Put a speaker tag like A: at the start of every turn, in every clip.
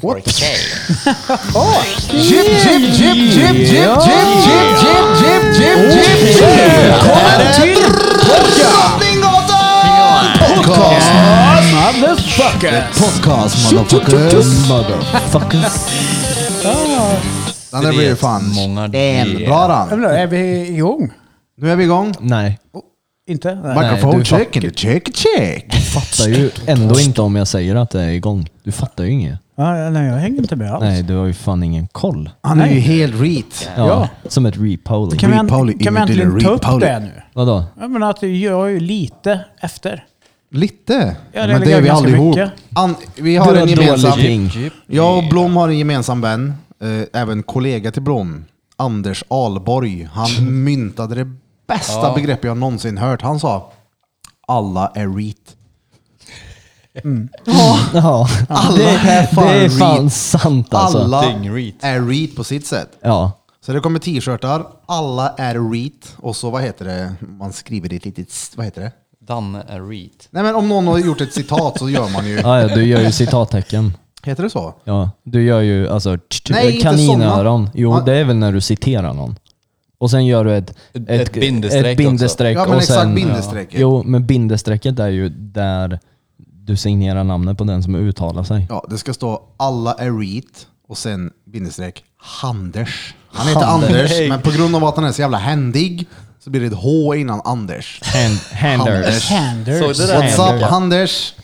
A: 4K.
B: Jip, jip, jip, jip, jip, jip, jip, jip, jip, jip, jip, jip.
C: Välkommen till
B: Podcast.
C: motherfucker!
B: Podcast, motherfuckers. Motherfuckers. Den där blir ju fan
A: Många
B: bra den.
C: Är vi igång?
B: Nu är vi igång.
D: Nej,
C: Inte? Nej.
B: Mikrofon
D: du
B: check, check, check.
D: fattar ju ändå inte om jag säger att det är igång. Du fattar ju inget.
C: Ja, nej, jag hänger inte med alls.
D: Nej, du har ju fan ingen koll.
B: Han är ju helt reet.
D: Ja,
C: Ja.
D: Som ett repoling.
C: Kan vi,
B: Repoly,
C: an- kan vi
B: ingen
C: äntligen
B: dille,
C: ta upp
B: repoly.
C: det nu?
D: Vadå?
C: Jag menar att jag är ju lite efter.
B: Lite.
C: Ja, det
B: Men det
C: ligger
B: är vi
C: ganska
B: allihop.
C: mycket.
B: An, vi har
D: Du
B: en
D: har
B: gemensam...
D: dålig ring.
B: Jag och Blom har en gemensam vän, eh, även kollega till Blom. Anders Alborg. Han myntade det bästa begrepp jag någonsin hört. Han sa alla är reet.
D: Ja,
B: Alla
D: det,
B: är fan
D: det är
B: re-
D: fan sant alltså.
B: Alla
A: Ding reet.
B: är reet på sitt sätt.
D: Ja.
B: Så det kommer t-shirtar, alla är reet. Och så vad heter det, man skriver det ett litet, s- vad heter det?
A: Danne är reet.
B: Nej men om någon har gjort ett citat så gör man ju,
D: Ja, ja, du gör ju citattecken.
B: heter det så?
D: Ja, du gör ju alltså t- t-
B: Nej, inte
D: kaninöron.
B: såna.
D: Jo,
B: Ja.
D: det är väl när du citerar någon. Och sen gör du ett,
A: Ett- ett bindestreck
D: ett bindestreck
B: också. Ja, men
D: och
B: exakt,
D: sen,
B: bindestrecket.
D: Jo, men bindestrecket är ju där du signerar namnet på den som uttalar sig.
B: Ja, det ska stå alla är reet och sen bindestreck Handers. Han heter Anders, men på grund av att han är så jävla händig så blir det ett H innan Anders.
D: Hand,
B: Handers.
D: handers.
C: Anders.
A: Såg du det där?
B: What's up
A: Handers.
B: Handers?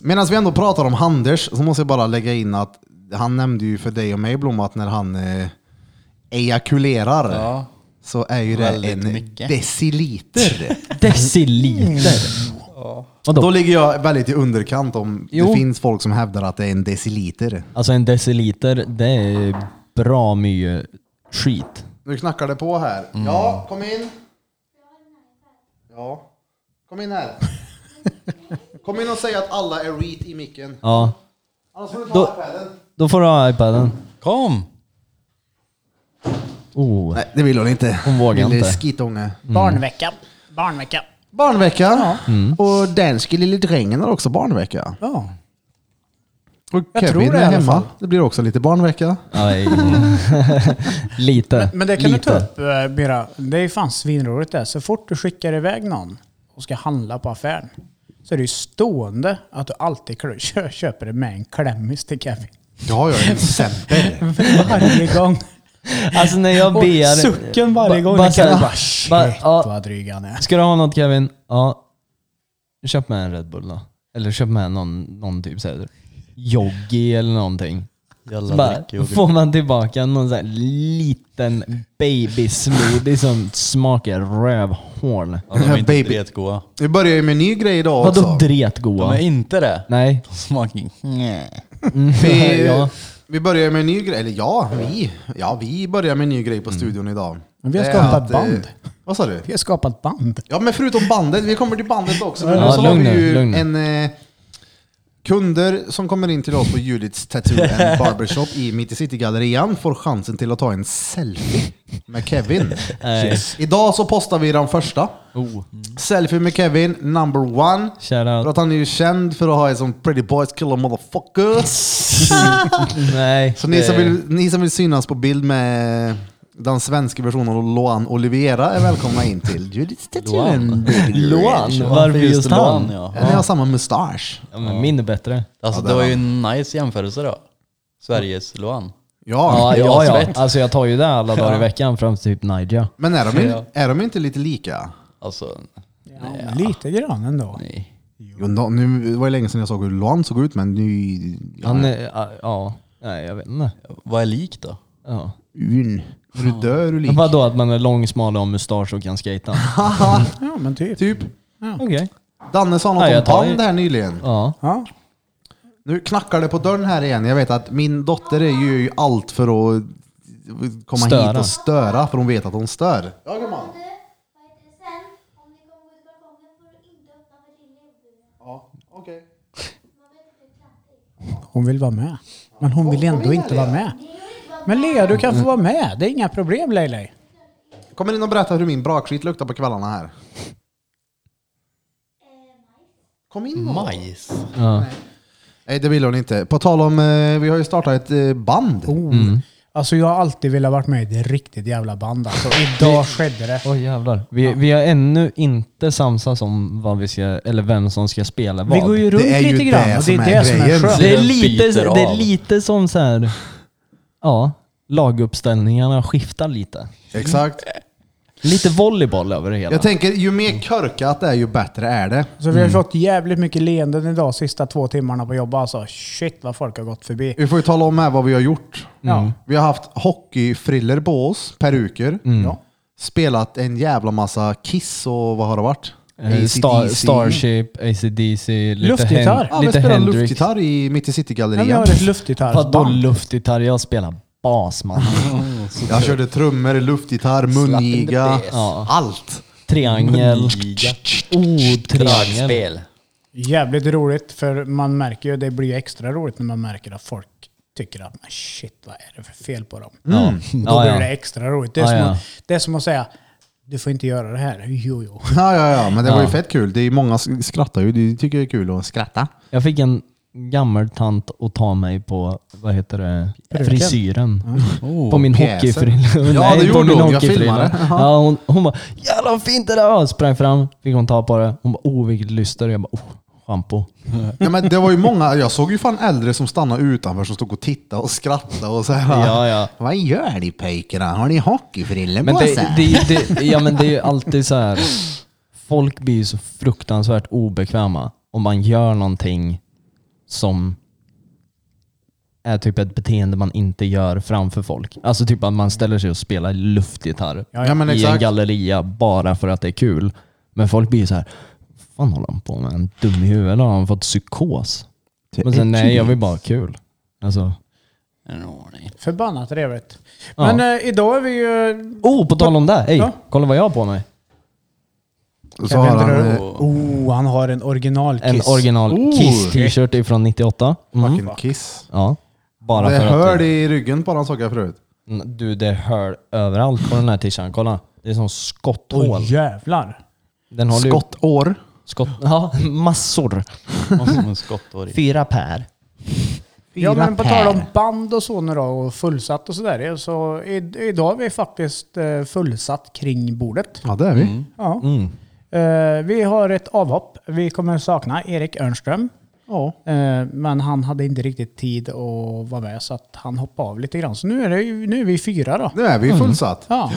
B: Medan vi ändå pratar om Handers så måste jag bara lägga in att han nämnde ju för dig och mig Blom att när han eh, ejakulerar
A: Ja.
B: så är ju det
A: Väldigt
B: en
A: mycket.
B: deciliter.
D: Deciliter.
B: Då
D: Vadå?
B: ligger jag väldigt i underkant om det
D: Jo.
B: finns folk som hävdar att det är en deciliter.
D: Alltså en deciliter, det är bra mycket skit.
B: Nu knackar det på här. Ja, kom in. Ja, kom in här. Kom in och säg att alla är reet i micken.
D: Ja,
B: Annars får du
D: Då-
B: ta iPaden.
D: då får du ha iPaden.
A: Kom!
D: Oh.
B: Nej, det vill hon inte.
D: Hon vågar
B: Lille
D: inte.
B: skitunge.
C: Mm. Barnvecka. Barnvecka.
B: Barnvecka. Och Danske Lille Drängen har också barnvecka.
C: Ja.
B: Och
C: Jag
B: Kevin
C: tror det i
B: är
C: alla
B: hemma.
C: fall.
B: Det blir också lite barnvecka.
D: Aj. Lite.
C: Men det kan
D: Lite.
C: du ta upp eh, Bira. Det är ju fan svinroligt det. Så fort du skickar iväg någon och ska handla på affären så är det ju stående att du alltid kl- kö- köper det med en klämmis till Kevin.
B: Ja, jag är en semper.
C: Varje gång.
D: Alltså när jag
C: Och
D: ber...
C: sucken varje gång.
D: Ba-
C: Ba,
D: ba-
C: Kevin bara
D: ba-
C: shit
D: ja.
C: vad dryg han är.
D: Ska du ha något Kevin? Ja. Köp med en Red Bull då. Eller köp med någon, någon typ såhär joggi eller någonting. Så bara, får man tillbaka någon sån här liten baby-smoothie som smakar rövhål.
A: Ja, de är inte
B: Baby.
A: dretgoa.
B: Vi börjar ju med en ny grej idag också.
D: Vadå
A: De
D: dretgoa?
A: är inte det.
D: Nej.
A: De smakar... Nej.
B: Vi,
D: ja.
B: vi börjar med en ny grej, eller ja, vi. Ja, vi börjar med en ny grej på studion idag.
C: Men vi har
B: Det är
C: skapat
B: eh,
C: band.
B: Vad sa du?
C: Vi har skapat band.
B: Ja, men förutom bandet, vi kommer till bandet också. Men
D: Ja,
B: så har
D: lugn
B: vi
D: nu,
B: ju
D: lugn nu.
B: en... Eh, kunder som kommer in till oss på Judiths Tattoo and Barbershop i Mitt i City-gallerian får chansen till att ta en selfie med Kevin.
D: Nej.
B: Idag så postar vi den första. Oh. Selfie med Kevin, number one.
D: Shoutout.
B: För att han är ju känd för att ha en sån pretty boys killer motherfucker.
D: Nej.
B: Så ni som, vill, ni som vill synas på bild med den svenska versionen av Loan Oliveira är välkomna in till Judiths Tattoo and Barbershop.
D: Loan? Varför just han?
A: ja.
B: Eller jag har samma mustasch.
D: Ja, men min är bättre.
A: Alltså det var ju en nice jämförelse då. Sveriges Luan.
B: Ja.
D: Ja,
A: det är
D: ja, ja.
A: asfett.
D: Alltså jag tar ju det alla dagar i veckan fram till typ Nigeria.
B: Men är de,
A: Ja.
B: är de inte lite lika?
A: Alltså,
C: Ja, Lite grann ändå.
A: nej.
B: Jo, no, nu var det länge sedan jag såg hur Loan såg ut, men nu...
D: Han är, ja, nej jag vet inte.
A: Vad är likt då?
D: Ja.
B: Un. Du dör du lik.
D: Vadå att man är lång, smal och har mustasch och kan skejta?
C: Ja men typ.
B: Typ.
D: Okej.
B: Danne sa något
D: Nej,
B: om
D: jag tar
B: band
D: det.
B: här nyligen.
D: Ja.
C: Ja.
B: Nu knackar det på dörren här igen. Jag vet att min dotter är ju gör ju allt för att komma hit
D: Störa.
B: och störa, för hon vet att hon stör. Ja, gumman.
E: Du, vad heter det, sen om ni kommer ut balkongen får du inte öppna för din lillbror.
B: Ja, okej.
C: Hon vill vara med. Men hon vill ändå inte vara med. Men Lea, du kan få vara med. Det är inga problem Leilei.
B: Kommer in och berätta hur min brakskit luktar på kvällarna här. Kom in då.
A: Majs.
D: ja.
B: Eh, Nej, det vill hon inte. På tal om, eh, vi har ju startat ett eh, band.
C: Oh. Alltså jag har alltid velat varit med i ett riktigt jävla band alltså. Idag skedde det.
D: Oj jävlar. Vi, vi har ännu inte samsats om vad vi ska, eller vem som ska spela vad.
C: Vi går ju runt
B: Det är ju
C: lite grann
B: det
C: och det
B: som
C: är
B: är
C: det som är
B: grejen.
C: skönt.
D: det, är
A: Den
D: lite,
A: biter
D: det är
A: av.
D: lite som så här, ja, laguppställningarna skiftar lite.
B: Exakt.
D: Lite volleyboll över det hela.
B: Jag tänker, ju mer korkat det är, ju bättre är det.
C: Så vi har fått jävligt mycket leenden idag sista två timmarna på jobbet alltså. Shit vad folk har gått förbi.
B: Vi får ju tala om här vad vi har gjort.
C: Ja.
B: Vi har haft hockeyfriller på oss, peruker.
C: Ja.
B: Spelat en jävla massa Kiss och vad har det varit?
D: Eh, Star,
B: AC/DC.
D: Starship, AC/DC, lite,
C: Luftgitarr.
B: Ja,
D: Hen-
B: vi
D: lite
B: spelade
D: Hendrix.
B: luftgitarr i Mitt i
C: Men vi har
B: City-gallerian.
C: ett
D: Vadå
C: luftgitarrsband.
D: luftgitarr? Jag spelar bas man.
B: Jag körde trummor, luftgitarr, mungiga, allt.
D: Triangel. Oh, triangel.
A: Dragspel.
C: Jävligt roligt för man märker ju, det blir ju extra roligt när man märker att folk tycker att men shit vad är det för fel på dem?
D: Mm. Ja.
C: Då
D: Ja,
C: blir
D: ja.
C: det extra roligt. Det är,
D: Ja,
C: som
D: ja.
C: Att, det är som att säga du får inte göra det här. Jo, jo.
B: Ja, ja, ja, men det var ju
D: Ja.
B: fett kul. Det är många som skrattar ju. De tycker det är kul att skratta.
D: Jag fick en gammal tant att ta mig på, vad heter det, frisyren. På min
B: pjäsen.
D: hockeyfrilla.
B: Ja,
D: Nej,
B: det
D: på
B: gjorde
D: min
B: hon. Jag
D: hockeyfrilla.
B: filmade. Jaha.
D: Ja, hon, hon bara “Jävlar vad fint det där var!” Sprang fram, fick hon ta på det. Hon bara “Oh vilket lyster”. Jag bara “Oh, schampo”.
B: Ja, men det var ju många, jag såg ju fan äldre som stannade utanför som stod och tittade och skrattade och så här.
D: Ja, ja.
B: Vad gör ni pojkarna? Har ni hockeyfrillor
D: Men
B: på
D: det,
B: sig?
D: det, det, ja, men det är ju alltid så här. folk blir ju så fruktansvärt obekväma om man gör någonting som är typ ett beteende man inte gör framför folk. Alltså typ att man ställer sig och spelar luftgitarr
B: ja, men
D: i en
B: exakt.
D: galleria bara för att det är kul. Men folk blir ju så här. fan håller han på med? En dum i huvudet? Har han fått psykos? Men sen, nej, jag vill bara ha kul.
B: Mm.
D: Alltså.
A: En ordning.
C: Förbannat trevligt.
D: Ja.
C: Men eh, idag är vi ju...
D: Oh, på tal om det! Hej,
C: Ja.
D: kolla vad jag har på mig.
B: Så har
C: Jag vet
B: han,
C: inte
B: eh,
C: hur- oh, han har en original
D: En
C: Kiss.
D: original
B: Oh.
D: Kiss t-shirt ifrån 98. Mm.
B: fucking kiss.
D: Ja. Bara
B: Det
D: för
B: hör
D: att eh,
B: det i ryggen på den såg jag förut.
D: Mm, du, det hör överallt på den här t-shirten. Kolla. Det är som skotthål.
C: Åh jävlar.
D: Den håller ju-
B: Skottår.
D: skott... Ja, massor.
A: Och som en skottårig.
D: Fyra pär.
C: Ja men på tal om band och så nu då och fullsatt och sådär. Så i, idag är vi faktiskt eh, fullsatt kring bordet.
B: Ja, det är vi.
D: Mm.
C: Ja. Eh, vi har ett avhopp. Vi kommer sakna Erik Örnström.
B: Ja.
C: Eh, men han hade inte riktigt tid att vara med så att han hoppade av lite grann. Så nu är, det, ju- nu är vi fyra då.
B: Nu är vi
D: Mm.
B: fullsatt.
C: Ja.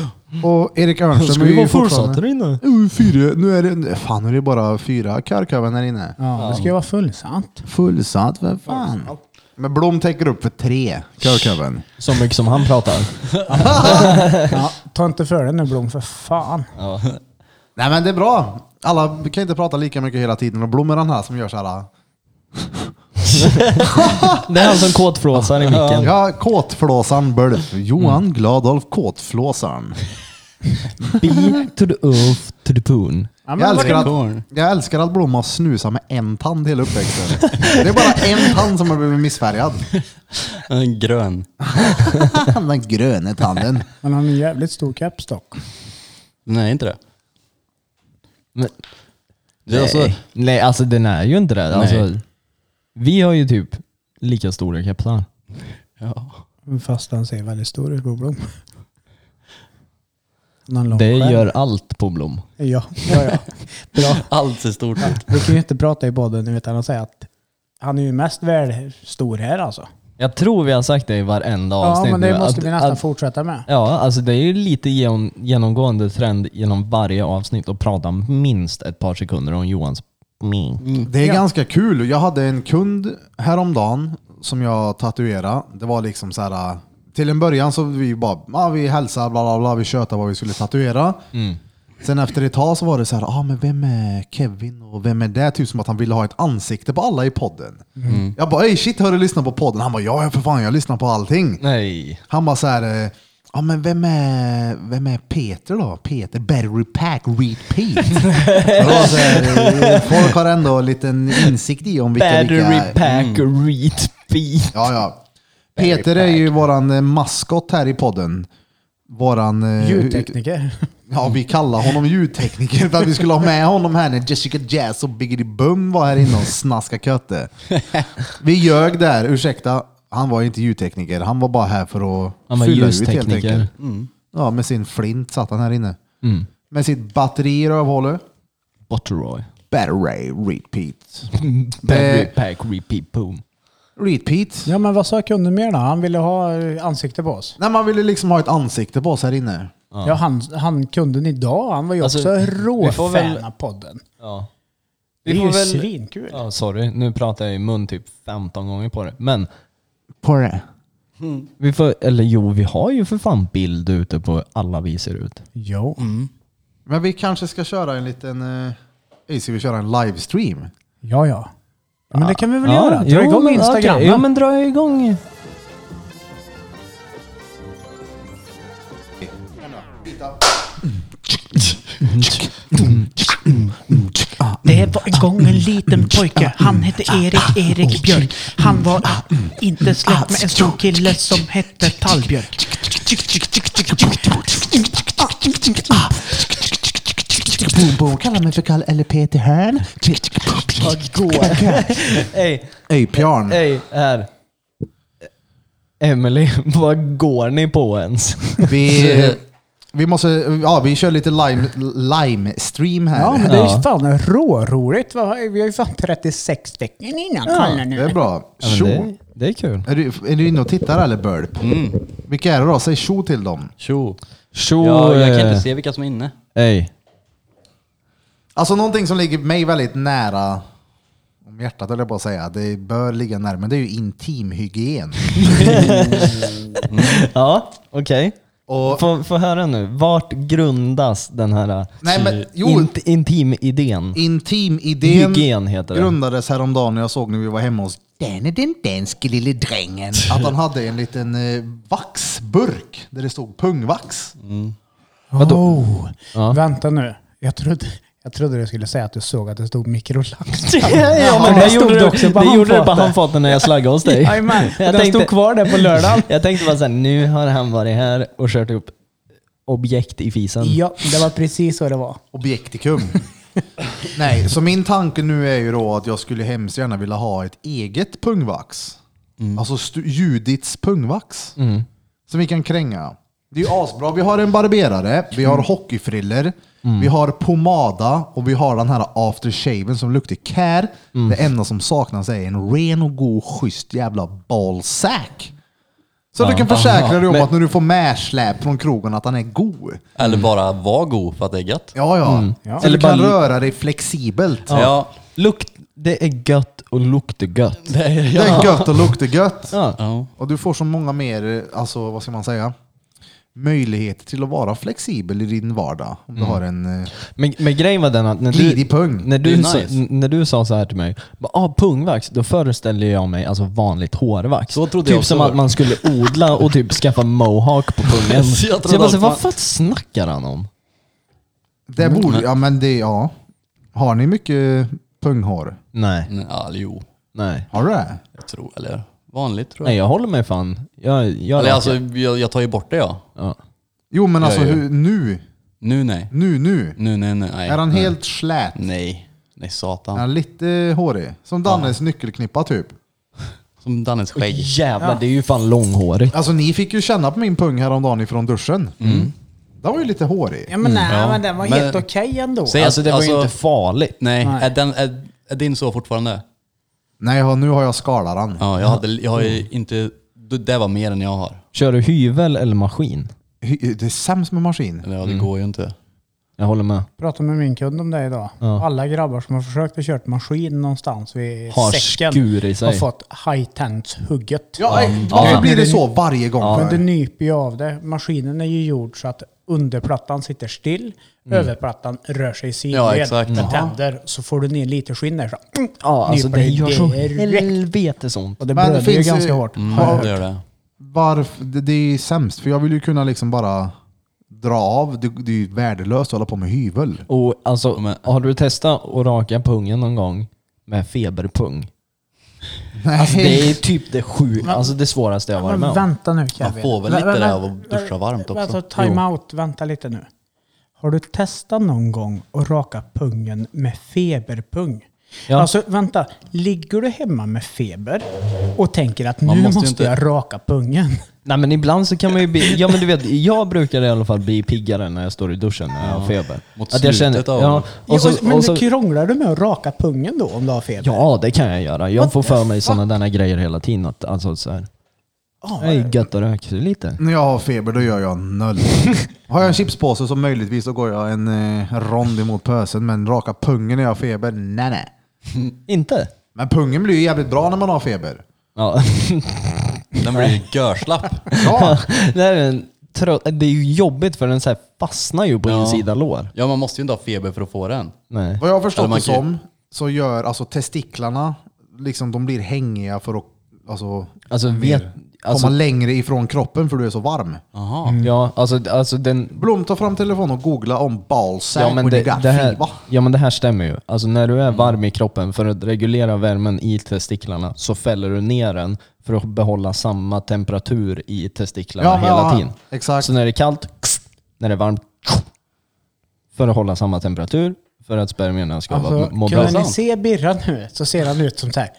B: Och Erik Örnström är ju fortfarande...
D: inne.
B: Oh, Fyra, nu är det... Fan, nu är det bara fyra karköven här inne.
C: ja, det ska ju vara fullsatt.
B: Fullsatt, för fan. Men Blom täcker upp för tre körköven.
D: Så mycket som han pratar.
C: Ja, ta inte för dig nu Blom, för fan.
B: Nej men det är bra. Alla vi kan inte prata lika mycket hela tiden och Blom är den här som gör så här.
D: Det är han som kåtflåsar i micken.
B: Ja, kåtflåsan Bölf. Johan Gladolf Kåtflåsaren.
D: Be to the earth to the poon.
C: Ja,
B: Jag
C: men,
B: älskar,
A: Korn.
B: att, jag älskar att Blom har snusat med en tand hela uppväxten. Det är bara en tand som har blivit missfärgad.
A: En grön.
B: Den gröna tanden.
C: han har en jävligt stor kapstock.
A: Nej, inte det.
D: Men-
A: Det är alltså,
D: Nej, alltså den är ju inte det. Alltså,
A: Nej.
D: vi har ju typ lika stora kepsar.
A: ja.
C: Fast han ser väldigt stor ut på Blom. Han har en lång
D: Det
C: skärm.
D: gör allt på Blom.
C: Ja, ja, ja. Bra.
A: Allt ser stort ut.
C: Vi kan ju inte prata i podden utan att säga att han är ju mest väl stor här alltså.
D: Jag tror vi har sagt det i varenda
C: Ja,
D: avsnitt.
C: men det
D: nu,
C: måste
D: att-
C: vi nästan
D: att-
C: fortsätta med.
D: Ja, alltså det är ju lite genom, genomgående trend genom varje avsnitt att prata minst ett par sekunder om Johans mink.
B: Det är ganska kul. Jag hade en kund häromdagen som jag tatuerade. Det var liksom så här. Till en början så vi bara, ah, vi hälsade, bla bla bla, vi tjötade vad vi skulle tatuera. Sen efter ett tag så var det så här, ah, men vem är Kevin och vem är det? Typ som att han ville ha ett ansikte på alla i podden. Jag bara, ey shit, har du lyssnat på podden? Han bara, ja ja, för fan, jag lyssnar på allting.
D: Nej.
B: Han bara så här, eh, ja men vem är, vem är Peter då? Peter Battery Pack Reed Pete. Och då så här, eh, folk har ändå en liten insikt i om vilka...
D: Battery
B: vilka
D: pack repeat.
B: ja, ja. Peter är ju våran eh, maskot här i podden. våran... eh,
C: Ljudtekniker.
B: Ja, vi kallar honom ljudtekniker för att vi skulle ha med honom här när Jessica Jazz och Biggity Bum var här inne och snaskade kötte. Vi ljög där, ursäkta. Han var ju inte ljudtekniker, han var bara här för att
D: Han var
B: fylla ut helt
D: ljustekniker.
B: enkelt. Ja, med sin flint satt han här inne. Med sitt batteri i rövhålet.
D: Butteroy.
B: Battery repeat.
D: Battery pack repeat boom.
B: Repeat.
C: Ja men vad sa kunden mer då? Han ville ha eh, ansikte på oss.
B: Nej, man ville liksom ha ett ansikte på oss här inne.
C: Ja, han, han kunden idag, han var ju
D: Alltså,
C: också
D: vi får väl-
C: råfan av podden.
D: Ja.
C: Det är ju svinkul.
D: Ja, sorry. Nu pratar jag i mun typ 15 gånger på det. Men
B: På det.
D: vi får, eller jo, vi har ju för fan bild ute på alla vi ser ut.
C: Jo.
B: Men vi kanske ska köra en liten... eh, ska vi köra en livestream?
C: Ja, ja. Ja, Men det kan vi väl göra? Dra igång
D: men,
C: Instagram.
D: okej. Ja, men dra igång.
C: Det var en gång en liten pojke. Han hette Erik, Erik Björk. Han var inte släkt med en stor kille som hette Tallbjörk.
B: Boom, boom. Kalla mig för Kalle eller Peter Hörn.
D: Ey,
B: Ey, Björn.
D: ey, här. Emily, vad går ni på ens?
B: Vi, vi måste... Ja, vi kör lite lime, lime-stream här.
C: Ja, men det är ju fan råroligt. Vad har- Vi har ju fan 36 stycken innan. Kolla
B: det är
C: nu.
B: bra.
D: Ja, men
B: Tjo.
D: det, det Mm. är kul.
B: Är du, är du inne och tittar eller Burp? Vilka är det då? Säg tjo till dem.
A: Tjo.
D: Tjo!
A: Ja, jag kan
D: eh,
A: inte se vilka som är inne.
D: Ey.
B: Alltså någonting som ligger mig väldigt nära om hjärtat höll jag på att säga. Det bör ligga nära, men det är ju intimhygien.
D: Ja, okej.
B: Och,
D: Få, få höra nu, vart grundas den här
B: Nej, men-
D: eh,
B: jo.
D: int, intimidén?
B: Intimidén
D: Hygien heter det.
B: grundades häromdagen när jag såg när vi var hemma hos den är den danske lille drängen. Att han hade en liten eh, vaxburk där det stod pungvax.
C: Oh, Vänta nu. Jag trodde, jag trodde du skulle säga att du såg att det stod mikrolax.
D: Ja, men
C: det
D: det
C: stod
D: gjorde
C: det
D: det,
C: också på
D: det gjorde det på
C: handfatet.
D: handfatet när jag slaggade hos dig.
C: Jajamän,
D: Jag
C: den stod kvar där på lördagen.
D: Jag tänkte bara såhär, nu har han varit här och kört upp objekt i fisen.
C: Ja, det var precis så det var.
B: Objektikum. Nej, så min tanke nu är ju då att jag skulle hemskt gärna vilja ha ett eget pungvax. Alltså stu- Judits pungvax. Som vi kan kränga. Det är ju asbra. Vi har en barberare, vi har hockeyfriller, vi har pomada och vi har den här aftershaven som luktar kär. Det enda som saknas är en ren och god schysst jävla ballsack. Så du kan försäkra dig om att när du får märsläp från krogen att han är god.
A: Eller bara var god för att det är gött.
B: Ja, ja.
A: Mm.
B: Så
D: Eller
B: du kan
D: bara-
B: röra dig flexibelt.
A: Ja.
D: Lukt, det är gött och luktar gött.
A: Det är,
B: Det är gött och luktar gött.
D: Ja.
A: Ja.
B: Och du får så många mer, eh, alltså vad ska man säga, möjligheter till att vara flexibel i din vardag. Om
A: Mm.
B: du har en... eh,
D: Men, men grejen var den att när du,
B: Glidig pung.
D: när
A: Det
D: du,
A: är
D: sa,
A: nice.
D: n- när du sa så här till mig, bara, ah, pungvax, då föreställde jag mig alltså vanligt hårvax.
A: Så trodde
D: typ
A: jag också.
D: som att man skulle odla och typ skaffa mohawk på pungen.
A: Så
D: så
A: jag
D: jag,
A: trodde
D: bara, så,
A: också-
D: vad fan snackar han om?
B: Det
A: Mm.
B: borde... Ja men det, ja. Har ni mycket punghår?
D: Nej,
A: Ja, eller jo.
D: nej.
B: Har du det?
A: Jag tror, eller vanligt tror jag.
D: Nej, jag håller mig fan. Jag, jag
A: eller alltså, jag, jag tar ju bort det ja.
D: ja.
B: Jo men alltså
A: Ja, ja.
B: hur, nu,
A: Nu nej.
B: nu, nu.
A: Nu nej, nej. nej.
B: Är han
A: nej.
B: helt slät?
A: Nej. Nej, satan.
B: Är han lite hårig? Som Dannes nyckelknippa typ.
A: Som Dannes skägg.
D: Jävlar, det är ju fan långhårigt.
B: Alltså ni fick ju känna på min pung häromdagen ifrån duschen.
A: Mm.
B: Den var ju lite hårig.
C: Ja, men nej,
A: ja.
C: men den var
A: Men-
C: helt okej ändå.
A: Säg
D: Alltså det var ju
A: Alltså-
D: inte farligt.
A: Nej,
C: Nej.
A: Är, den, är, är din så fortfarande?
B: Nej, jag har- nu har jag skalaren.
A: Ja, jag, hade, jag har ju
D: Mm.
A: inte... Det där var mer än jag har.
D: Kör du hyvel eller maskin?
B: Hy- Det är sämst med maskin.
A: Eller, ja, det
D: Mm.
A: går ju inte.
D: Jag håller med.
C: pratade med min kund om det idag. Alla grabbar som har försökt att kört maskin någonstans vid
D: Har
C: säcken
D: skur i sig.
C: har fått high tens hugget
B: Ja, nej, varför
D: Ja.
B: blir det så varje gång?
C: Men
B: för?
C: det nyper ju av det. Maskinen är ju gjord så att underplattan sitter still,
D: Mm.
C: överplattan rör sig i
A: Ja,
C: sidled
A: exakt.
C: med
A: Jaha.
C: tänder. Så får du ner lite skinn där så
D: Ja, alltså
C: nyper
D: det gör så
C: direkt.
D: helvetes ont.
C: Och det
B: Men det
C: blöder ju
B: finns ju-
C: ganska hårt.
A: Mm, det gör det.
B: Varför? Det, det är ju sämst, för jag vill ju kunna liksom bara dra av. Det, det är ju värdelöst att hålla på med hyvel.
D: Och alltså, har du testat att raka pungen någon gång med feberpung?
B: Nej.
D: Alltså det är typ det sju, alltså det svåraste jag har varit med
C: Men
D: om.
C: vänta nu Kevin.
A: Man får väl
C: Vä-
A: lite
C: vä-
A: det
C: vä-
A: av att duscha
C: vä-
A: varmt också.
C: Vänta, time-out. Vänta lite nu. Har du testat någon gång att raka pungen med feberpung?
D: Ja.
C: Alltså vänta, ligger du hemma med feber och tänker att
A: Man
C: nu
A: måste
C: måste,
A: ju inte-
C: jag raka pungen?
D: Nej men ibland så kan man ju bli, ja men du vet, jag brukar i alla fall bli piggare när jag står i duschen när jag har feber.
A: Mot
D: jag
A: slutet av-
D: ja, och
C: ja,
D: så,
C: men
D: och så,
C: krånglar du med att raka pungen då om du har feber?
D: ja det kan jag göra. Jag får för mig sådana där grejer hela tiden. Att, alltså så här.
C: Ja, Mm.
D: Det är gött att röka lite.
B: När jag har feber då gör jag noll. Har jag en chipspåse så möjligtvis då går jag en eh, rond emot pösen, men raka pungen när jag har feber, nej nej.
D: Inte?
B: Men pungen blir ju jävligt bra när man har feber.
D: Ja.
A: Den blir ju görslapp.
B: Ja,
D: det, är en, trö- äh, det är ju jobbigt för den så här fastnar ju på
A: Ja.
D: insida lår.
A: Ja, man måste ju inte ha feber för att få den.
D: Nej.
B: vad jag har
A: Eller
B: förstått
A: man
B: det
A: kan ju-
B: som så gör alltså testiklarna, liksom de blir hängiga för att alltså,
D: Alltså vet... Alltså,
B: komma längre ifrån kroppen för du är så varm.
A: Jaha.
D: ja, alltså, alltså den...
B: Blom, ta fram telefonen och googla om balsam
D: Ja men
B: when
D: det,
B: you got
D: det här,
B: fever.
D: ja men det här stämmer ju. Alltså när du är varm i kroppen, för att regulera värmen i testiklarna, så fäller du ner den för att behålla samma temperatur i testiklarna
B: Ja, men
D: hela
B: ja,
D: tiden.
B: exakt.
D: Så när det är kallt, när det är varmt, för att hålla samma temperatur, för att spermierna ska vara,
C: Alltså,
D: må bra.
C: kan ni se Birra nu? Så ser han ut som så här.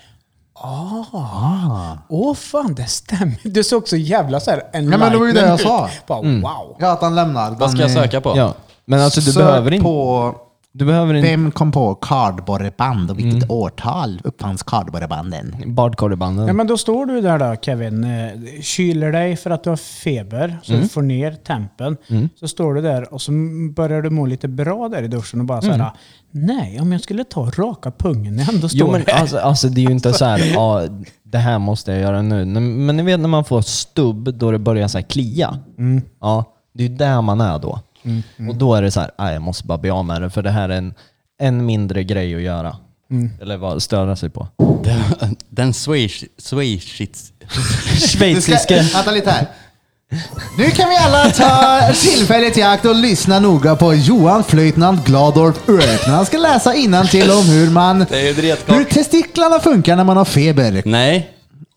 C: Ah, åh fan det stämmer. Du såg så jävla så här
B: men det var ju det jag
C: enlightened
B: sa.
C: ut. Bara, wow.
B: Ja, att han lämnar.
A: Vad ska jag söka på?
D: Ja. Men alltså du
B: Sök
D: behöver inte...
B: på
D: Du behöver inte...
B: Vem kom på kardborreband och vilket
D: Mm.
B: årtal uppfanns kardborrebanden?
D: Badkarebanden.
C: Ja, men då står du där då Kevin, eh, kyler dig för att du har feber, så du får ner tempen. Så står du där och så börjar du må lite bra där i duschen och bara så här, nej om jag skulle ta och raka pungen när jag ändå står
D: Jo, men
C: här.
D: alltså, alltså det är ju inte så här, ja, det här måste jag göra nu. Men men ni vet när man får stubb då det börjar så här klia. Ja, det är ju där man är då. Och då är det så här, "Aj, jag måste bara bli av med det för det här är en, en mindre grej att göra. Eller vad störa sig på.
A: Den, den swish, swishits.
D: Schweiziska.
B: Vänta lite här. Nu kan vi alla ta tillfället i akt och lyssna noga på Johan Flöjtnant Gladorf Örk när han ska läsa till om hur man...
A: är ju dretkort.
B: Hur testiklarna funkar när man har feber.
A: Nej,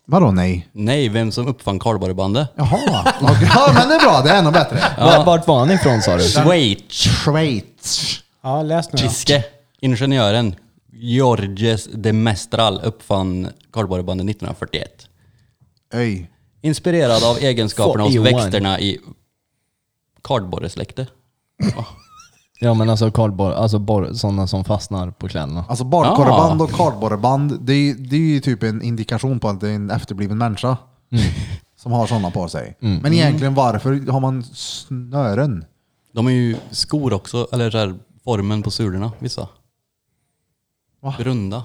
B: Vadå nej?
A: nej, vem som uppfann kardborrebandet?
B: Jaha, Okej, ja, men det är bra. Det är ännu bättre.
D: Var- Vart var han ifrån sa du?
A: Schweiziske
B: Schweiz.
C: Ja, läs nu då.
A: ingenjören Georges de Mestral uppfann kardborrebandet 1941.
B: Öj.
A: Inspirerad av egenskaperna hos
D: 41.
A: växterna i kardborresläkte.
D: Ja men alltså kardborre, alltså borr, sådana som fastnar på kläderna.
B: Alltså badkorreband och kardborreband, det är, ju- det är ju typ en indikation på att det är en efterbliven människa
D: Mm.
B: som har sådana på sig. Men egentligen varför har man snören?
A: De är ju skor också, eller så här, formen på sulorna, vissa.
B: Va?
A: Runda.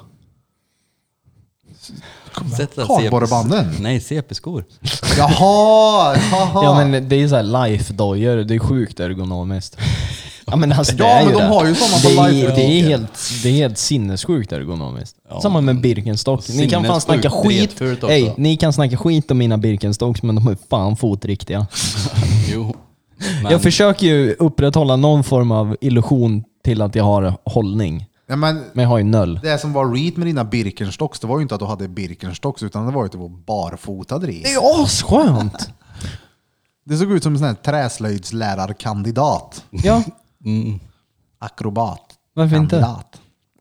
A: Sätt där
B: Kardborrebanden?
A: CP Nej, CP-skor.
B: Jaha! jaha.
D: Ja men det är ju så här life-dojor, det är sjukt ergonomiskt. Ja men alltså det
B: Ja, men
D: är ju
B: de
D: det.
B: har ju såna på
D: det, är,
B: life-dojen.
D: det, är helt, det är helt sinnessjukt ergonomiskt.
A: Ja.
D: Samma med Birkenstock. Ni kan fan
A: Sinnessjukt
D: snacka skit.
A: retfult också.
D: Ey, ni kan snacka skit om mina Birkenstocks men de är fan fotriktiga.
A: Jo.
D: Jag försöker ju upprätthålla någon form av illusion till att jag har hållning.
B: ja, men
D: Men jag har ju noll.
B: det som var reet med dina Birkenstocks, det var ju inte att du hade Birkenstocks utan det var ju typ att du var barfotad
D: Det
B: i.
D: är asskönt!
B: Det såg ut som en sån här träslöjdslärarkandidat.
D: Ja,
B: Akrobat.
D: Mm. Varför inte?
B: Kandidat.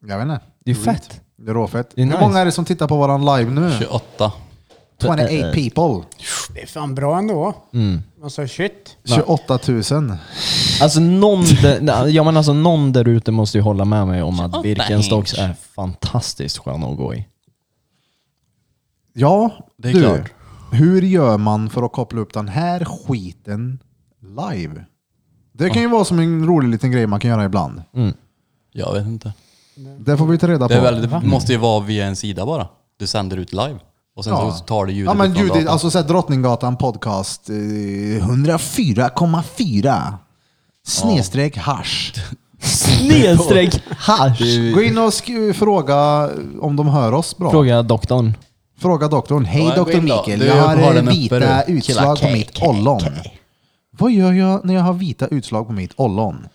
B: Jag vet inte.
D: det är fett.
B: Det är råfett.
D: Det är
B: Hur
D: nice.
B: många är det som tittar på våran live nu?
A: 28.
B: 28
A: eh,
B: people.
C: Det är fan bra ändå. Alltså shit.
B: 28 000.
D: Alltså någon, där, ja, men alltså någon där ute måste ju hålla med mig om att Birkenstocks är fantastiskt sköna att gå i.
B: Ja,
A: Det är
B: du.
A: klart.
B: Hur gör man för att koppla upp den här skiten live? Det kan ju vara som en rolig liten grej man kan göra ibland.
A: Jag vet inte.
B: Det får vi ta reda på.
A: Mm. Det, är väl, det måste ju vara via en sida bara. Du sänder ut live. Och sen så tar du ljudet
B: Ja, men
A: ifrån
B: ljudet,
A: datorn.
B: alltså så här, Drottninggatan podcast eh, 104,4 snedstreck hash.
D: Snedstreck hash.
B: Gå in och sk- fråga om de hör oss bra. Fråga,
D: Fråga doktorn.
B: doktorn. Hej
A: Ja, gå
B: doktor
A: in då.
B: Mikael,
A: Du
B: jag har
A: har
B: eh,
A: den uppe,
B: vita
A: du.
B: utslag på mitt ollon. Vad gör jag när jag har vita utslag på mitt ollon?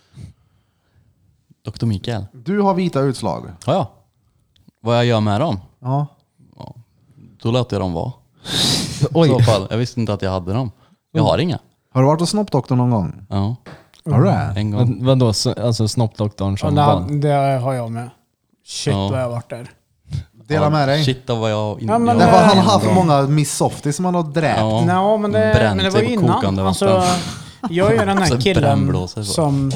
A: Dr. Mikael.
B: Du har vita utslag.
A: Ja, ja. Vad jag gör med dem?
B: Ja.
A: Ja. Då lät jag dem vara. I så
B: Oj,
A: fall, jag visste inte att jag hade dem. Jag har inga.
B: har du varit hos snoppdoktorn någon gång?
A: Ja,
B: Har du det?
A: en gång.
D: Vad, vadå, så, alltså snoppdoktorn
C: Ja,
D: som barn?
C: det, det har jag med. Shit
A: Ja.
C: vad jag har varit där.
B: Dela med dig.
A: Shit vad jag... In,
C: Ja, men
A: jag
C: det
B: Därför har han
C: Nej.
B: haft många Miss Softies som han har dräpt.
A: Ja.
C: Nej, men det,
A: Bränt
C: men det var
A: sig
C: ju
A: på
C: innan.
A: kokande
C: Alltså,
A: vatten.
C: jag är ju den här
A: Så
C: killen
A: brännblåser så.
C: som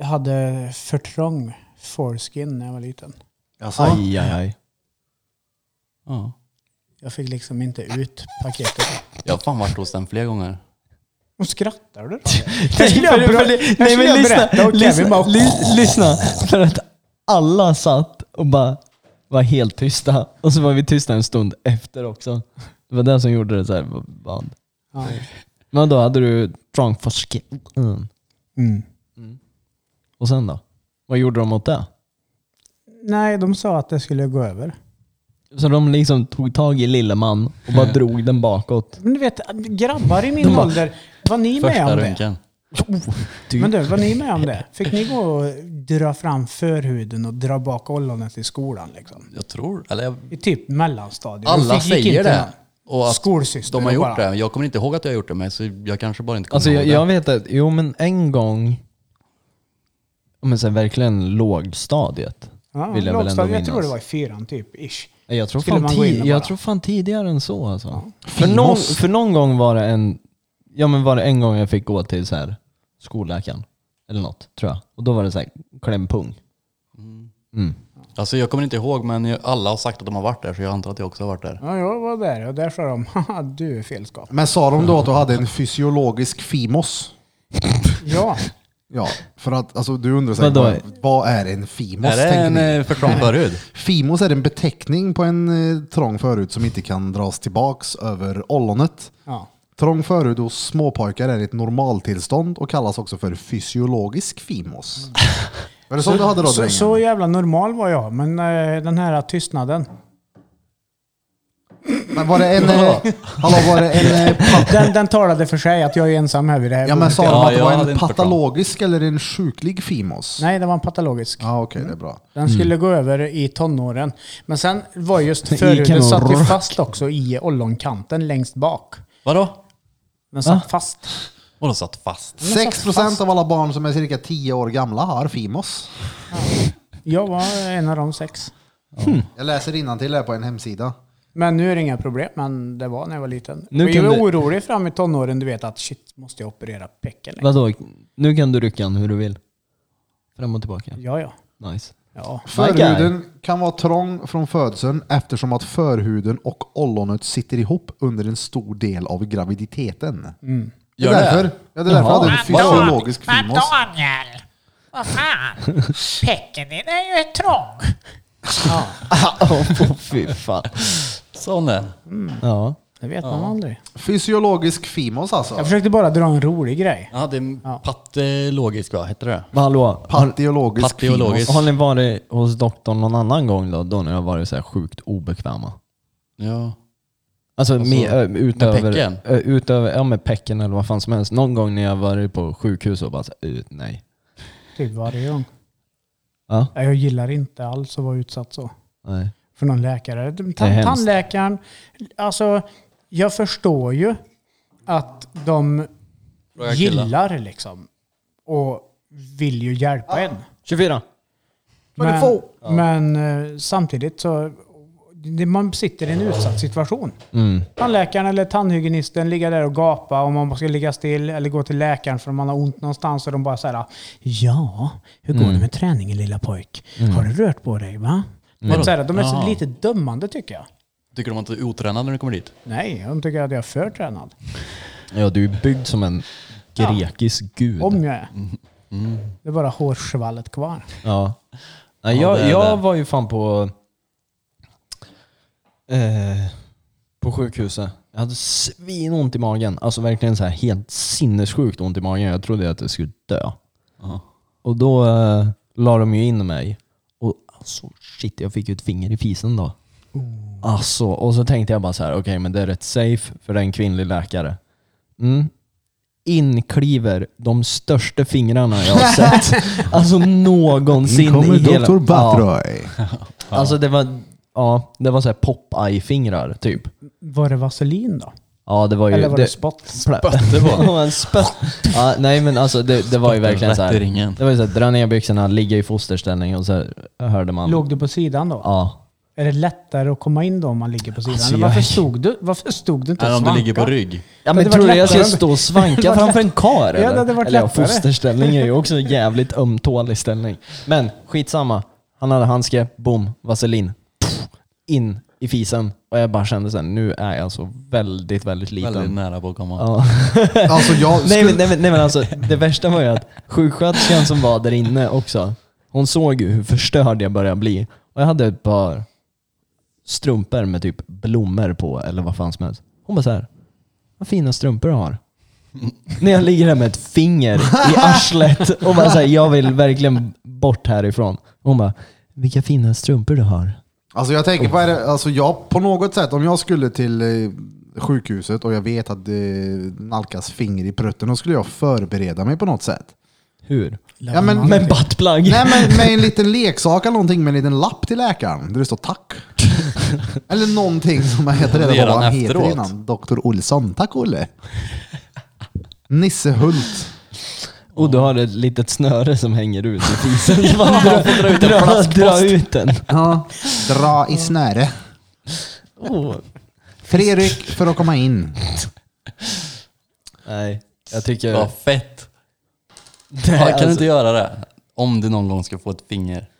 C: hade för trång foreskin när jag var liten.
B: Alltså,
D: Aj, aj, aj.
A: Ja.
C: Jag fick liksom inte ut paketet.
A: Jag har fan varit hos den flera gånger.
C: Och skrattar du då?
D: Nej,
C: skulle
D: för,
C: jag bra-
D: för, det-
C: det skulle
D: nej men
C: jag
D: lyssna,
C: berätta och
D: lyssna,
C: Kevin bara-
D: ly- lyssna. För att alla satt och bara var helt tysta. Och så var vi tysta en stund efter också. Det var det som gjorde det så här. Band.
C: Ja.
A: Mm.
D: Men då hade du drunk for skin. Mm.
C: Mm.
D: Och sen då? Vad gjorde de åt det?
C: Nej, de sa att det skulle gå över.
D: Så de liksom tog tag i lille man och bara drog den bakåt.
C: Men du vet, grabbar i min ålder, var ni med
A: Första
C: om det?
A: runken.
C: Men du, var ni med om det? Fick ni gå och dra fram förhuden och dra bak ollonet i skolan? Liksom?
A: Jag tror, eller jag,
C: I typ mellanstadiet.
A: alla
C: Fick- gick
A: säger
C: inte
A: det. Och att
C: Skolsyster
A: de har
C: och
A: gjort
C: bara-
A: det. Jag kommer inte ihåg att jag har gjort det, men så jag kanske bara inte kommer
D: Alltså jag,
A: ihåg
D: jag
A: det.
D: vet att, jo men en gång, ja, men så här, verkligen lågstadiet.
C: Ja,
D: vill jag väl ändå
C: lågstadiet, jag tror
D: minnas.
C: det var i fyran typ, ish.
D: Nej, Jag tror,
C: Skulle
D: fan
C: man gå in
D: ti-
C: och
D: jag
C: bara-
D: tror fan tidigare än så alltså. För, någon, för någon gång var det en Ja men var det en gång jag fick gå till så här skolläkaren. Eller något tror jag. Och då var det så här klämpung. Mm.
A: Alltså jag kommer inte ihåg, men jag, alla har sagt att de har varit där, så jag antar att jag också har varit där.
C: Ja, jag var där och där sa de haha du är felskap.
B: men sa de då att du hade en fysiologisk fimos?
C: Ja,
B: Ja, för att alltså, du undrar säkert,
D: Vadå?
B: vad, vad är en fimos?
A: Är det
B: tänker
A: en
B: ni?
A: eh, förtrång förhud?
B: Fimos är en beteckning på en eh, trång förut som inte kan dras tillbaks över ollonet.
C: ja.
B: Trång förhud hos småpojkar är ett normaltillstånd och kallas också för fysiologisk fimos. Var det så du hade då
C: Så,
B: drängen?
C: så jävla normal var jag, men eh, den här tystnaden.
B: Men var det en... eh, Hallå, var det en... eh, pa-
C: Den, den talade för sig att jag är ensam här vid det här
B: Ja men
C: bordet.
B: sa
A: Ja,
B: de att det
A: jag
B: var
A: hade
B: en
A: inte förstått.
B: patologisk eller en sjuklig fimos?
C: Nej, det var en patologisk.
B: Ja okej, det är bra.
C: Den
D: Mm.
C: skulle gå över i tonåren. Men sen var just
D: kan
C: förhuden
D: nog
C: satt ju
D: rock.
C: fast också i ollonkanten längst bak.
A: Vadå?
C: Den satt fast.
A: Och de satt fast.
B: 6% av alla barn som är cirka 10 år gamla har fimos.
C: Jag var en av de sex.
B: Jag läser innantill här på en hemsida.
C: Men nu är det inga problem, men det var när jag var liten.
D: Nu
C: Nu jag
D: kan
C: var
D: du-
C: orolig fram i tonåren, du vet att shit, måste jag operera pecken? längre?
D: Vadå? Nu kan du rycka den hur du vill. Fram och tillbaka.
C: Ja, ja.
D: Nice.
C: ja.
B: Förhuden kan vara trång från födseln eftersom att förhuden och ollonet sitter ihop under en stor del av graviditeten. Det är
A: Gör det?
B: därför, ja, det är därför jag hade en fysiologisk
F: Men
B: fimos.
F: Daniel! Vad fan! Pecken din är ju trång!
D: Åh fy fan.
A: Sån är
D: Ja.
C: Det vet man aldrig.
B: Fysiologisk fimos alltså.
C: Jag försökte bara dra en rolig grej.
A: Ja, det är patologisk va, heter det?
D: Men hallå.
B: Patiologisk
A: Patiologisk.
B: fimos.
D: Har ni varit hos doktorn någon annan gång då? Då när jag varit så här sjukt obekväma?
A: Ja.
D: Alltså,
A: Alltså,
D: med, ö, utöver,
A: pecken?
D: ö, utöver, ja med pecken eller vad fan som helst. Någon gång när jag varit på sjukhus och bara så, här, ut, nej.
C: Typ varje gång.
D: Ja,
C: Nej, Jag gillar inte alls att vara utsatt så.
D: nej.
C: För någon läkare. De-
D: är
C: Tan-
D: hemskt.
C: tandläkaren, alltså jag förstår ju att de
A: Fråga killar.
C: gillar liksom. Och vill ju hjälpa en.
D: 24.
C: Men, men eh, samtidigt så det- man sitter i en utsatt situation.
D: Mm.
C: Tandläkaren eller tandhygienisten ligger där och gapar om man ska ligga still eller gå till läkaren för om man har ont någonstans. Och de bara säger ja, hur går det med träningen lilla pojk? Har du rört på dig va? Men så här, de är så
A: Jaha.
C: lite dömande tycker jag.
A: Tycker de att du är otränad när du kommer dit?
C: Nej, de tycker att jag är för tränad.
D: Ja, du är byggd som en grekisk gud.
C: Om jag är. Det är bara hårsvallet kvar.
D: Ja. Nej,
A: Ja,
D: jag,
A: det är
D: jag
A: det.
D: var ju fan på eh, på sjukhuset. Jag hade svinont i magen. Alltså verkligen så här helt sinnessjukt ont i magen. Jag trodde att jag skulle dö.
A: Ja.
D: Och då eh, la de ju in mig. Och alltså shit, jag fick ju ett finger i fisen då. Alltså, och så tänkte jag bara så här, okej men det är rätt safe för det är en kvinnlig läkare. Mm. Inkliver de största fingrarna jag har sett. alltså någonsin
B: In kommer
D: i hela...
B: Dr. Batroy.
D: Ja. Alltså det var ja, det var så här pop-eye-fingrar typ.
C: Var det vaselin då?
D: Ja, det var ju...
C: Eller var det,
D: Eh, det-
C: spott?
D: Spötte på en spött. Ja, nej men alltså det, det var ju verkligen
A: rätt
D: så
A: i
D: här.
A: ringen.
D: Det var ju så här, dra ner byxorna, ligga i fosterställning och så här, hörde man...
C: Låg du på sidan då?
D: Ja.
C: Är det lättare att komma in då om man ligger på sidan?
D: Alltså,
C: Eller varför,
D: jag-
C: stod du, varför stod du inte
A: Eller
C: och
A: om du
C: svankade?
A: ligger på rygg.
D: Ja
C: Det
D: men
C: hade
D: tror du
C: varit
D: jag ska
C: lättare.
D: stå och svanka framför en kar
C: Ja, det hade varit
D: eller
C: lättare.
D: fosterställning är ju också en jävligt ömtålig ställning. Men skitsamma. Han hade handske, boom, vaselin. Pff, In i fisen. Och jag bara kände såhär, nu är jag så väldigt, väldigt liten.
A: Väldigt nära på att komma.
D: Ja.
B: Alltså jag
D: Nej
B: skulle...
D: men, nej, men, nej men alltså, det värsta var ju att sjuksköterskan som var där inne också, hon såg ju hur förstörd jag började bli. Och jag hade ett par strumpor med typ blommor på, eller vad fan som helst. Hon bara så här, vad fina strumpor du har. När jag ligger där med ett finger i arslet och bara säger jag vill verkligen bort härifrån. Hon bara, vilka fina strumpor du har.
B: Alltså jag tänker på, är det- alltså jag på något sätt, om jag skulle till eh, sjukhuset och jag vet att det nalkas finger i prutten, då skulle jag förbereda mig på något sätt.
D: Hur?
B: Ja, men,
D: Med buttplug.
B: nej, men med en liten leksak eller någonting med en liten lapp till läkaren där det står tack. eller någonting som jag heter reda på
A: Redan
B: vad han heter
A: efteråt.
B: innan. Doktor Olsson. Tack Olle. Nisse Hult.
D: Och du har ett litet snöre som hänger ut i fisen. Så Man får dra ut en plastpost. Dra ut den.
B: Ja. Dra i snöre.
D: Åh,
B: Tre ryck för att komma in.
D: Nej, jag tycker...
A: Vad fett!
D: Nej,
A: Ja, kan
D: alltså,
A: du inte göra det? Om du någon gång ska få ett finger.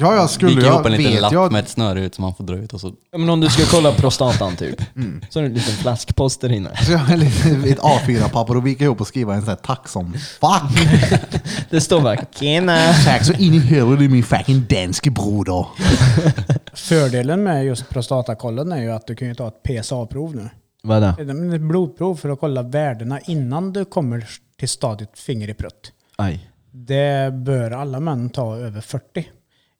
B: Ja, jag skulle
A: Vika ihop
B: jag,
A: en liten
B: vet
A: lapp
B: jag.
A: med ett snöre ut som man får dra ut och så...
D: ja, men om du ska kolla prostatan typ, så är det en liten flaskpost där inne.
B: Så jag har lite- ett A4-papper och vika ihop och skriva en sån här tack som fuck.
D: Det står bara “Tjena”.
B: Tack så in i helvete min fucking danske broder.
C: Fördelen med just prostatakollen är ju att du kan ju ta ett PSA-prov nu.
D: Vad är
C: Det
D: det?
C: är ett blodprov för att kolla värdena innan du kommer till stadiet finger i prutt.
D: Aj.
C: Det bör alla män ta över 40.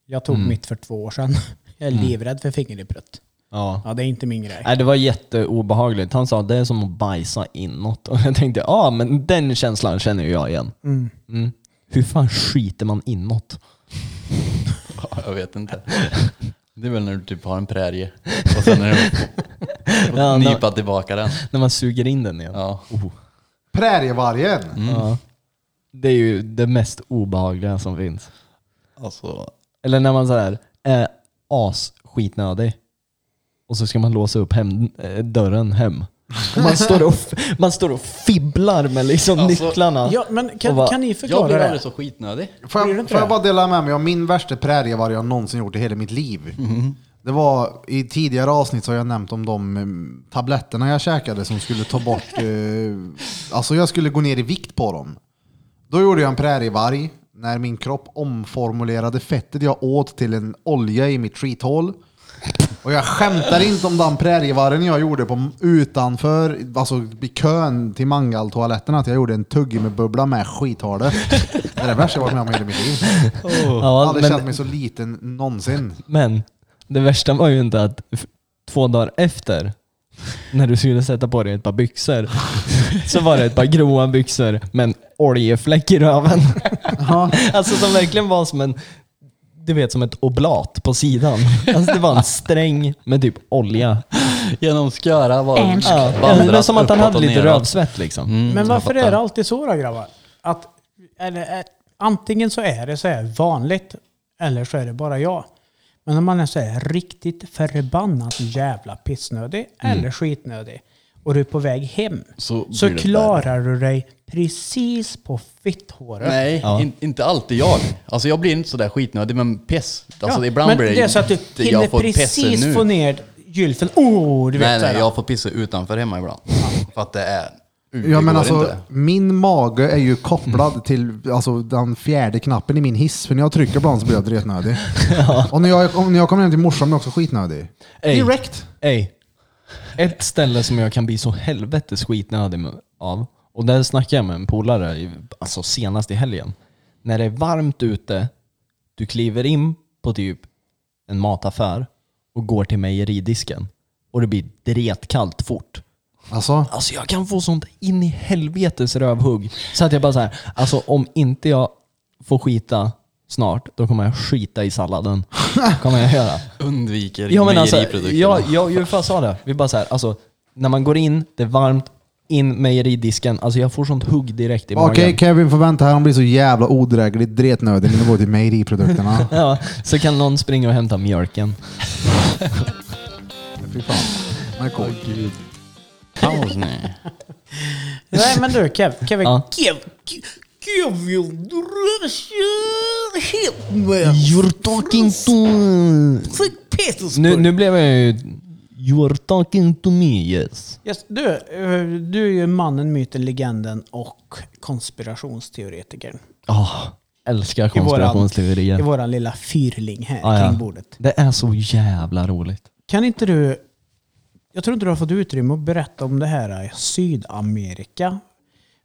C: Jag tog mitt för två år sedan. Jag är livrädd för finger i prutt.
D: Ja.
C: Ja, det är inte min grej.
D: Nej, det var jätteobehagligt. Han sa det är som att bajsa inåt. Och jag tänkte, ja ah, men den känslan känner ju jag igen. Mm. Hur fan skiter man inåt?
A: Ja, jag vet inte. Det är väl när du typ har en prärie och sen är det... Och
D: Ja,
A: nypa tillbaka den.
D: När man suger in den igen.
A: Ja.
B: Prärievargen.
D: Ja. Det är ju det mest obehagliga som finns.
A: Alltså,
D: Eller när man så här är asskitnödig och så ska man låsa upp hem, eh, dörren hem. Och man, står och, f- man står och fibblar med liksom
A: Alltså,
D: nycklarna.
C: Ja, men
D: Och
C: kan,
D: vad-
C: kan ni
A: jag
C: förklara
A: blir
C: det?
A: aldrig så skitnödig.
B: Får
C: Blir det
B: jag,
C: inte
B: får jag
C: det?
B: bara dela med mig av min värsta prärievarg jag någonsin gjort i hela mitt liv?
C: Mm-hmm.
B: Det var i tidigare avsnitt så har jag nämnt om de mm, tabletterna jag käkade som skulle ta bort... eh, alltså jag skulle gå ner i vikt på dem. Då gjorde jag en prärievarg när min kropp omformulerade fettet jag åt till en olja i mitt skithål. Och jag skämtar inte om den prärievargen jag gjorde på, utanför, alltså i kön till mangaltoaletten, att jag gjorde en tuggummi-bubbla med skithålet. Det är det värsta jag varit med om i hela mitt liv. Jag har
D: Ja,
B: aldrig känt
D: men,
B: mig så liten någonsin.
D: men det värsta var ju inte att f- två dagar efter när du skulle sätta på dig ett par byxor så var det ett par gråa byxor med en oljefläck i röven. Alltså som verkligen var som en du vet som ett oblat på sidan. Alltså det var en sträng med typ olja
A: Genom sköra bara
C: Alltså,
D: Ja,
A: vandrat
D: men det är som att han
A: uppåt
D: hade
A: och
D: lite
A: neråt.
D: rödsvett liksom.
A: Mm,
C: Men
A: jag
C: varför
A: fattar.
C: är det alltid så då grabbar? Att, eller, eh, antingen så är det så här vanligt, eller så är det bara jag. Men om man är så här riktigt förbannat jävla pissnödig eller skitnödig och du är på väg hem
A: Så
C: så,
A: blir det
C: klarar du dig precis på fitthåret.
A: Nej,
D: Ja.
A: in, inte alltid jag. Alltså jag blir inte sådär skitnödig, men piss. Alltså
C: Ja,
A: ibland
C: men
A: blir
C: det är så att du
A: inte,
C: hinner
A: jag får pissa
C: precis
A: nu.
C: få ner gylfen. Oh, du vet
A: nej,
C: så här.
A: nej, jag får pissa utanför hemma ibland. För att det är... Det
B: Ja, men
A: går
B: alltså,
A: inte.
B: min mage är ju kopplad till alltså, den fjärde knappen i min hiss. För när jag trycker på den så blir jag dretnödig. Och när jag, om- när jag kommer hem till morsan blir jag också skitnödig.
D: Ey.
B: Direkt.
D: Ey. Ett ställe som jag kan bli så helvetes skitnödig med- av, och där snackade jag med en polare i- alltså senast i helgen. När det är varmt ute, du kliver in på typ en mataffär och går till mejeridisken och det blir dretkallt fort.
B: Alltså,
D: Alltså jag kan få sånt in i helvetes rövhugg. Så att jag bara så här, alltså om inte jag får skita snart, då kommer jag skita i salladen. kommer jag göra.
A: Undviker
D: Ja men alltså,
A: mejeriprodukterna.
D: jag, jag, jag fan sa det. Vi bara så här, alltså, när man går in, det är varmt, in mejeridisken. Alltså jag får sånt hugg direkt i magen.
B: Okej Kevin får vänta här, han blir så jävla odräglig. Dretnödig när du går till mejeriprodukterna.
D: Ja, så kan någon springa och hämta mjölken.
B: Fy fan. Men cool.
A: Paus nu.
C: Nej men du Kev, Kevin.
D: Ja.
C: Kev, Kev- Kevin Drömsen Hedberg.
D: You're talking to...
C: Sankt Petersburg.
D: Nu, nu blev jag ju... You're talking to me, yes.
C: Yes, du, eh, du är ju mannen, myten, legenden och konspirationsteoretikern.
D: Oh, älskar
C: Ah. I våran-
D: konspirationsteorier. Ah,
C: I våran lilla fyrling här
D: Ja, ja.
C: kring bordet.
D: Det är så jävla roligt.
C: Kan inte du... Jag tror inte du har fått utrymme att berätta om det här i Sydamerika.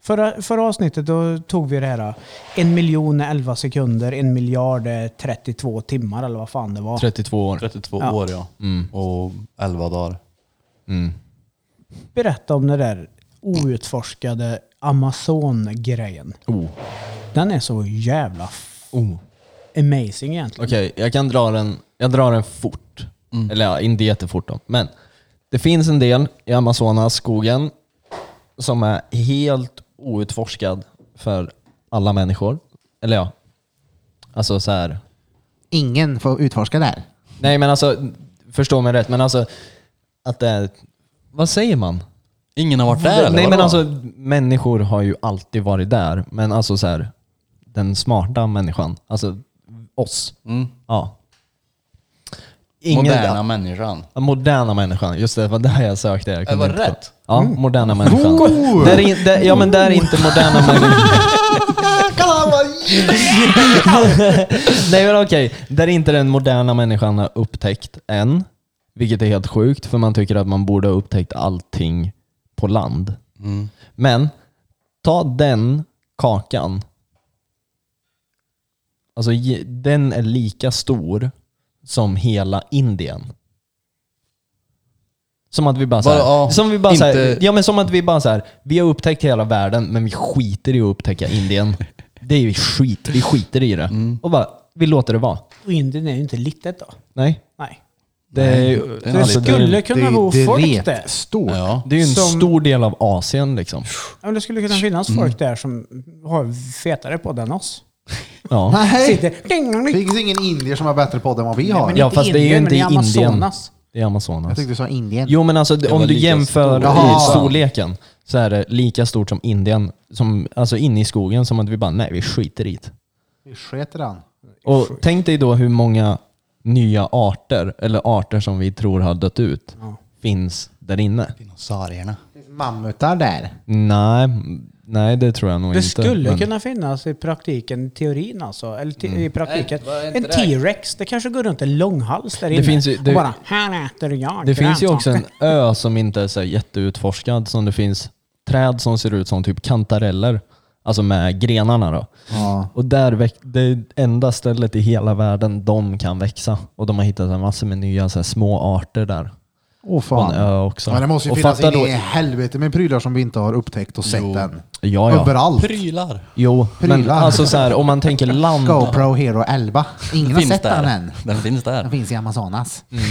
C: Förra, förra avsnittet då tog vi det här eh, en miljon är 11 sekunder, en miljard är 32 timmar eller vad fan det var.
D: 32 år.
A: 32
C: Ja.
A: år ja. Och 11 dagar.
C: Berätta om den där outforskade Amazon-grejen.
D: Oh.
C: Den är så jävla f-
D: Oh.
C: amazing egentligen.
D: Okej, jag kan dra den, jag drar den fort. Eller ja, inte jättefort då. Men det finns en del i Amazonas skogen som är helt outforskad för alla människor. Eller ja, alltså så här.
B: Ingen får utforska där.
D: Nej men alltså, förstå mig rätt, men alltså att det är, vad säger man?
A: Ingen har varit där eller
D: Nej
A: vadå?
D: men alltså människor har ju alltid varit där, men alltså så här, den smarta människan, alltså oss.
A: Mm.
D: Ja.
A: Moderna människan.
D: Ja, Moderna människan, just det, det var där jag sökte. Jag kunde
A: var
D: inte-
A: rätt.
D: Ja, moderna människan. Där är, in- där, ja men där är inte moderna människan. Nej men okej, där är inte den moderna människan har upptäckt än. Vilket är helt sjukt för man tycker att man borde ha upptäckt allting på land.
A: Mm.
D: Men ta den kakan. Alltså ge- den är lika stor som hela Indien. Som att vi bara
A: Bara,
D: såhär,
A: ja,
D: som vi bara såhär,
A: inte-
D: ja men som att vi bara såhär, vi har upptäckt hela världen men vi skiter i att upptäcka Indien. Det är ju skit, vi skiter i det.
A: Mm.
D: Och bara, vi låter det vara.
C: Och Indien är ju inte litet då.
D: Nej.
C: Nej.
D: Det är, ju-
A: det är
C: Det
A: Alltså,
D: det är-
C: skulle kunna bo folk där.
B: stort.
A: Ja.
D: det är ju en
C: som-
D: stor del av Asien liksom.
C: Ja, men det skulle kunna finnas folk där som har fetare podd än oss.
D: Ja.
B: Nej,
C: Sitter... Ding, ding,
B: det
C: ding.
B: finns ingen indier som har bättre podd än vad vi
C: Nej,
B: har.
C: men
D: Ja,
C: inte
D: fast det är ju
C: Indien,
D: inte
C: men i
D: Indien.
C: Amazonas.
D: Det är Amazonas.
B: Jag tyckte du sa indien.
D: Jo men alltså det-
A: var
D: om du
A: lika
D: jämför
A: stor.
B: Jaha.
D: i storleken så är det lika stort som Indien, som, alltså inne i skogen, som att vi bara nej vi skiter i det.
B: Vi sket i den.
D: Och tänk dig då hur många nya arter, eller arter som vi tror har dött ut, finns där inne.
A: Dinosaurierna.
B: Mammutar där.
D: Nej, nej det tror jag nog
C: Det
D: inte.
C: skulle
D: men- Mm.
C: kunna finnas i praktiken, i teorin alltså. Eller te- i praktiken.
A: Nej, var inte
C: en
A: det.
C: T-rex, det kanske går runt en långhals där inne.
D: finns ju- det-
C: och bara, här äter jag
D: Det finns ju
C: grönsaker."
D: också en ö som inte är så här jätteutforskad som det finns träd som ser ut som typ kantareller. Alltså med grenarna då.
B: Ja.
D: Och där väck, det är enda stället i hela världen de kan växa. Och de har hittat en massa med nya så här, små arter där.
B: Åh
D: På en
B: fan.
D: ö också.
B: Men det måste ju
D: och
B: finnas
D: fatta
B: in
D: då,
B: i helvete med prylar som vi inte har upptäckt och sett
A: Jo.
B: än.
D: Ja, ja.
B: Överallt.
A: Prylar.
D: Jo, men
B: Prylar.
D: alltså så här, om man tänker land.
B: GoPro Hero 11. Ingen har sett den än.
A: Den finns
B: Den
A: där.
B: finns i Amazonas.
D: Mm.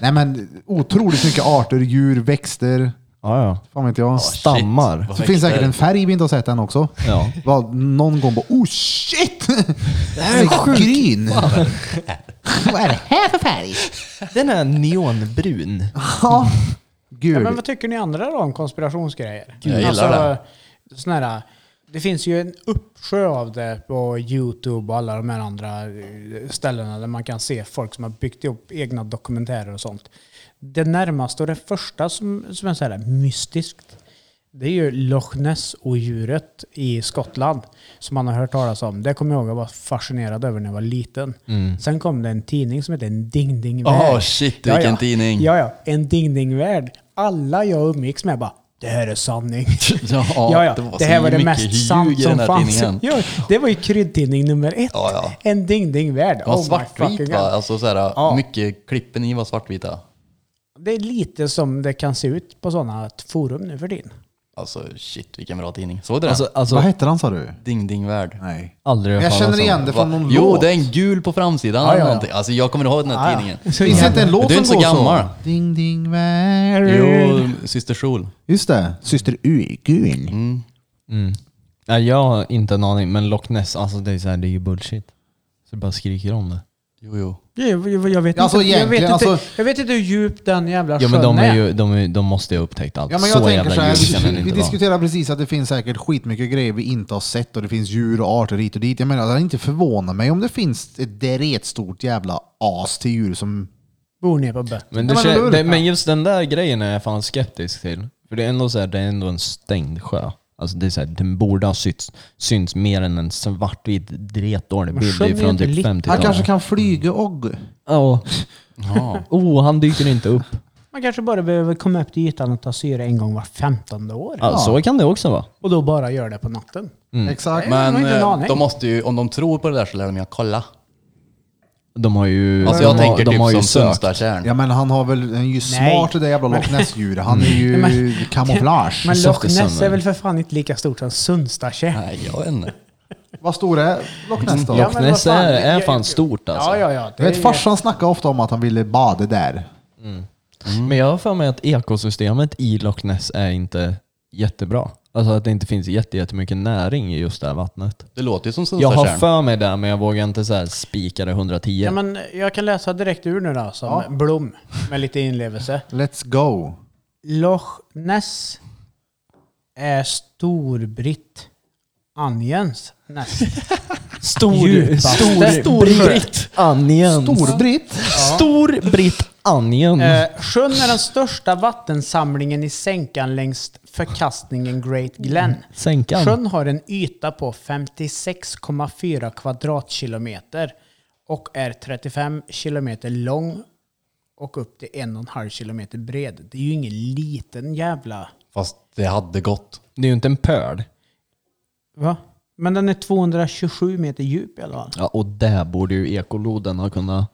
B: Nej men otroligt mycket arter, djur, växter.
D: Ja, ja.
B: Fan vet jag. Så
D: Stammar.
A: vad
B: det finns
A: växter.
B: säkert en färg vi inte har sett än också.
D: Ja.
B: Vad, någon gång bara oh shit! Det här är gryn! Vad är det här för färg?
D: Den är neonbrun.
B: Ja.
C: Ja, men
B: Gul.
C: vad tycker ni andra då om konspirationsgrejer?
A: Gud, jag gillar
C: det. Sån här, det finns ju en uppsjö av det på Youtube och alla de här andra eh, ställena där man kan se folk som har byggt ihop egna dokumentärer och sånt. Det närmaste och det första som, som är så här mystiskt, det är ju Loch Ness-odjuret i Skottland som man har hört talas om. Det kommer jag ihåg jag var fascinerad över när jag var liten.
A: Mm.
C: Sen kom det en tidning som hette En Ding Ding Värld.
A: Åh, shit, vilken tidning.
C: Ja, ja. En Ding Ding Värld. Alla jag umgicks med bara det här är sanning.
A: Ja,
C: ja, ja.
A: det var
C: Det här
A: så
C: var det
A: mycket
C: mest
A: ljug i
C: sant
A: den
C: som
A: här
C: fanns.
A: tidningen.
C: Ja, det var ju kryddtidning nummer ett.
A: Ja, ja.
C: En Ding Ding Värld.
A: Det var
C: Oh my
A: svartvit
C: fucking
A: va?
C: God.
A: Alltså såhär,
C: Ja.
A: mycket klippen i var svartvita.
C: Det är lite som det kan se ut på sådana forum nu för din.
A: Alltså shit vilken bra tidning. Såg du den?
D: Alltså, alltså
B: Vad hette han sa du?
A: Ding Ding Värld.
B: Nej.
D: aldrig hört
B: Jag
D: talas
B: känner
D: om
B: igen det från
A: Va?
B: någon
A: Jo,
B: låt.
A: det är en gul på framsidan
B: Ja,
A: eller
B: ja, ja.
A: någonting. Alltså jag kommer ihåg den här
B: Ja, ja.
A: tidningen.
B: Finns det inte en låt
A: Du
B: som
A: är inte så
B: går
A: gammal.
B: så? Ding ding värld.
A: Jo, Syster Sol.
B: Just det. Syster Uiguin.
D: Nej, jag har inte en aning, men Loch Ness, alltså det är, så här, det är ju bullshit. Så det bara skriker om det.
A: Jo, jo.
C: Jag, jag, jag, vet
B: Alltså,
C: inte, jag, vet
B: egentligen,
C: inte,
B: alltså-
C: jag vet inte hur djup den jävla
D: Ja men
C: sjön
D: de, är ju, de, är, de måste ju ha upptäckt allt.
B: Ja, men jag
D: så
B: tänker
D: jävla
B: så
D: djupt kan
B: här,
D: den
B: vi, vi
D: inte vara.
B: diskuterar precis att det finns säkert skitmycket grejer vi inte har sett och det finns djur och arter hit och dit. Jag menar, det hade inte förvånat mig om det finns ett stort jävla as till djur som...
C: Bor nere på bön.
D: Men, det,
B: Ja, men
D: kän-
B: eller hur?
D: det, men just den där grejen är jag fan skeptisk till. För det är ändå, så här, det är ändå en stängd sjö. Alltså det är så här, den borde ha synts, synts mer än en svartvit dretdålig
C: Men
D: bild
C: sjön är ju
D: från
C: inte
D: typ
C: lit-
D: 50-talet.
B: Han kanske kan flyga och...
D: Ja.
A: Ja.
D: Oh, han dyker inte upp.
C: Man kanske bara behöver komma upp till ytan och ta syre en gång var femtonde år.
D: Ja, Så kan det också vara.
C: Och då bara gör det på natten.
B: Exakt.
C: har
A: Men
C: inte en
A: eh,
C: aning.
A: de måste ju, om de tror på det där så lär de ju kolla.
D: De har ju...
A: Alltså
D: de
A: jag
D: har,
A: tänker
D: de har
A: typ
D: ju
A: som
D: sökt.
A: Sundstatjärn.
B: Ja men han har väl, han är ju
C: Mm. Nej.
B: smart det där jävla Loch Ness-djuret. Han är ju kamouflage.
C: Men
D: Saft
C: Loch
D: i
C: Ness
D: sönder.
C: är väl för fan inte lika stort som Sundstatjärn?
A: Nej, jag vet inte.
B: Vad stor är Loch Ness då?
C: Ja,
D: Loch
C: men
D: Ness
C: vad fan,
D: är,
C: det-
D: är
C: jag-
D: fan stort alltså.
C: Ja, ja, ja.
B: Jag vet farsan snackade ofta om att han ville bada där.
D: Mm. Men jag har för mig att ekosystemet i Loch Ness är inte jättebra. Alltså att det inte finns jätte- jättemycket näring i just det här vattnet.
A: Det låter ju som
D: Jag har
A: Sundstatjärn.
D: för mig det, men jag vågar inte så här spika det 110.
C: Ja, men jag kan läsa direkt ur nu då, som
B: Ja.
C: Blom, med lite inlevelse.
B: Let's go.
C: Loch Ness är Storbritt Anjens näst
D: Stor,
C: Djupaste.
D: stor,
C: Stor
D: Britt Onions.
B: Storbritt.
D: Stor Britt Onion.
C: Eh, sjön är den största vattensamlingen i sänkan längs förkastningen Great Glen.
D: Sänkan.
C: Sjön har en yta på 56,4 kvadratkilometer och är 35 kilometer lång och upp till 1,5 kilometer bred. Det är ju ingen liten jävla...
A: Fast det hade gått.
D: Det är ju inte en pöl.
C: Va? Men den är 227 meter djup i alla fall.
D: Ja, och där borde ju ekoloden ha kunnat...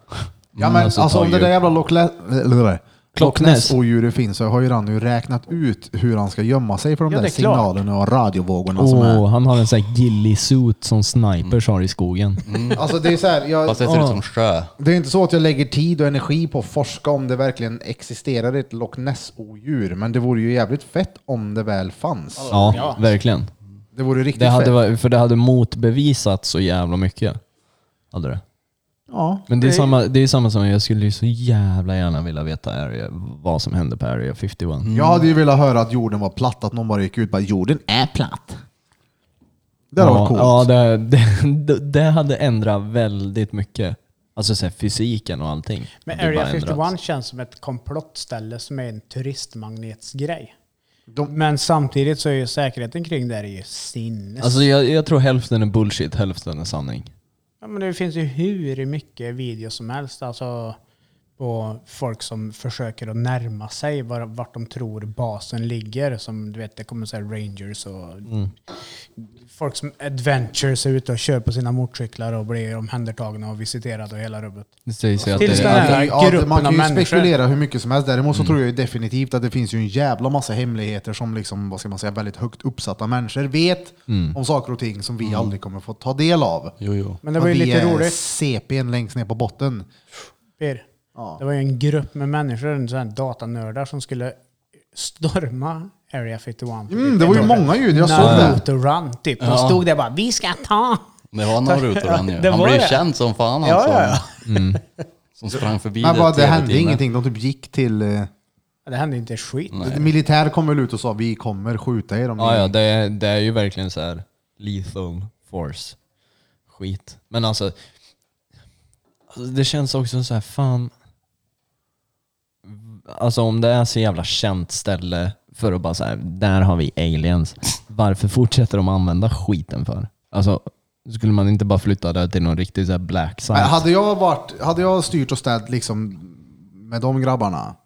B: Ja men alltså,
D: Mm, ta
B: om det
D: ju-
B: där jävla Loch Ness-
D: Loch
B: Loch
D: Ness.
B: Ness-odjuret finns så har ju han nu räknat ut hur han ska gömma sig för de
C: Ja, det
B: där
C: är klart.
B: signalerna och radiovågorna som
D: Åh,
B: är.
D: han har en sån här gillisuit som snipers har i skogen.
B: Alltså det är så här, jag,
A: Fast det ser ut som sjö.
B: det är inte så att jag lägger tid och energi på att forska om det verkligen existerar ett Loch Ness-odjur, men det vore ju jävligt fett om det väl fanns.
D: Ja, verkligen.
B: Det vore riktigt
D: Det hade,
B: fett.
D: varit- för det hade motbevisat så jävla mycket. Hade det.
B: Ja.
D: Men det är,
C: Det-
D: samma, det är samma som jag skulle ju så jävla gärna vilja veta area, vad som hände på Area 51.
B: Jag hade ju velat höra att jorden var platt, att någon bara gick ut och bara “jorden är platt”. Det hade
D: ja,
B: varit coolt.
D: ja, det, det, det hade ändrat väldigt mycket. Alltså så här, fysiken och allting.
C: Men
D: hade bara
C: Area
D: ändrats.
C: 51 känns som ett komplottställe som är en turistmagnetsgrej.
B: De-
C: Men samtidigt så är ju säkerheten kring det här ju sinnes.
D: Alltså jag, jag tror hälften är bullshit, hälften är sanning.
C: ja, men det finns ju hur mycket videos som helst alltså, på folk som försöker att närma sig var, vart de tror basen ligger. Som du vet, det kommer så här rangers och folk som adventures är ute och kör på sina motorcyklar och blir omhändertagna och visiterade och hela rubbet.
D: Det sägs ju att
C: Tills
D: det
C: den
D: är...
C: här
B: Ja, det- ja,
C: gruppen
B: man kan
C: av
B: ju
C: människor.
B: spekulera hur mycket som helst. Däremot så tror jag ju definitivt att det finns ju en jävla massa hemligheter som liksom, vad ska man säga, väldigt högt uppsatta människor vet
D: Mm.
B: om saker och ting som vi aldrig kommer få ta del av.
A: Jo, jo.
C: Men det var ju
B: Att vi
C: lite
B: är
C: roligt. Mm,
B: CPn längst ner på botten.
C: Per.
B: Ja.
C: Det var ju en grupp med människor, en sån här datanördar som skulle storma Area 51.
B: Mm, det var ju många ljud, jag såg det.
C: Naruto-run typ. De
A: Ja.
C: stod där bara ”Vi ska ta!”
A: Det var Naruto han ju.
C: Det
A: Han
C: var
A: blev ju
C: det.
A: känd som fan alltså. Som sprang förbi
B: Men vad, det
A: hela
B: hände
A: tiden.
B: ingenting. De typ gick till... Eh,
C: Det hände inte ett skit.
B: militär kom väl ut och sa vi kommer skjuta er om
D: Ja,
B: ni...
D: ja, det, är- det är ju verkligen så här lethal force. Skit. Men alltså, alltså, det känns också så här, fan. Alltså om det är så jävla känt ställe för att bara så här, där har vi aliens. Varför fortsätter de använda skiten för? Alltså, skulle man inte bara flytta det till någon riktig så här black site?
B: Men Hade jag, varit, hade jag styrt och städat liksom med de grabbarna,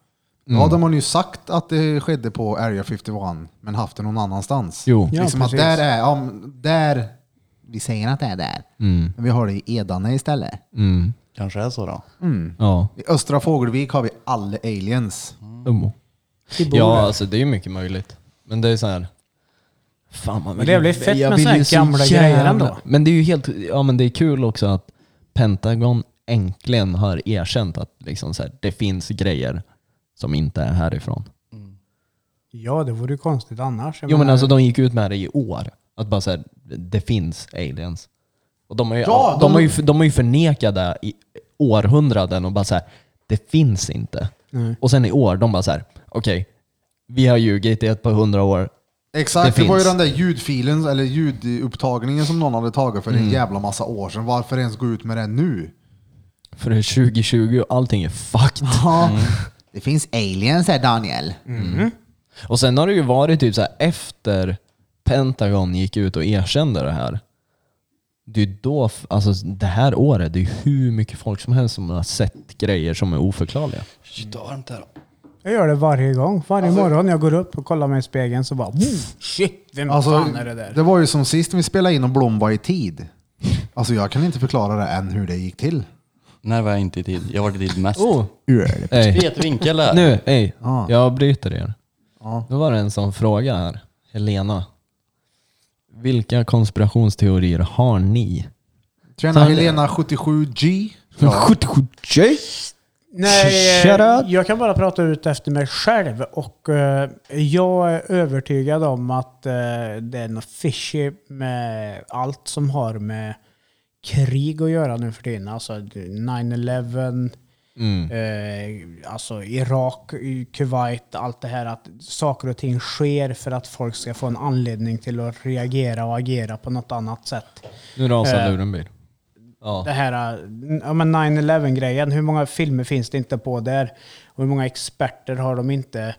B: då
D: Mm.
B: hade man ju sagt att det skedde på Area 51, men haft det någon annanstans.
D: Jo.
C: Ja,
B: liksom att
C: precis.
B: där är, ja, men där, vi säger att det är där, men vi har det i Edane istället.
D: Mm,
A: Kanske är så då.
D: ja.
B: I Östra Fågelvik har vi alla aliens.
D: Mm.
C: Vi bor
D: Ja,
C: där.
D: alltså det är ju mycket möjligt. Men det är så här. Fan, man
C: Men det blir fett med såna här gamla grejer ändå.
D: Men det är ju helt, ja men det är kul också att Pentagon äntligen har erkänt att liksom så här, det finns grejer som inte är härifrån.
C: Ja, det vore ju konstigt annars. Jag
D: Jo men
C: menar-
D: alltså de gick ut med det i år. Att bara såhär, det finns aliens. Och de har ju,
B: Ja,
D: de...
B: de-
D: har ju, de har ju förnekat det i århundraden och bara såhär, det finns inte.
C: Nej.
D: Och sen i år, de bara såhär, okej, vi har ljugit i ett par hundra år.
B: Exakt,
D: Det
B: det, var ju
D: finns.
B: den där ljudfilen, eller ljudupptagningen som någon hade tagit för
D: Mm.
B: en jävla massa år sedan. Varför ens gå ut med det nu?
D: För det är 2020 och allting är fucked. Mm.
B: Det finns aliens här Daniel.
D: Och sen har det ju varit typ så här efter Pentagon gick ut och erkände det här. Det är ju då, f- alltså det här året, det är ju hur mycket folk som helst som har sett grejer som är oförklarliga.
A: Shit vad varmt det är.
C: Jag gör det varje gång. Varje
D: Alltså-
C: morgon när jag går upp och kollar mig i spegeln så bara "Pff, shit, vem
B: Alltså,
C: fan är det där?
B: det var ju som sist vi spelade in och Blom var i tid. Alltså jag kan inte förklara det än hur det gick till.
A: När var jag inte i tid? Jag var i tid mest.
D: Oh. Ey,
A: Fet vinkel där.
D: nu, ey,
B: Ah.
D: jag bryter er.
B: Ja.
D: Då var det en sån fråga här, Helena. Vilka konspirationsteorier har ni?
B: Tjena Helena 77G. Ja.
D: 77
C: Nej,
D: Shut
C: eh,
D: up.
C: jag kan bara prata ut efter mig själv och eh, jag är övertygad om att eh, det är något fishy med allt som har med krig att göra nu för tiden. Alltså 9-11,
D: Mm.
C: eh, alltså Irak, Kuwait, allt det här att saker och ting sker för att folk ska få en anledning till att reagera och agera på något annat sätt.
D: Nu rasar
C: Eh.
D: luren bil. Ja.
C: Det här eh, ja, men 9-11-grejen, hur många filmer finns det inte på där? Och hur många experter har de inte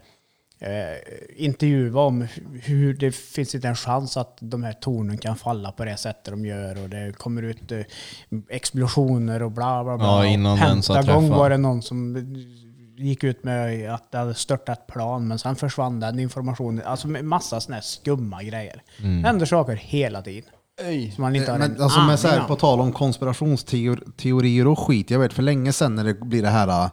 C: eh, intervjuat om hu- hur det finns inte en chans att de här tornen kan falla på det sättet de gör och det kommer ut eh, explosioner och bla bla bla.
D: Ja, innan den så
C: Pentagon
D: träffar.
C: var det någon som gick ut med att det hade störtat plan men sen försvann den informationen. Alltså med massa sådana här skumma grejer.
D: Mm.
C: Det händer saker hela tiden. Som man inte har
B: Men,
C: en
B: alltså, men så här,
C: aning om.
B: på tal om konspirationsteorier och skit. Jag vet för länge sedan när det blir det här äh,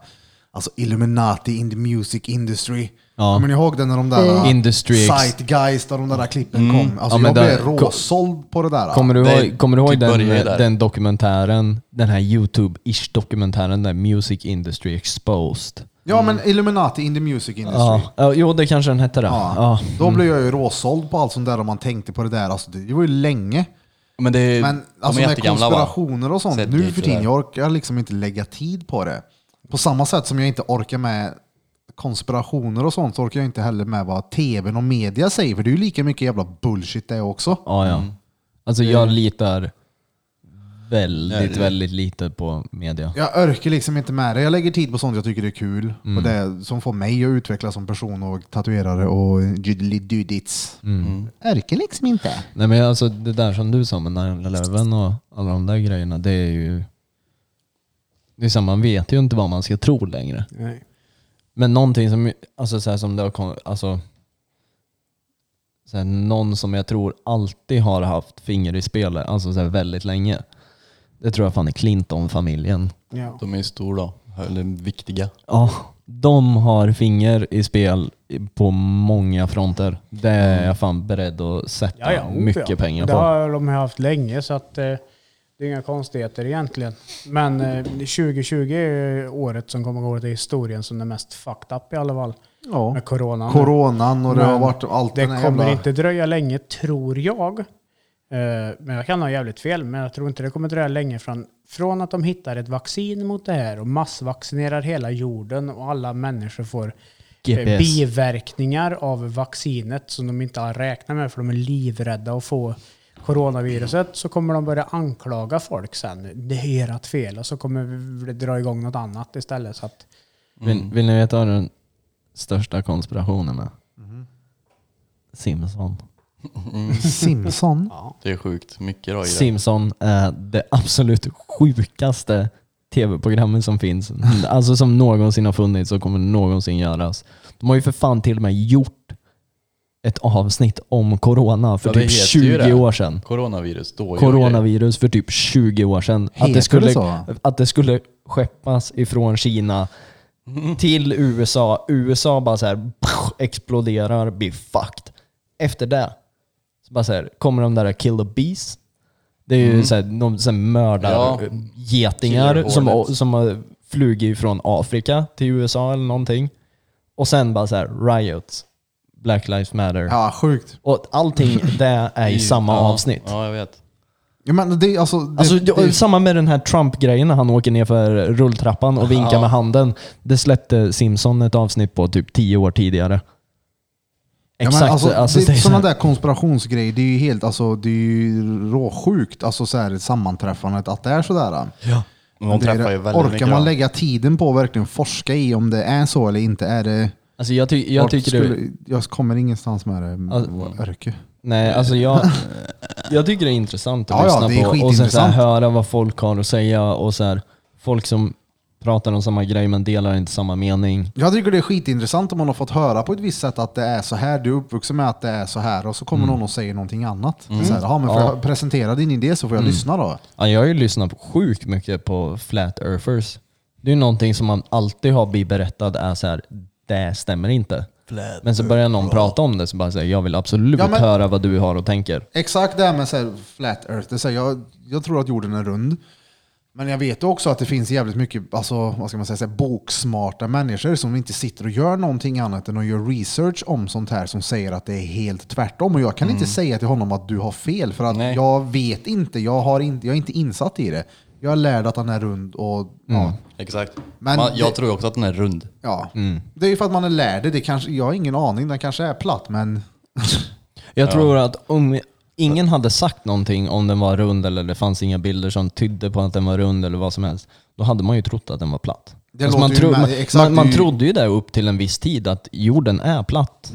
B: alltså Illuminati in the music industry.
D: Ja. Eh.
B: Kommer ni ihåg det när de där äh,
D: Industry X. Mm.
B: Zeitgeist och de där klippen kom? Alltså
D: Ja,
B: jag
D: men där-
B: blev råsåld på det där.
D: Kommer du
A: Det är
D: ihåg, kommer du ihåg
A: typ börjar
D: den,
A: där.
D: den dokumentären? Den här YouTube-ish dokumentären där Music Industry Exposed.
B: Ja men Illuminati in the music industry.
D: Ja, ja, jo det kanske den hette då.
B: Ja.
D: Ja.
A: Mm.
B: Då blev jag ju råsåld på allt sånt där om man tänkte på det där. Alltså, det var ju länge.
A: Men, det är,
B: Men
A: de
B: alltså,
A: är
B: med
A: jättegamla va?
B: konspirationer och sånt,
A: Sett
B: nu
A: dit
B: för
A: och
B: tiden,
A: där.
B: jag orkar liksom inte lägga tid på det. På samma sätt som jag inte orkar med konspirationer och sånt, så orkar jag inte heller med vad tvn och media säger, för det är ju lika mycket jävla bullshit det också.
D: Ja,
A: Mm.
D: ja. Alltså jag litar väldigt, väldigt lite på media.
B: Jag orkar liksom inte med det. Jag lägger tid på sånt jag tycker är kul,
A: Mm.
B: och det som får mig att utvecklas som person och tatuerare och jiddelidudits. Mm. Orkar liksom inte.
D: Nej men alltså det där som du sa med 9-11 och alla de där grejerna, det är ju... Det är samma, man vet ju inte vad man ska tro längre.
C: Nej.
D: Men någonting som, alltså så här som det har kommit, alltså så här, någon som jag tror alltid har haft finger i spelet, alltså så här, väldigt länge. Det tror jag fan är Clinton-familjen.
C: Ja.
A: De är ju stora då. Eller viktiga.
D: Ja, de har finger i spel i- på många fronter. Det är jag fan beredd att sätta
C: Ja, ja,
D: mycket
C: ja.
D: pengar
C: det
D: på.
C: har de haft länge så att eh, det är inga konstigheter egentligen. Men eh, 2020 är ju året som kommer gå till historien som det mest fucked up i alla fall.
B: Ja.
C: Med coronan.
B: Coronan och det
C: Men
B: har varit allt
C: det
B: den
C: kommer
B: här jävla...
C: inte dröja länge tror jag. Eh, men jag kan ha jävligt fel. Men jag tror inte det kommer dröja länge från, från att de hittar ett vaccin mot det här och massvaccinerar hela jorden och alla människor får eh,
D: GPS.
C: biverkningar av vaccinet som de inte har räknat med för de är livrädda att få coronaviruset så kommer de börja anklaga folk sen. Det är ert fel och så kommer vi dra igång något annat istället. Så att, Mm.
D: Vill, vill ni veta vad den största konspirationen är?
C: Mm-hmm.
D: Simson.
B: Simpson?
A: Det är sjukt. Mycket då i det.
D: Simpson är det absolut sjukaste tv-programmet som finns. Alltså som någonsin har funnits och kommer någonsin göras. De har ju för fan till och med gjort ett avsnitt om corona för
A: Ja, det
D: typ
A: heter ju
D: 20
A: det.
D: år sedan.
A: Coronavirus. Då
D: Coronavirus för typ 20 år sedan. Att
B: Heter
D: det,
B: det
D: skulle,
B: så?
D: att det skulle skeppas ifrån Kina till USA. USA bara så här pff, exploderar, blir fucked. Efter det Så bara så här, kommer de där Kill the Bees. Det är ju så här, de så här mördar
A: Ja.
D: getingar
A: Killer
D: som,
A: hornets.
D: som har flugit från Afrika till USA eller någonting. Och sen bara så här, riots, Black Lives Matter.
B: Ja, sjukt.
D: Och allting det är i samma
A: ja,
D: avsnitt.
A: Ja, jag vet.
B: Ja, men det, är alltså, det,
D: Alltså,
B: det,
D: det, samma med den här Trump-grejen när han åker ner för rulltrappan och vinkar med handen. Det släppte Simpson ett avsnitt på typ tio år tidigare.
B: ja, men
D: Exakt.
B: alltså,
D: alltså,
B: det,
D: det är så
B: sådana
D: här-
B: där konspirationsgrejer, det är ju helt alltså, det är ju råsjukt. Alltså så här, sammanträffandet, att det är sådär. Ja.
A: Men de träffar ju väldigt
B: Orkar
A: mycket.
B: man
A: då.
B: lägga tiden på att verkligen forska i om det är så eller inte? Är det,
D: Alltså, jag, ty,
B: vart
D: jag tycker det-
B: skulle, Jag kommer ingenstans med det.
D: Alltså-
B: Örke.
D: Nej, alltså jag, jag tycker det är intressant att
B: Ja, ja,
D: lyssna
B: det är
D: på och sen så här,
B: skitintressant.
D: höra vad folk har att säga och så här, folk som pratar om samma grej men delar inte samma mening.
B: Jag tycker det är skitintressant om man har fått höra på ett visst sätt att det är så här, du är uppvuxen med att det är så här och så kommer någon och säger någonting annat. Så här, "Jaha, men får
D: Ja.
B: jag presentera din idé så får jag lyssna då.
D: Ja, jag har ju lyssnat på sjukt mycket på flat earthers. Det är ju någonting som man alltid har blivit berättad är så här, det stämmer inte.
A: Flat
D: men så börjar någon prata om det så bara säger jag vill absolut
B: Ja, men-
D: höra vad du har och tänker.
B: Exakt det här med så här, flat earth, det är så här, jag, jag tror att jorden är rund. Men jag vet också att det finns jävligt mycket alltså, vad ska man säga, så här, boksmarta människor som inte sitter och gör någonting annat än att göra research om sånt här som säger att det är helt tvärtom. Och jag kan inte säga till honom att du har fel för att
A: Nej.
B: jag vet inte jag, har inte, jag är inte insatt i det. Jag lärde att han är rund och ja,
A: Exakt.
B: Men
A: man, jag
B: det-
A: tror ju också att den är rund.
B: Ja. Det är ju för att man är lärd. Det kanske, jag har ingen aning, den kanske är platt men...
D: Jag tror att om ingen hade sagt någonting om den var rund eller det fanns inga bilder som tydde på att den var rund eller vad som helst, då hade man ju trott att den var platt.
B: Det
D: Alltså man,
B: låter ju
D: tro,
B: med-
D: man,
B: exakt,
D: man, man
B: det är ju-
D: trodde ju det upp till en viss tid att jorden är platt.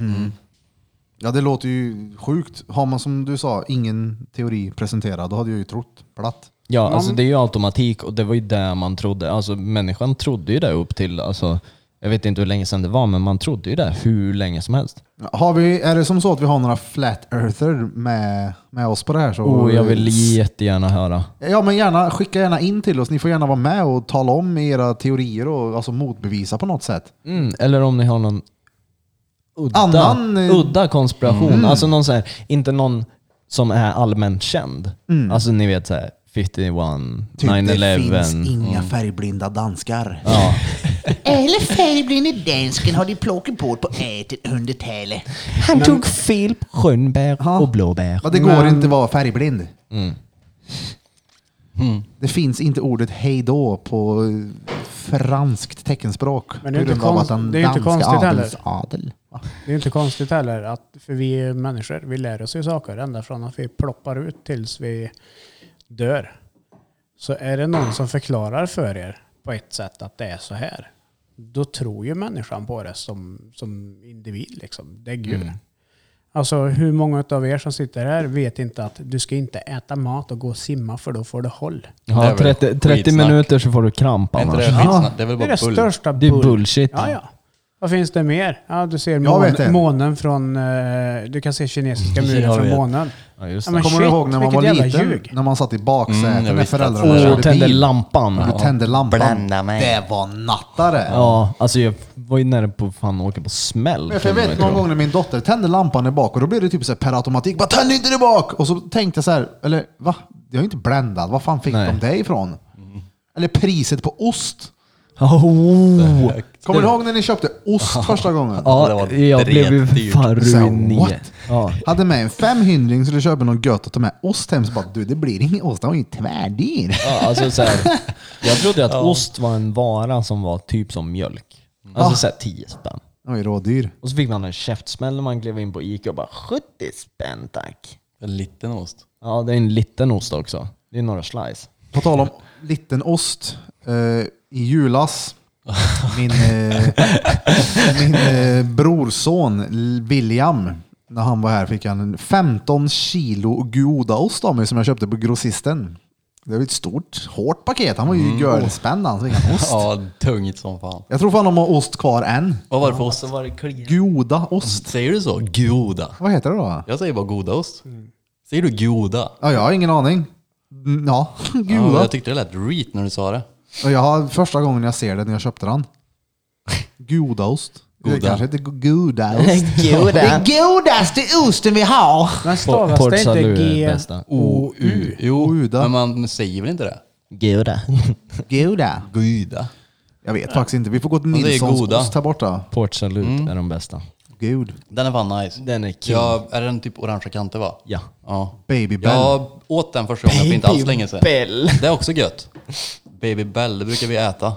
B: Ja det låter ju sjukt. Har man som du sa ingen teori presenterad då hade jag ju trott platt.
D: Ja, alltså det är ju automatik och det var ju det man trodde. Alltså människan trodde ju det upp till, alltså, jag vet inte hur länge sedan det var, men man trodde ju det hur länge som helst.
B: Har vi, är det som så att vi har några flat-earther med, med oss på det här så...
D: Oh, jag vill jättegärna höra.
B: Ja men gärna, skicka gärna in till oss. Ni får gärna vara med och tala om era teorier och alltså, motbevisa på något sätt.
D: Mm, eller om ni har någon udda,
B: Annan, eh,
D: udda konspiration. Alltså någon så här, inte någon som är allmänt känd. Alltså ni vet så här, 51,
B: Typ,
D: 9-11.
B: inga färgblinda danskar.
D: Mm. Ja.
G: Eller färgblinda dansken har de plockat bort på ätet under tälet.
D: Han tog fel på skönbär och blåbär.
B: Men det går inte att vara färgblind.
C: Mm.
A: Mm.
B: Det finns inte ordet hej då på eh, franskt teckenspråk.
C: Men det är
B: på
C: inte
B: grund av
C: konst-
B: den
C: det är inte
B: danska
C: konstigt heller.
B: adels- Adel.
C: Det är inte konstigt heller, att, för vi är människor. Vi lär oss ju saker ända från att vi ploppar ut tills vi dör. Så är det någon som förklarar för er på ett sätt att det är så här, då tror ju människan på det som, som individ. Liksom. Det är Gud. Alltså hur många av er som sitter här vet inte att du ska inte äta mat och gå och simma för då får du håll.
A: Det är
D: Ja,
A: väl
D: 30, 30
A: skitsnack.
D: minuter så får du kramp
A: Är inte
D: annars.
A: det, skitsnack? det är väl
C: Det är
A: bara
C: det
A: bull.
C: största
D: Det är bullshit.
C: Ja, ja. Vad finns det mer? Ja, du ser
B: Jag vet
C: mån,
B: det.
C: månen från... eh, du kan se kinesiska muren
D: Jag
C: från
D: vet.
C: månen.
D: Ja, just
C: Ja,
D: det.
C: men
B: Kommer
C: shit,
B: du ihåg när man
C: vilket
B: var
C: jävla
B: liten?
C: ljug.
B: När man satt i baksätet
A: Mm, jag
B: med
A: visste att-
B: föräldrarna
A: Åh,
D: Och
B: körde
D: tände
B: bil.
D: lampan.
B: Du tände lampan.
A: Bränna mig.
B: Det var nattare.
D: Ja, alltså jag var ju nära på att fan åka på smäll.
B: Men för jag
D: till och
B: vet
D: med,
B: någon
D: tror
B: gång när min dotter tände lampan där bak och då blev det typ så här per automatik. Bara tänd inte där bak! Och så tänkte jag så här, eller va? Jag är inte bländad. Vad fan fick
D: Nej.
B: de det ifrån?
A: Mm.
B: Eller priset på ost.
D: jag. Oh.
B: Kommer du ihåg när ni köpte ost första gången?
A: Det
D: Ja,
A: var
D: jag blev ju
A: dretdyrt.
D: fan
B: Så här,
D: ruinerad.
B: what?
D: Ja.
B: Hade med en femhundring skulle köpa något gött och ta med ost hem. Så bara, du det blir ingen ost, den var ju tvärdyr.
D: Ja, alltså så här, jag trodde att ost var en vara som var typ som mjölk.
B: Mm. Ah.
D: Alltså såhär 10 spänn.
B: Den var ju rådyr.
D: Och så fick man en käftsmäll när man klev in på Ica och bara 70 spänn tack.
A: En liten ost.
D: Ja, det är en liten ost också. Det är några slice.
B: På tal om liten ost. Eh, I julas, min, eh, min eh, brorson William, när han var här fick han en 15 kilo Goudaost av mig som jag köpte på grossisten. Det var ett stort, hårt paket. Han var ju görlspänd han, så fick han ost.
A: Ja, tungt som fan.
B: Jag tror fan de har ost kvar än.
A: Vad var det för ost?
D: var det kliar.
B: Goudaost.
A: Säger du så? Goda?
B: Vad heter det då?
A: Jag säger bara goda ost.
D: Mm.
A: Säger du goda?
B: Ja, jag har ingen aning. Mm, Ja,
A: Ja,
B: Gouda.
A: jag tyckte det lät reet när du sa det.
B: Och jag har första gången jag ser det när jag köpte den. Goudaost. Det
A: Goda.
B: kanske inte är goda.
G: Det godaste osten vi har.
C: Men stavas
D: Port
C: det inte
D: Salut är
C: G...
D: det bästa.
A: O-U. Jo,
B: Goda.
A: men man säger väl inte det?
D: Goda.
B: Goda.
A: Guda.
B: Jag vet faktiskt inte. Vi får gå till
A: Men det är
B: Nilssons
A: goda.
B: ost här borta.
D: Port Salut är de bästa.
B: Gud.
A: Den är fan nice.
D: Den är kul.
A: Ja, är den typ orangea kanter va?
D: Ja.
A: ja.
B: Baby Bell.
A: Jag åt den första gången för inte alls länge sedan.
D: Bell.
A: Det är också gött. Baby Bell, det brukar vi äta.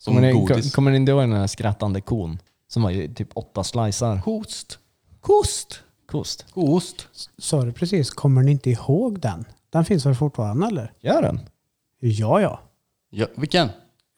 A: Som
D: Kommer ni,
A: godis.
D: kom- kommer ni inte ihåg den här skrattande kon? Som var ju typ åtta slicer.
A: Kost. Kost.
D: Kost.
A: Kost.
C: Sa du precis, kommer ni inte ihåg den? Den finns väl fortfarande eller?
D: Gör den?
C: Ja, ja.
A: Ja, vilken?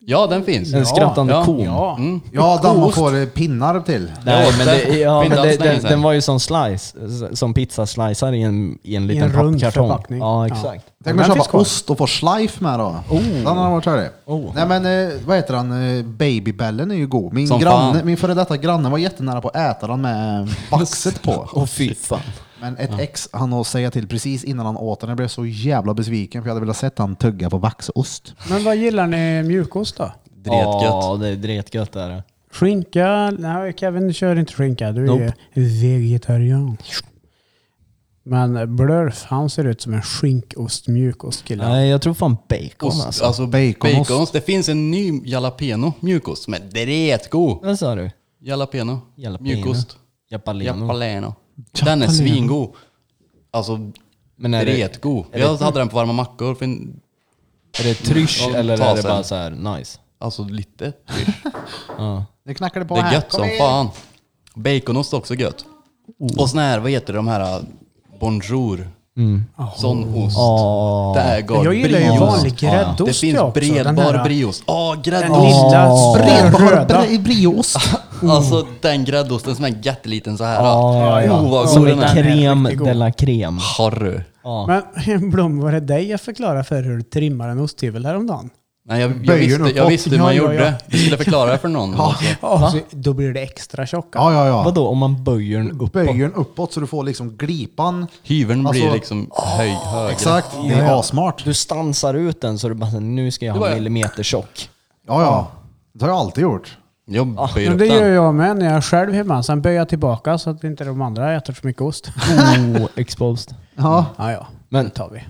A: Ja, den finns.
D: En skrattande
A: ja,
D: kon.
C: Ja.
B: Ja, den man får eh, pinnar till.
D: Nej,
A: Jag
D: men
A: åt
D: det,
A: den.
D: ja,
A: För
D: men
A: inte
D: det,
A: alls länge
D: den,
A: sedan.
D: den var ju som slice, s- som pizzaslicer i en, i en liten
C: en rund
D: pappkartong.
C: förpackning.
D: Ja,
C: Ja.
D: exakt.
B: Tänk
C: Den
B: om man
C: finns
B: köpa
C: kvar.
B: ost och få schleife med då. Den hade varit härlig.
D: Oh.
B: Nej men eh, vad heter han? Eh, Babybellen är ju god. Min,
A: Som
B: granne,
A: fan.
B: min före detta granne var jättenära på att äta den med baxet på.
D: Åh fy fan.
B: Men ett ex han att säga till precis innan han åt den. Jag blev så jävla besviken för jag hade velat sett han tugga på baxost.
C: Men vad gillar ni mjukost då?
A: Dretgött.
D: Ja, det är dretgött är det.
C: Skinka? Nej, Kevin du kör inte skinka. Du
D: Nope.
C: är vegetarian. Men Blurf, han ser ut som en skinkost mjukost kille.
D: Nej, jag tror fan bacon
A: Ost,
D: alltså.
A: alltså,
B: Baconost.
A: baconost. Det finns en ny jalapeno mjukost som är dretgod.
D: Vad sa du?
A: Jalapeno.
D: Jalapeno.
A: Mjukost.
D: Japaleno.
A: Jalapeno. Den är svingod. Alltså,
D: Men är det,
A: dretgod. Jag hade den på varma mackor. För en,
D: är det trysch
A: Ja,
D: eller
A: ta
D: är det
A: sen.
D: bara så här nice?
A: alltså lite.
D: Ja.
B: Nu knackar det på
A: Det är
B: här.
A: gött
B: Kom
A: som
B: in.
A: fan. Baconost är också gött. Och sån här, vad heter de här? äh, Bonjour. Sån ost.
D: Åh.
A: Det är gott.
C: jag gillar ju
A: Brieost.
C: vanlig gräddost
A: Det finns
C: jag också. Den
A: bredbar
C: här-
A: brieost. Åh,
C: Den
A: gräddost!
C: lilla
B: Bred-
C: spröda röda.
B: bre- Brieost.
A: Alltså den gräddosten som är jätteliten så här.
D: Ja, ja.
A: Oh, vad
D: Som
A: god den är.
D: crème
C: riktigt god.
D: de la crème.
A: Harry.
C: Men Blom, var det dig jag förklarade för hur du trimmar en osthyvel häromdagen?
A: Nej, jag, jag,
B: Böjer
A: visste,
B: uppåt.
A: jag visste hur man
C: Ja, ja,
A: gjorde.
C: ja.
A: Jag skulle förklara det för någon. alltså. också.
C: Ja. Så, då blir det extra tjocka.
B: Ja, ja, ja.
D: Vadå om man böjer den uppåt?
B: Böjer den uppåt så du får liksom glipan.
A: Hyveln blir
B: Alltså,
A: liksom höj, högre.
B: Exakt. Det är asmart.
D: Du stansar ut den så du bara nu ska jag
A: Det
D: ha
A: var-
D: millimeter tjock.
B: Ja, ja. Det har jag alltid gjort.
A: Jag böjer
C: Men
A: upp
C: det gör
A: den.
C: jag med när jag är själv hemma. Sen böjer jag tillbaka så att inte de andra äter så mycket ost.
D: Oh, exposed.
B: Ja.
C: ja, ja.
D: Men-
C: Men tar vi.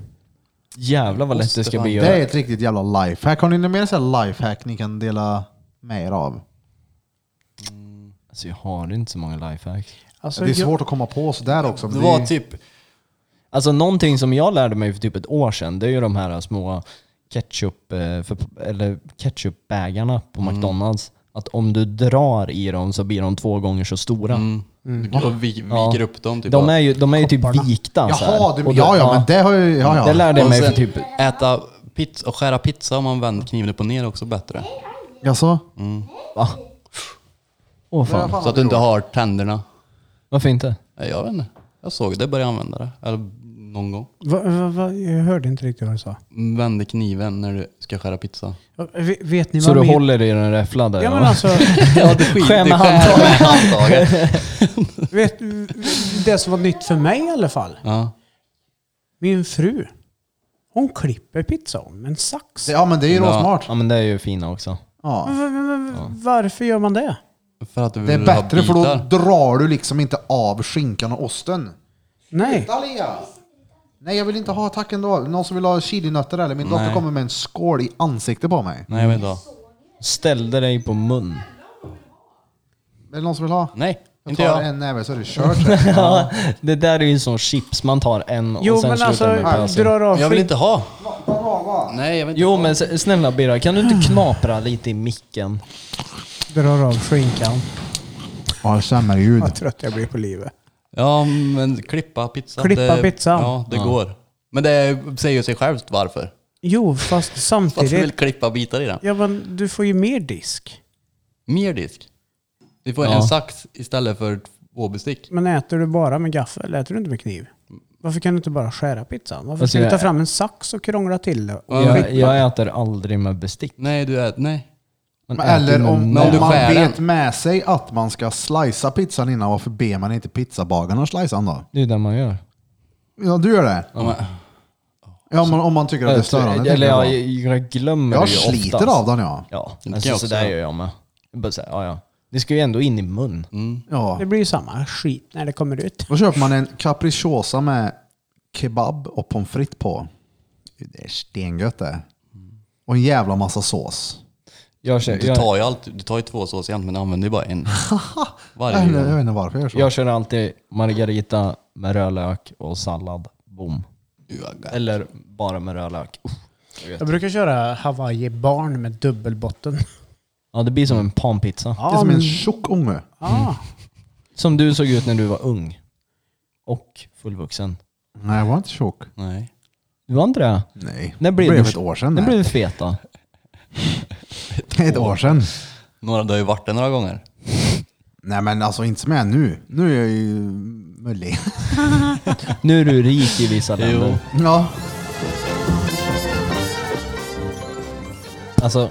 D: Jävlar vad lätt det ska bli.
B: Det är
D: att-
B: ett riktigt jävla lifehack. Har ni något mer så här lifehack ni kan dela med er av?
D: Alltså jag har inte så många lifehacks.
C: Alltså,
B: Det är
C: jag-
B: svårt att komma på sådär också.
A: Det
B: men
A: var
B: det-
A: typ,
D: Alltså någonting som jag lärde mig för typ ett år sedan, det är ju de här små ketchup, eh, för, eller ketchupbägarna på McDonalds. Att om du drar i dem så blir de två gånger så stora.
A: och vi, viker
D: Ja.
A: upp dem Mm, typ.
D: De är ju, de är ju typ vikta så här.
B: Jaha,
D: Och
B: du,
D: då-
B: ja, ja, men det har ju... Ja, ja.
D: Det lärde jag
A: och
D: mig för
A: sen
D: typ...
A: äta pizza och skära pizza om man vänder kniven upp och ner också bättre.
B: Jaså?
D: Va? Åh
B: Det har jag fan
D: fan,
A: Mm. Så att du
B: aldrig
A: inte
B: gjort.
A: har tänderna.
D: varför inte?
A: Nej, Jag vet inte. Jag såg det, började använda det. Eller någon gång.
C: Va, va, va, jag hörde inte riktigt vad du sa.
A: Vänder kniven när du ska skära pizza.
C: V, vet ni
D: Så
C: vad
D: du
C: min...
D: håller i den räffla där?
C: Ja men
D: va?
C: alltså,
A: Ja, du skiter
D: Skär med
A: handtaget.
C: vet, det som var nytt för mig i alla fall.
A: Ja.
C: Min fru, hon klipper pizzan med en sax.
B: Ja, men det är ju
A: Ja.
B: råsmart.
D: Ja men det är ju fina också.
B: Ja.
A: Mm.
C: Men- men- men Varför gör man det?
A: För att du
B: Det är
A: vill ha
B: bättre för
A: bitar.
B: då drar du liksom inte av skinkan och osten.
C: Nej.
B: Sluta, Lea! Nej, jag vill inte ha tack ändå. Någon som vill ha chilinötter eller? Min dotter
A: Nej.
B: kommer med en skål i ansiktet på mig.
A: Nej, jag vet inte. ha.
D: Ställde dig på mun.
B: Är det någon som vill ha?
A: Nej,
B: Jag
A: inte
B: tar
A: jag.
B: en näve så är det kört.
D: Ja, det där är ju som chips, man tar en och
C: Jo
D: sen
C: men
D: slutar
C: alltså,
D: med påsen.
C: drar av
A: Jag vill
C: skit-
A: inte ha. Nej, jag vill inte
D: Jo
A: ha.
D: men s- snälla Birra, kan du inte knapra lite i micken?
C: drar av skinkan.
B: Ja, sämre ljud.
C: Vad trött jag blir på livet.
A: Ja, men klippa pizza.
C: Klippa
A: det,
C: pizza.
A: Ja, det går. Men det säger ju sig självt varför.
C: Jo, fast
A: Varför vill
C: samtidigt.
A: klippa bitar i den?
C: Ja, men du får ju mer disk.
A: Mer disk. Du får
D: Ja.
A: en sax istället för två bestick.
C: Men äter du bara med gaffel? Äter du inte med kniv? Varför kan du inte bara skära pizzan? Varför
D: Alltså,
C: ska du
D: jag-
C: ta fram en sax och krångla till det? Och
D: Jag, jag äter aldrig med bestick.
A: Nej, du är... Nej.
D: Man
B: Men
D: äter
B: Eller
D: med
B: om,
A: Men om
B: om
A: du
B: man
A: skär
B: vet
A: den.
B: med sig att man ska slicea pizzan innan, varför ber man inte pizzabagaren att slicea den då?
D: Det är ju det man gör.
B: Ja, du gör det?
A: Ja, men,
B: Ja, om man, om man tycker att det är störande.
D: Eller
B: tänker
D: jag,
B: jag,
D: jag glömmer
B: jag
D: det ju
B: sliter
D: oftast.
B: av den ja.
D: Ja,
A: kan
D: alltså,
A: jag
D: så
A: också
D: där
A: göra.
D: gör jag med. Bara så här, ja, ja. Det ska ju ändå in i mun.
B: Ja.
C: Det blir ju samma skit när det kommer ut.
B: Då köper man en capricciosa med kebab och pommes frites på. Det är stengött det. Och en jävla massa sås.
D: Jag kör,
A: Du
D: jag,
A: tar ju, alltid, du tar ju två såser egentligen, men du använder ju bara en.
B: Jag
A: Varje
B: vet, jag
A: gång.
B: vet inte varför jag gör så.
D: jag kör alltid margarita med rödlök och sallad. Boom. Eller bara med rödlök. Uff.
C: Jag brukar köra Hawaii barn med dubbelbotten.
D: Ja, det blir som en panpizza.
B: Det är som en tjock unge.
C: Ah,
D: Som du såg ut när du var ung. Och fullvuxen.
B: Nej, jag var inte tjock.
A: Nej.
D: Du var inte det?
B: Nej.
D: När blev
B: det blev
D: du-
B: ett år sedan.
D: När
B: nej.
D: blev du fet då?
B: ett år sedan.
A: Några, du har ju varit det några gånger.
B: Nej men alltså inte som jag är nu. Nu är jag ju mullig.
D: Nu är du rik i vissa länder.
B: Ja.
D: Alltså,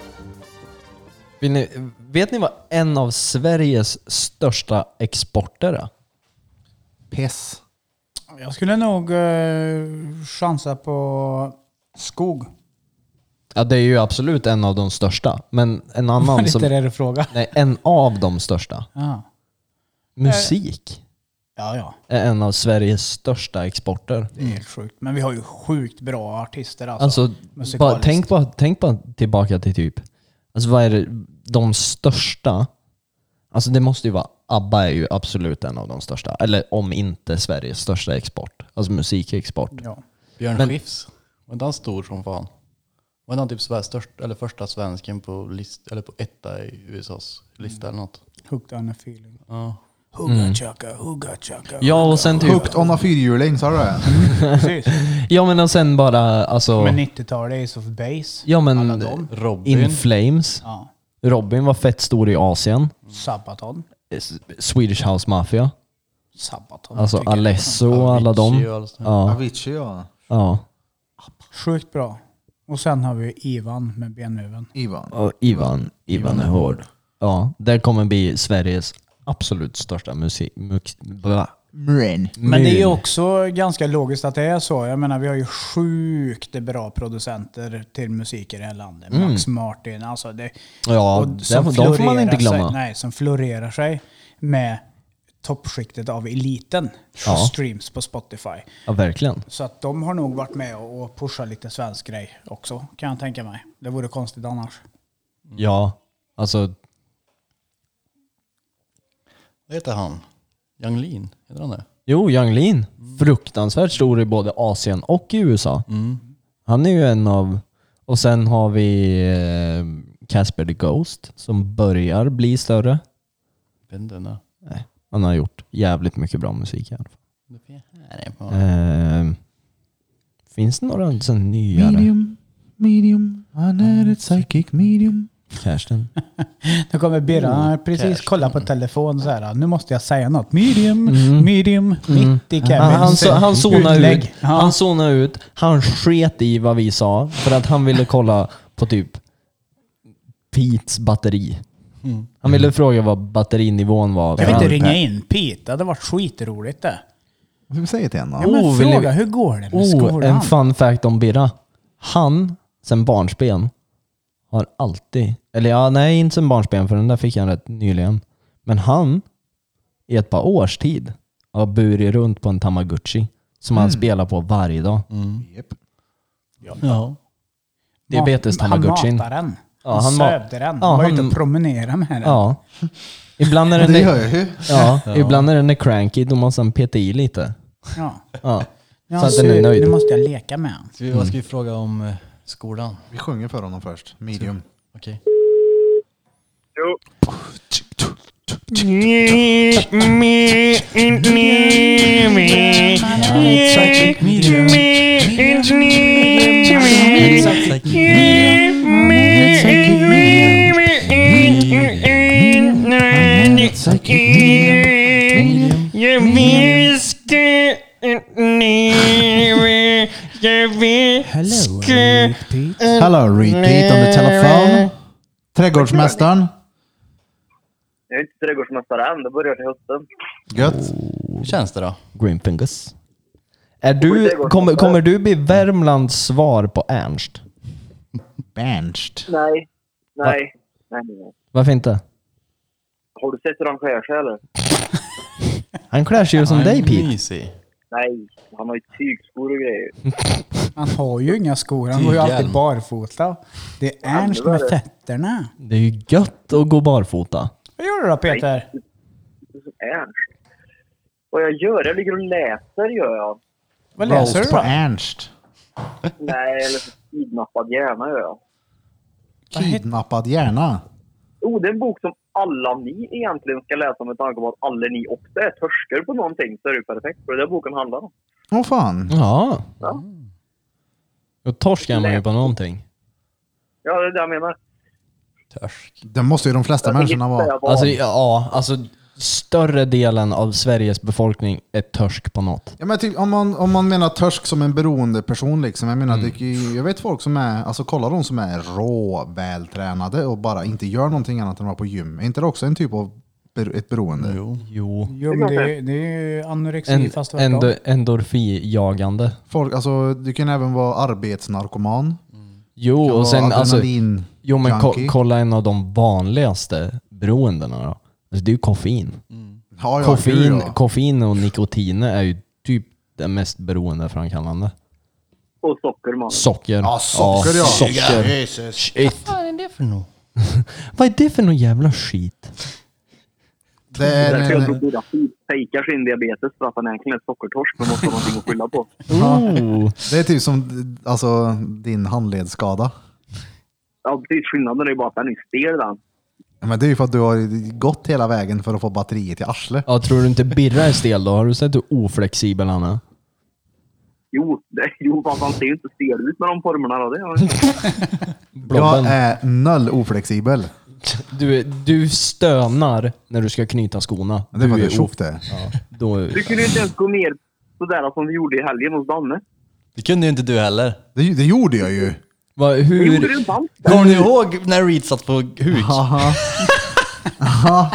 D: vill ni, vet ni vad en av Sveriges största exporter är?
B: Piss.
C: jag skulle nog Mm. eh, chansa på skog.
D: Ja, det är ju absolut en av de största. Men en annan
C: Var
D: som...
C: det inte det du frågade?
D: Nej, en av de största.
C: Ja,
D: Musik
C: ja. ja.
D: är en av Sveriges största exporter.
C: Det är helt sjukt. Men vi har ju sjukt bra artister alltså.
D: Alltså, bara,
C: musikaliskt.
D: tänk, bara, tänk bara tillbaka till typ... Alltså vad är det, de största? Alltså det måste ju vara... ABBA är ju absolut en av de största. Eller om inte Sveriges största export. Alltså musikexport.
C: Ja.
A: Björn
D: Men-
A: Skifs, var inte han stor som fan? Var inte han typ Sveriges störst, eller första svensken på, list, eller på etta i USAs lista eller något?
C: Hooked on a feeling.
A: Ja.
C: Hugga chaka, hugga chaka.
D: Mm. Ja, och sen typ...
B: Hooked on a fyrhjuling, sa du det?
C: Precis.
D: Ja, men och sen bara alltså...
C: Men 90-talet är Ace of Base.
D: Ja, men...
A: Robin.
D: In Flames.
C: Ja.
D: Robin var fett stor i Asien.
C: Sabaton.
D: S- Swedish House Mafia.
C: Sabaton.
D: Alltså
C: tycker jag.
D: Alesso och alla
A: Avicii
D: dem.
A: och alla såna.
D: Ja,
B: Avicii ja.
D: ja.
C: Sjukt bra. Och sen har vi Ivan med benmuven.
B: Ivan.
D: Och Ivan, Ivan är hård. Ja, det kommer bli Sveriges absolut största musik... Mux, bla.
G: Mren.
C: Men det är ju
D: Mul.
C: också ganska logiskt att det är så. Jag menar, vi har ju sjukt bra producenter till musik i det här landet. Max Martin, alltså det...
D: Mm. Ja,
C: och som
D: de, de får man inte
C: florerar
D: glömma.
C: Sig, nej, som florerar sig med toppskiktet av eliten.
D: Ja.
C: Och streams på Spotify.
D: Ja, verkligen.
C: Så att de har nog varit med och och pushat lite svensk grej också, kan jag tänka mig. Det vore konstigt annars.
D: Ja, alltså...
A: Vad heter han? Janglin, heter han det?
D: Jo, Yung Lean. Fruktansvärt stor i både Asien och i USA.
A: Mm.
D: Han är ju en av... Och sen har vi eh, Casper the Ghost som börjar bli större.
A: Vet inte, nej.
D: Nej, han har gjort jävligt mycket bra musik i alla fall.
A: Nej, det är fan-
D: Ehm, finns det några sån nyare?
B: medium. Han är ett psychic medium.
D: Kirsten.
C: Nu kommer Birra, han har precis kolla på telefon så här. Nu måste jag säga något. Medium, medium, mitt i Kevins
D: Han, Mm. han, så- han zonade
C: utlägg.
D: ut.
C: Ja.
D: Han zonade ut. Han sket i vad vi sa för att han ville kolla på typ Pete's batteri. Han ville fråga vad batterinivån var.
C: Kan vi
D: för
C: Mm. inte
D: han-
C: ringa in Pete? Det hade varit skitroligt det.
B: Vad ska vi säga till
C: Ja,
B: henne?
C: men
D: Oh, vill
C: fråga, hur går det med
D: Oh, en
C: skolan?
D: fun fact om Birra. Han, sen barnsben, har alltid... Eller ja, nej, inte sen barnsben för den där fick han rätt nyligen. Men han, i ett par års tid, har burit runt på en tamagotchi som han spelar på varje dag.
B: Japp.
A: Ja.
D: Diabetes-tamagotchin.
C: Han matade den.
D: Ja,
C: han
D: han ma-
C: sövde den.
D: Ja,
C: han var
D: han-
C: ute och promenerade med den.
D: Ja. Ibland när
B: Ja,
D: den
B: Det
D: är,
B: gör jag ju.
D: ja, ibland när den är cranky, då måste han peta i lite.
C: Ja.
D: Ja.
C: Ja,
D: Så att den är
C: nu-
D: nöjd.
C: Nu måste jag leka med honom.
A: Ska vi, Vad ska vi fråga om eh, skolan?
B: Vi sjunger för honom först. Medium.
A: Okej.
H: Jag viskar nere, jag viskar...
B: Hello, repeat on the telephone. Trädgårdsmästaren.
I: Jag är inte trädgårdsmästare än, det börjar till hösten.
B: Gött.
A: Hur känns det då?
D: Greenfingers. Är du, kommer, kommer du bli Värmlands svar på Ernst?
B: Benched.
I: Nej. Nej. Nej, nej, nej.
D: Varför inte?
I: Har du sett hur han skär sig eller?
D: Han klär sig ju som
A: Han är
D: dig Pete.
A: mysig.
I: Nej, han har ju tygskor och grejer.
C: Han har ju inga skor, han går ju
A: Tygeln.
C: alltid barfota. Det är Ernst med fötterna.
D: Det är ju gött att gå barfota.
C: Vad gör du då Peter?
I: Det är som Ernst. Vad jag gör? Jag ligger och läser gör jag.
C: Vad läser du
B: Roast på
C: då?
B: Ernst.
I: Nej, eller så kidnappad hjärna gör jag.
B: Kidnappad hjärna.
I: Oh, det är en bok som alla ni egentligen ska läsa med tanke på att alla ni också är törskar på någonting. Så är det ju perfekt. För det är det boken handlar om.
B: Åh fan.
D: Ja.
I: Ja.
D: Då torskar man ju på någonting.
I: Ja, det är det jag menar.
A: Törsk.
B: Det måste ju de flesta människorna vara.
D: Alltså ja, alltså större delen av Sveriges befolkning är törsk på något.
B: Ja, men typ, om, man, om man menar törsk som en beroendeperson liksom. Jag menar,
D: Mm.
B: det, är ju- jag vet folk som är, alltså kolla de som är rå vältränade och bara inte gör någonting annat än att vara på gym. Är inte det också en typ av ber- ett beroende?
A: Jo.
D: Jo.
C: Jo, men det, är- det är ju anorexi
D: En,
C: fast tvärtom.
D: endo, endorfijagande.
B: Folk, alltså, du kan även vara arbetsnarkoman.
D: Jo,
B: Du kan
D: och
B: vara
D: sen alltså...
B: adrenalin-
D: Jo men ko-
B: junkie.
D: kolla en av de vanligaste beroendena då. Alltså, det är ju koffein.
B: Ja, ja,
D: koffein,
B: gud, ja.
D: koffein och nikotin är ju typ det mest beroendeframkallande.
I: Och socker, man.
D: Socker.
B: Ja, socker ja.
D: socker.
B: Jesus.
D: Shit.
A: Vad är det för något?
D: Vad är det för någon jävla skit?
B: Det
I: Det är
B: är
I: därför jag tror
B: en,
I: Buddha fejkar sin diabetes för att han egentligen är sockertorsk men måste ha någonting att skylla på.
D: Oh.
B: det är typ som alltså, din handledsskada.
I: Ja, precis. Skillnaden är ju bara att den är stel den.
B: Ja, Men det är ju för att du har gått hela vägen för att få batteriet i arslet.
D: Ja, tror du inte Birra är stel då? Har du sett hur oflexibel han är?
I: Jo, det, jo fast han ser ju inte stel ut med de formerna då. Det gör han ju.
B: Jag
D: Blobben.
A: eh.
B: är noll oflexibel.
D: Du, är- du stönar när du ska knyta skorna.
B: Det är för att
D: du
B: jag är tjock det.
D: Ja, då,
I: Du kunde ju inte ens gå ner sådär som du gjorde i helgen hos Danne.
A: Det kunde ju inte du heller.
B: det. Det gjorde jag ju.
D: vad-
I: Det gjorde du
D: hur,
I: inte alls.
A: Kommer ni ihåg när Reed satt på huk?
B: Aha. Aha.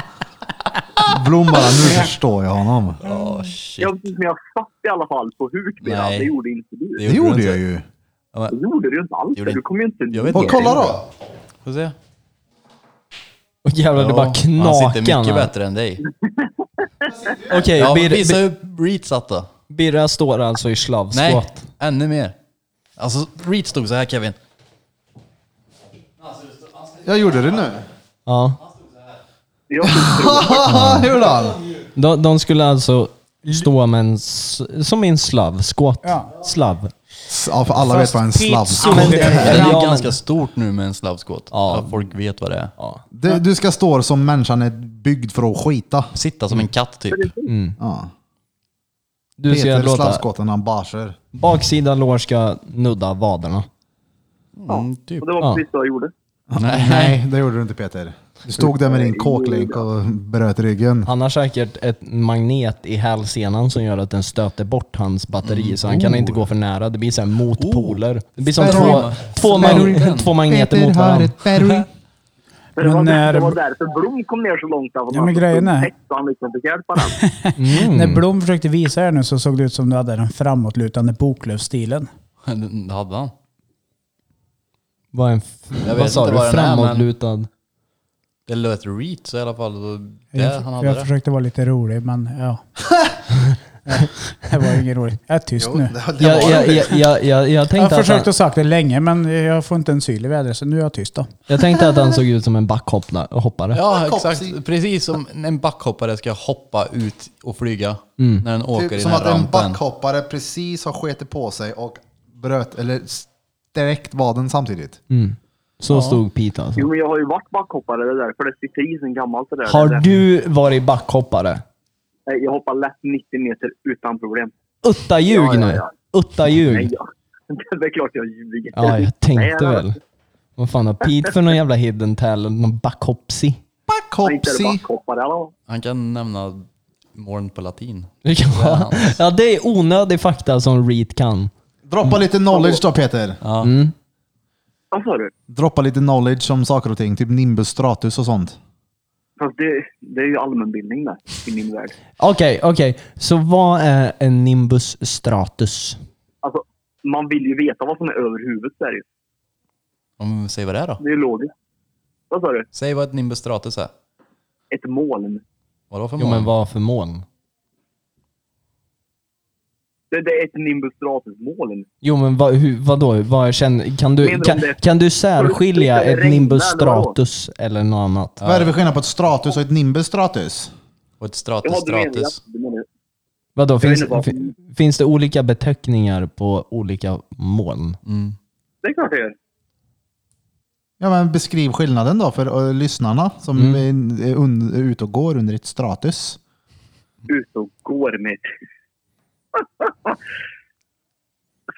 B: Blom bara, nu förstår jag honom.
A: Åh, Ah, shit.
I: Jag, men jag satt i alla fall på huk med
A: Nej.
I: han. Det gjorde inte du.
B: Det gjorde
A: du
B: jag
A: inte.
B: ju.
I: Det gjorde du inte alls.
A: Gjorde
I: Du kom ju inte
A: Jag vet
B: Och
A: inte.
B: kolla då.
A: Får se.
D: och jävlar, det bara
A: Ja, Han sitter
D: knakar.
A: mycket
D: nu.
A: bättre än dig.
D: Okej,
A: Ja,
D: Bir-
A: men visa
D: Bir-
A: hur Reed satt då.
D: Birra står alltså i
A: Nej,
D: slavskott.
A: ännu mer. Alltså, Reed stod så här Kevin.
B: Jag gjorde det nu.
D: Ja.
I: Jag tror inte
B: Haha, gjorde han?
D: De, de skulle alltså stå med en, s- som i en slavskott.
C: Ja.
D: Slav.
B: Ja, för alla vet vad en slav...
C: Pizza.
D: Men
C: det
A: Det
C: är-
A: är ju
D: Ja, men-
A: ganska stort nu med en slavskott.
D: Ja.
A: Ja. Folk vet vad det är.
D: Ja.
B: Du, du ska stå som människan är byggd för att skita.
A: Sitta som en katt typ.
B: Ja.
D: Du ska
B: Peter
D: låta
B: slavskotten han barser.
D: baksida lår ska nudda vaderna.
A: Mm, typ.
I: Och det var
D: Ja.
I: precis det jag gjorde.
B: Nej, det gjorde du inte Peter. Du stod där med din kåklänk och bröt ryggen.
D: Han har säkert ett magnet i hälsenan som gör att den stöter bort hans batteri så han kan inte gå för nära. Det blir så här motpoler. Det blir som
B: Sperry.
D: två, två, mag- två magneter mot varandra.
B: berg.
I: Men det,
C: Men
I: var,
C: när-
I: det var därför Blom kom ner så långt. Där,
C: Ja, men grejen är-
I: Så han liksom fick hjälp av den.
C: När Blom försökte visa er nu så såg det ut som du hade den framåtlutande Boklövsstilen.
A: Det hade han.
D: Vad, är en f-
A: vet
D: vad sa
A: inte
D: du?
A: vad den är, men-
D: Framåtlutad?
A: Det lät Reed så i alla fall. då- Det,
C: Jag,
A: han
C: jag
A: hade det.
C: försökte vara lite rolig, men ja. det var ju inget roligt. Jag är tyst nu.
D: Jag, jag, jag, jag, jag, jag
C: Jag har
D: tänkte att han,
C: försökt att sagt det länge, men jag får inte en syl i vädret, så nu är jag tyst då.
D: jag tänkte att han såg ut som en backhoppare.
A: Ja, exakt. Precis som en backhoppare ska hoppa ut och flyga när den åker i
B: Typ
A: den
B: som
A: här
B: att en
A: rampen.
B: backhoppare precis har skitit på sig och bröt, eller direkt vaden samtidigt.
A: Mm.
D: Så stod Pete alltså.
I: Jo, men jag har ju varit backhoppare. Det är därför det sitter i sen gammalt. Det där.
D: Har
I: Det är
D: du varit backhoppare?
I: Nej, Jag hoppar lätt 90 meter utan problem.
D: Utta ljug
I: Ja, ja,
D: nu!
I: ja.
D: Utta
I: Nej,
D: ljug!
I: ja. det är klart jag ljuger.
D: Ja, jag
I: Nej,
D: tänkte
I: jag-
D: väl. Vad fan har Pete för någon jävla hidden talent? Någon backhoppsi?
I: jag är Inte är
B: Backhoppsi!
I: det backhoppare eller?
A: Han kan nämna moln på latin.
D: Det kan vara- Ja, det är onödig fakta som Reed kan.
B: Droppa lite
I: Mm.
B: knowledge då Peter.
I: Vad sa du?
B: Droppa lite knowledge om saker och ting, typ nimbus stratus och sånt.
I: Fast det, det är ju allmänbildning där, i min värld.
D: Okej, okej. Så vad är en nimbus stratus?
I: Alltså, man vill ju veta vad som är över huvudet. Där. ju.
A: Om, säg vad det är då.
I: Det är ju logiskt. Vad sa du?
A: Säg vad ett nimbus stratus är.
I: Ett moln.
A: Vadå för
D: Jo men
A: moln?
D: vad för moln?
I: Det, det är ett nimbus moln.
D: Jo men vad, hur, vadå? Vad jag känner, kan, du,
I: Menar du
D: kan,
I: om det-
D: kan du särskilja
I: Ska det
D: ett
I: regna
D: nimbus
I: eller vadå?
D: stratus eller något annat?
B: Vad är det för skillnad på ett stratus och ett nimbus stratus?
A: Och ett
I: Ja,
A: stratus
I: du menar jag.
A: stratus.
I: Du menar jag.
D: Vadå, finns,
I: vet inte
D: fin- finns det olika beteckningar på olika moln?
I: Det är klart det gör.
B: Ja, men beskriv skillnaden då för eh, lyssnarna som
A: Mm.
B: är, är, un, är ute och går under ett stratus.
I: Ut och går med.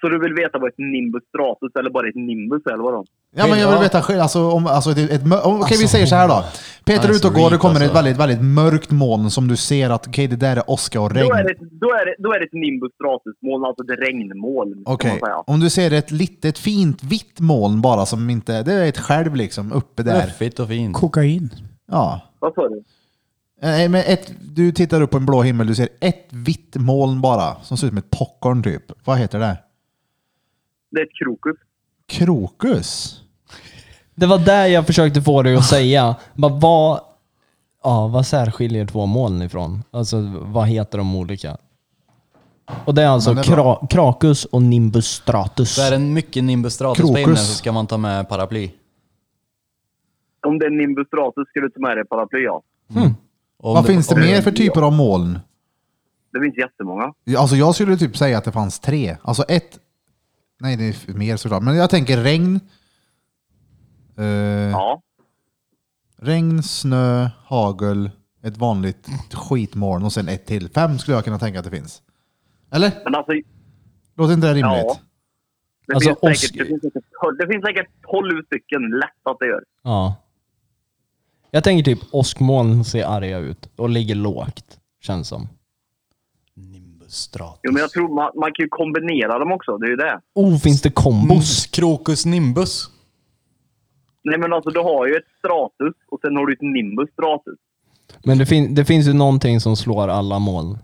I: Så du vill veta vad ett nimbus stratus eller bara ett nimbus är, eller vadå?
B: Ja, men jag vill veta skill- alltså, om, alltså, ett, ett, mö- om, Okej, vi säger så här då. Peter är
A: Nice
B: ute och går, det
A: read,
B: kommer ett
A: alltså.
B: väldigt, väldigt mörkt moln som du ser att okej, det där är åska och regn.
I: Då är det, då är det, då är det ett nimbus stratus-moln, alltså ett regnmoln. kan
B: Okej,
I: man säga.
B: om du ser ett litet fint vitt moln bara som inte, det är ett själv liksom uppe där.
A: Fluffigt och fint.
C: Kokain.
B: Ja.
I: Vad sa du?
B: Nej, men ett, du tittar upp på en blå himmel, du ser ett vitt moln bara som ser ut som ett popcorn typ. Vad heter det?
I: Det är ett krokus.
B: Krokus?
D: Det var där jag försökte få dig att säga. Bara, vad, ja, vad särskiljer två moln ifrån? Alltså vad heter de olika? Och det är alltså
B: Men det är
D: kra, krakus och nimbus stratus.
A: Så är det en mycket nimbus stratus på
B: Krokus.
A: himlen så ska man ta med paraply.
I: Om det är nimbus stratus ska du ta med dig paraply, ja.
A: Och om
B: Vad finns det
A: om-
B: mer för typer av moln?
I: Det finns jättemånga.
B: Alltså jag skulle typ säga att det fanns tre. Alltså ett... Nej, det är f- mer såklart. Men jag tänker regn. Eh,
I: Ja.
B: Regn, snö, hagel, ett vanligt skitmoln och sen ett till. Fem skulle jag kunna tänka att det finns. Eller?
I: Men alltså,
B: Låter inte det rimligt?
I: Ja. det,
D: Alltså,
I: finns säkert,
D: Oskar-
I: det, finns säkert, tol- det finns säkert 12 stycken, lätt att det gör.
D: Ja. Jag tänker typ åskmoln ser arga ut och ligger lågt, känns som.
A: Nimbus stratus.
I: Jo, men jag tror man, man kan ju kombinera dem också, det är ju det.
D: Oh, finns det kombos?
A: Bos, krokus, nimbus.
I: Nej, men alltså du har ju ett stratus och sen har du ett nimbus stratus.
D: Men det, fin- det finns ju någonting som slår alla moln.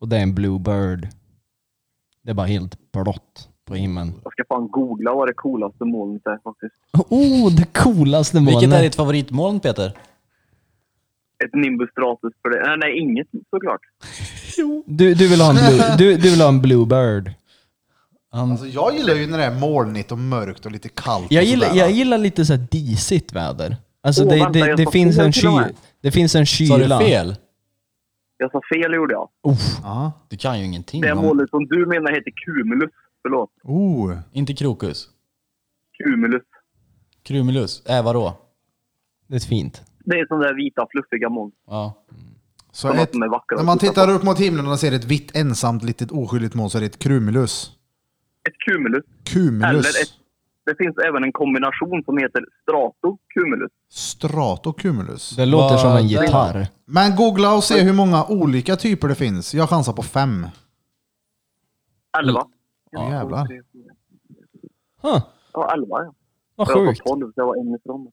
D: Och det är en bluebird. Det är bara helt blått på himlen.
I: Jag ska fan googla vad det coolaste molnet är faktiskt.
D: Oh, det coolaste molnet!
A: Vilket är ditt favoritmoln Peter?
I: Ett nimbus stratus för det. Nej, nej, inget såklart.
D: du, du, vill ha en blue- du, du vill ha en bluebird.
B: Alltså jag gillar ju när det är molnigt och mörkt och lite kallt.
D: Jag
B: och
D: gillar,
B: sådär.
D: jag gillar lite så här disigt väder. Alltså
I: Alltså, Åh,
D: det,
I: vänta,
D: det,
I: jag
D: det,
I: sa
D: finns
I: fel
D: en
I: till och
D: ky-
I: med.
D: det finns en
A: Sa du
D: kyla.
A: fel?
I: Jag sa fel gjorde jag.
B: Ja.
A: Du kan ju ingenting.
I: Det
A: om-
I: målet som du menar heter cumulus. Förlåt.
B: Oh.
A: Inte krokus.
I: Cumulus.
A: Krumulus. Äh, vadå?
D: Det är fint.
I: Det är sådana där vita fluffiga moln.
A: Ja.
B: Så
I: Sådana
B: ett,
I: som är vackra
B: när man
I: att titta
B: tittar upp mot himlen och ser ett vitt ensamt litet oskyldigt moln så är det ett krumulus.
I: Ett cumulus.
B: Cumulus.
I: Eller ett, det finns även en kombination som heter strato-cumulus.
B: Stratocumulus.
D: Det låter
A: Vad-
D: som en
A: det-
D: gitarr.
B: Men googla och se hur många olika typer det finns. Jag chansar på fem.
I: Elva.
B: Ja, jävlar.
D: Huh,
I: Ja, elva ja.
D: vad
I: Jag var
D: sjukt.
I: tolv, så jag var en ifrån.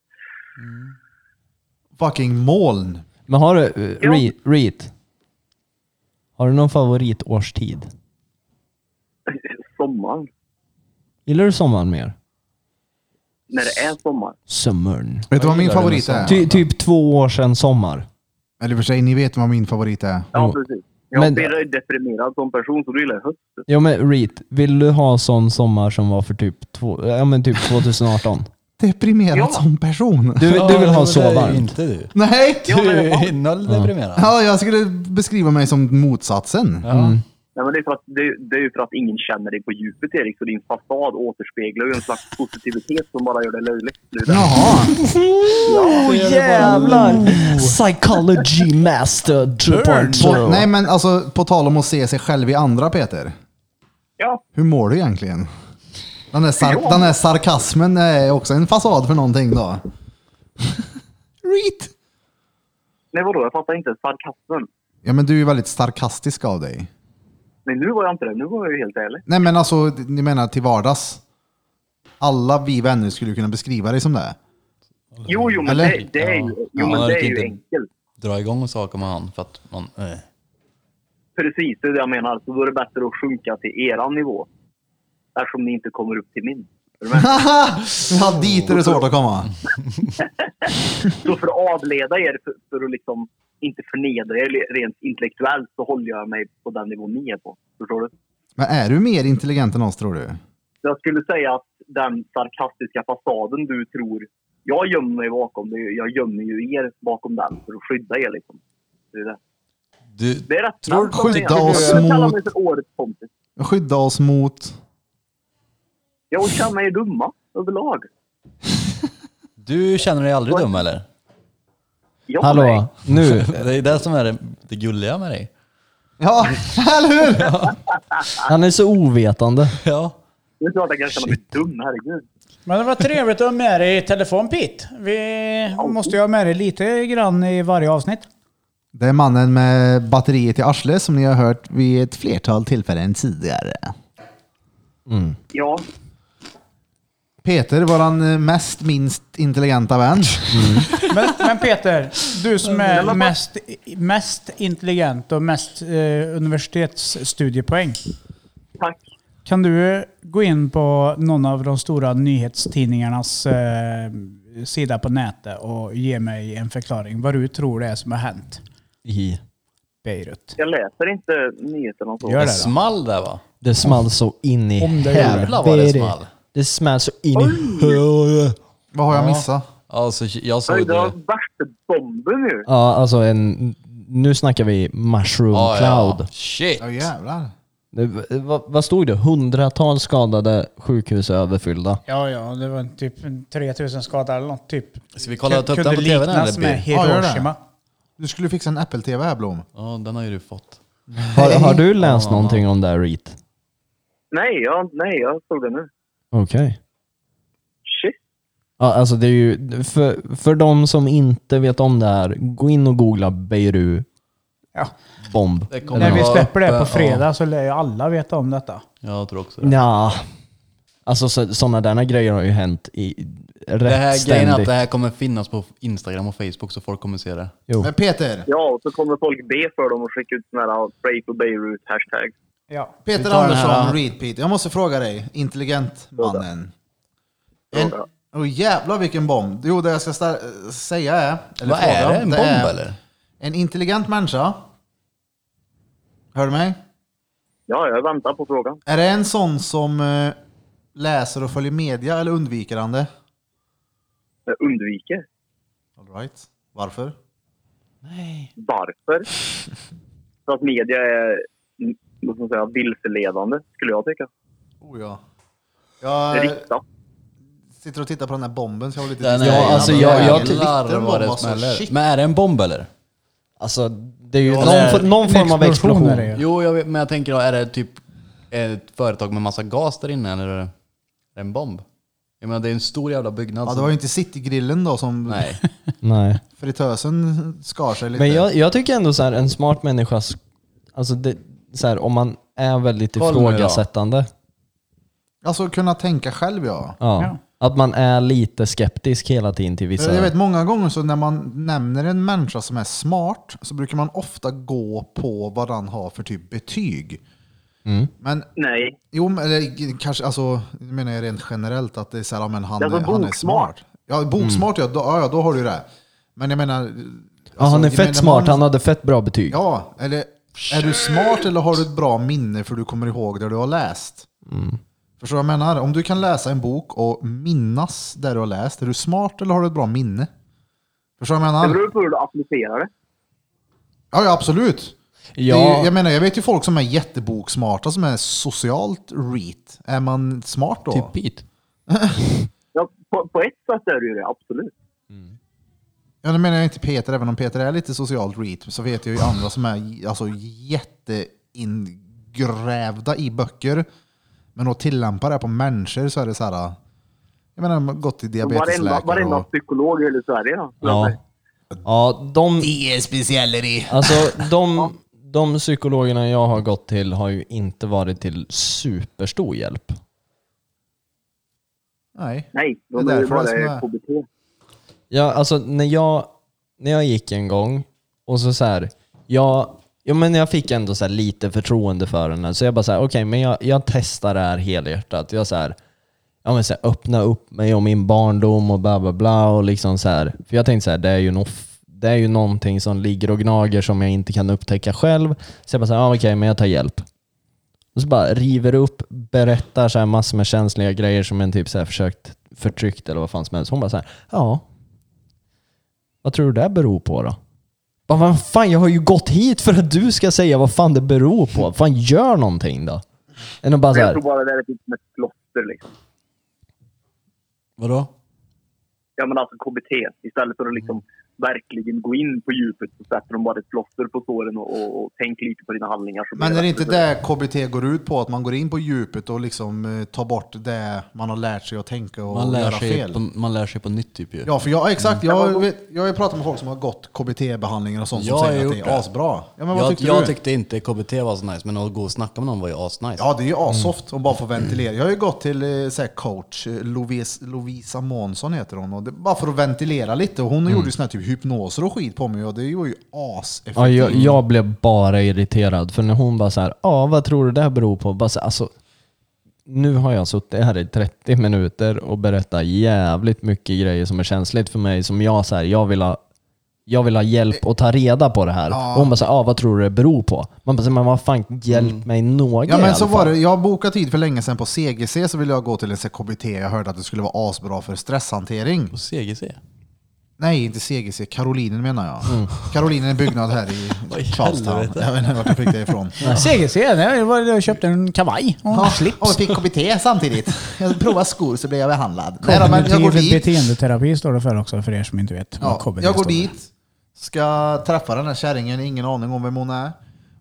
B: Fucking moln.
D: Men har du, eh, Re- Reet? Har du någon favoritårstid?
I: Sommaren.
D: Gillar du sommaren mer?
I: När det är sommar.
D: Sommaren.
B: Vet du vad min
A: gillar det med
B: favorit är?
D: Ty, typ två år sedan sommar.
B: Eller i och för sig, ni vet vad min favorit är.
I: Ja,
D: Jo.
I: precis. Jag
D: Men-
I: blir deprimerad som person, så du gillar jag höst.
D: Ja men Reet, vill du ha sån sommar som var för typ, två, ja, men typ 2018?
B: Deprimerad
I: Ja.
B: som person.
D: Du, du vill ha
A: men
D: så
A: det är ju
D: varmt?
A: Inte du.
B: Nej!
A: Du är noll deprimerad.
B: Ja, jag skulle beskriva mig som motsatsen.
I: Nej, men det, är för att, det, är- det är ju för att ingen känner dig på djupet Erik, så din fasad återspeglar ju en slags positivitet som bara gör det löjligt. Det är det.
B: Jaha.
D: Oh jävlar! Psychology master oh. 2.0.
B: På, nej men alltså, på tal om att se sig själv i andra Peter.
I: Ja,
B: Hur mår du egentligen? Den där, sar- den där sarkasmen är också en fasad för någonting då. Reet!
I: nej vadå? Jag fattar inte. Sarkasmen.
B: Ja men du är ju väldigt sarkastisk av dig.
I: Nej, nu var jag inte det. Nu var jag ju helt ärlig.
B: Nej men alltså, ni menar till vardags. Alla vi vänner skulle kunna beskriva dig som det.
I: Jo, jo, men
B: Eller?
I: det, det är ju, jo,
A: Ja,
I: men
A: jag
I: det
A: vet
I: är ju
A: inte.
I: enkelt.
A: Dra igång saker med han för att man... eh.
I: Precis, det är det jag menar. Så då är det bättre att sjunka till eran nivå. Eftersom ni inte kommer upp till min. du med?
B: Ja, dit är det svårt att komma.
I: Så för att avleda er, för, för att liksom inte förnedra er rent intellektuellt, så håller jag mig på den nivån ni är på. Förstår du?
B: Men är du mer intelligent än oss tror du?
I: Jag skulle säga att den sarkastiska fasaden du tror jag gömmer mig bakom, det är ju- jag gömmer ju er bakom den för att skydda er liksom. Det är det.
J: Du,
I: Det är rätt
J: Tror-
I: snabbt,
B: skydda
I: jag tycker
B: oss
I: Jag kallar mig
B: mot-
I: för årets kompis.
B: Skydda oss mot...
I: Jag känner mig dumma överlag.
A: Du känner dig aldrig dum eller?
I: Jag nej.
D: Hallå, nu.
A: Det är det som är det, det gulliga med dig.
B: Ja, eller hur?
D: Han är så ovetande.
A: Ja.
I: Det är klart jag kan känna mig dum, herregud.
C: Men det var trevligt att ha med dig i telefon Pete. Vi måste ju ha med dig lite grann i varje avsnitt.
B: Det är mannen med batteriet i arslet som ni har hört vid ett flertal tillfällen tidigare.
I: Ja,
B: Peter, våran eh, mest minst intelligenta vän.
C: Men, men Peter, du som är mest, mest intelligent och mest eh, universitetsstudiepoäng.
I: tack.
C: Kan du gå in på någon av de stora nyhetstidningarnas eh, sida på nätet och ge mig en förklaring vad du tror det är som har hänt?
D: I.
C: Beirut.
I: Jag läser inte nyheterna och så.
C: Gör
A: Det
C: det då.
A: small där va?
D: Det small så in i
C: Om det gör det.
A: Jävlar vad det
D: helvete.
A: small.
D: Det small så in i helvete.
B: Vad har jag missat?
A: Alltså jag
I: Oj,
A: såg
I: det var
A: det.
I: värsta bomben nu.
D: Ja, alltså en... Nu snackar vi mushroom
A: Ja, ja.
D: cloud.
A: Shit.
B: Ja jävlar.
D: Det- Vad, vad stod det? Hundratals skadade, sjukhus är överfyllda.
C: Ja, ja, det var typ 3000 skadade eller något. Typ.
A: Ska vi kolla upp den
C: Kunde
A: på tvn
C: liknas
A: eller?
C: med
A: Bill?
B: Ja, gör det.
C: Hiroshima.
B: Du skulle fixa en Apple-TV här Blom.
A: Ja, den har ju du fått.
D: Har, har du läst någonting om det här Reet?
I: Nej, jag, nej, jag såg det nu.
D: Okej.
I: Shit.
D: Ja, alltså det är ju, för, för de som inte vet om det här, gå in och googla Beirut
C: Ja.
D: bomb.
A: Det kommer
C: När vi
A: vara
C: släpper det
A: uppe,
C: på fredag så lär ju alla veta om detta.
A: Ja, jag tror också det.
D: Ja. Alltså sådana där grejer har ju hänt i rätt
A: Det här grejen är att
D: ständigt.
A: det här kommer finnas på Instagram och Facebook så folk kommer se det.
D: Jo.
B: Men Peter,
I: Ja, och så kommer folk be för dem och skicka ut såna här “Pray for Beirut” hashtag.
C: Ja.
B: Peter
A: tar den
B: Andersson,
A: här, ja.
B: Reed Pete. Jag måste fråga dig, intelligent mannen. En,
I: Fråga.
B: oh, jävlar vilken bomb. Jo, det jag ska sta- säga är... eller
A: Vad är
B: fråga,
A: det? En bomb
B: är
A: eller?
B: En intelligent människa. Hör du mig?
I: Ja, jag väntar på frågan.
B: Är det en sån som eh, läser och följer media eller undviker han det?
I: Jag undviker.
B: All right. Varför?
I: Varför? För att media är mm, vad ska man säga, vilseledande, skulle jag tycka.
B: Oh ja. Jag eh,
I: Riktat.
B: sitter och tittar på den här bomben så jag har lite...
A: Den är-
D: Ja, alltså, jag- jag-
A: Jävlar vad det smäller. Men är det en bomb eller?
D: Alltså, det är ju
A: Ja,
D: någon,
A: det är-
D: for- någon form av explosion.
C: är det ju.
A: Jo, jag vet, men jag tänker då, är det typ ett företag med massa gas där inne eller är det en bomb? Jag menar det är en stor jävla byggnad.
B: Ja, det
A: som-
B: var ju inte Citygrillen då som
A: Nej.
D: Nej.
B: fritösen skar sig lite.
D: Men jag, jag tycker ändå så här, en smart människa, sk- alltså det, så här, om man är väldigt
A: Kolla nu då.
D: ifrågasättande.
B: Alltså kunna tänka själv ja.
D: Ja.
C: Ja.
D: Att man är lite skeptisk hela tiden till
A: Alltså-
D: vissa...
B: Jag vet många gånger så när man nämner en människa som är smart så brukar man ofta gå på vad han har för typ betyg.
A: Mm.
B: Men
I: Nej.
B: Jo, men eller, kanske, alltså, nu menar jag rent generellt att det är så här, ja, men han,
I: Ja, men
B: han är
I: boksmart.
B: smart. Ja, boksmart ja, då, ja, ja, då har du det. Men jag menar... Alltså,
D: Mm. ja, han är
B: gemene
D: fett smart,
B: man-
D: han hade fett bra betyg.
B: Ja, eller är du smart eller har du ett bra minne för du kommer ihåg det du har läst?
D: Mm.
B: Förstår du vad jag menar? Om du kan läsa en bok och minnas det du har läst, är du smart eller har du ett bra minne? Förstår du vad jag
I: Det
B: menar?
I: beror på hur du applicerar det.
B: Ja, ja absolut.
D: Ja.
B: Det är ju- jag menar, jag vet ju folk som är jätteboksmarta som är socialt reet. Är man smart då?
A: Typ Pete.
I: Ja, på, på ett sätt är det ju det, absolut.
B: Ja, nu menar jag inte Peter, även om Peter är lite socialt reet, så vet jag ju andra som är alltså, jätteingrävda i böcker. Men att tillämpa det på människor så är det så här... Jag menar, man har gått till
I: Varenda,
B: diabetesläkare
I: varenda
B: och...
I: psykolog i hela Sverige då.
D: Ja. ja de,
G: Det är specielleri.
D: alltså, de, de psykologerna jag har gått till har ju inte varit till superstor hjälp.
B: Nej.
I: Nej,
B: Det är
I: de är ju
B: därför det är Alltså som
I: bara
B: är.
I: KBT.
D: Ja, alltså när jag, när jag gick en gång och så så här, jag, ja, men jag fick ändå så här lite förtroende för henne. Så jag bara så här, okej, men jag, jag testar det här helhjärtat. Jag så här, ja, men så här, öppna upp mig om min barndom och bla bla bla. Och liksom så här. För jag tänkte så här, det är ju nog det är ju någonting som ligger och gnager som jag inte kan upptäcka själv. Så jag bara, så här, ah, okej, men jag tar hjälp. Och så bara river upp, berättar så här massor med känsliga grejer som en typ så här försökt förtryckt eller vad fan som helst. Hon bara så här, ja. Vad tror du det beror på då? Bara, vad fan, jag har ju gått hit för att du ska säga vad fan det beror på. Fan, gör någonting då. Än att bara så
I: Jag
D: här,
I: tror bara det där är typ som ett klotter liksom.
A: Vadå?
I: Ja men alltså KBT. Istället för att liksom
B: Mm.
I: verkligen gå in på djupet så sätter de bara ett plåster på såren och, och, och tänk lite på dina handlingar. så blir alltså
B: Men är det inte
I: bättre.
B: det KBT går ut på? Att man går in på djupet och liksom eh, tar bort det man har lärt sig att tänka och
A: Man lär,
B: göra
A: sig
B: fel?
A: på, man lär sig på nytt typ ju.
B: Ja, för jag, exakt.
I: Mm.
B: Jag, vet, jag har ju pratat med folk som har gått KBT-behandlingar och sånt
A: Jag
B: som
A: har
B: säger att
A: gjort
B: det är
A: det.
B: asbra. Ja, men vad
A: jag
B: tyckte
A: jag
B: du?
A: tyckte inte KBT var så nice, men att gå och snacka med någon var ju asnice.
B: Ja, det är ju assoft att bara få ventilera. Jag har ju gått till eh, så här, coach, eh, Lovis, Lovisa Månsson heter hon, och det, bara för att ventilera lite. Och hon gjorde ju såna här typ hypnoser och skit på mig och det var ju aseffektivt.
D: Ja, jag, jag blev bara irriterad. För när hon bara så här, ja vad tror du det här beror på? Bara så, här, alltså, nu har jag suttit här i 30 minuter och berättat jävligt mycket grejer som är känsligt för mig. Som jag så här, jag vill ha, jag vill ha hjälp att ta reda på det här. Och hon bara så här, ja vad tror du det beror på? Man bara så här, men vad fan, hjälp mig något
B: Mm. Ja
D: i
B: men
D: alla
B: så
D: fall.
B: var det. Jag bokade tid för länge sedan på CGC så ville jag gå till en så här KBT. Jag hörde att det skulle vara asbra för stresshantering.
A: På CGC.
B: Nej, inte CGC. Karolinen menar jag. Karolinen är en byggnad här i
A: Vad i
B: Karlstad.
A: helvete?
B: Jag vet inte vart jag fick det ifrån.
C: CGC, det var jag köpte en kavaj och en slips.
B: och fick KBT samtidigt. Jag provade skor så blev jag behandlad. Nej, då, men jag går
C: Kognitiv
B: dit.
C: beteendeterapi står det för också, för er som inte vet. vad
B: Ja,
C: KBT
B: jag går
C: står för.
B: dit, ska träffa den här kärringen, ingen aning om vem hon är.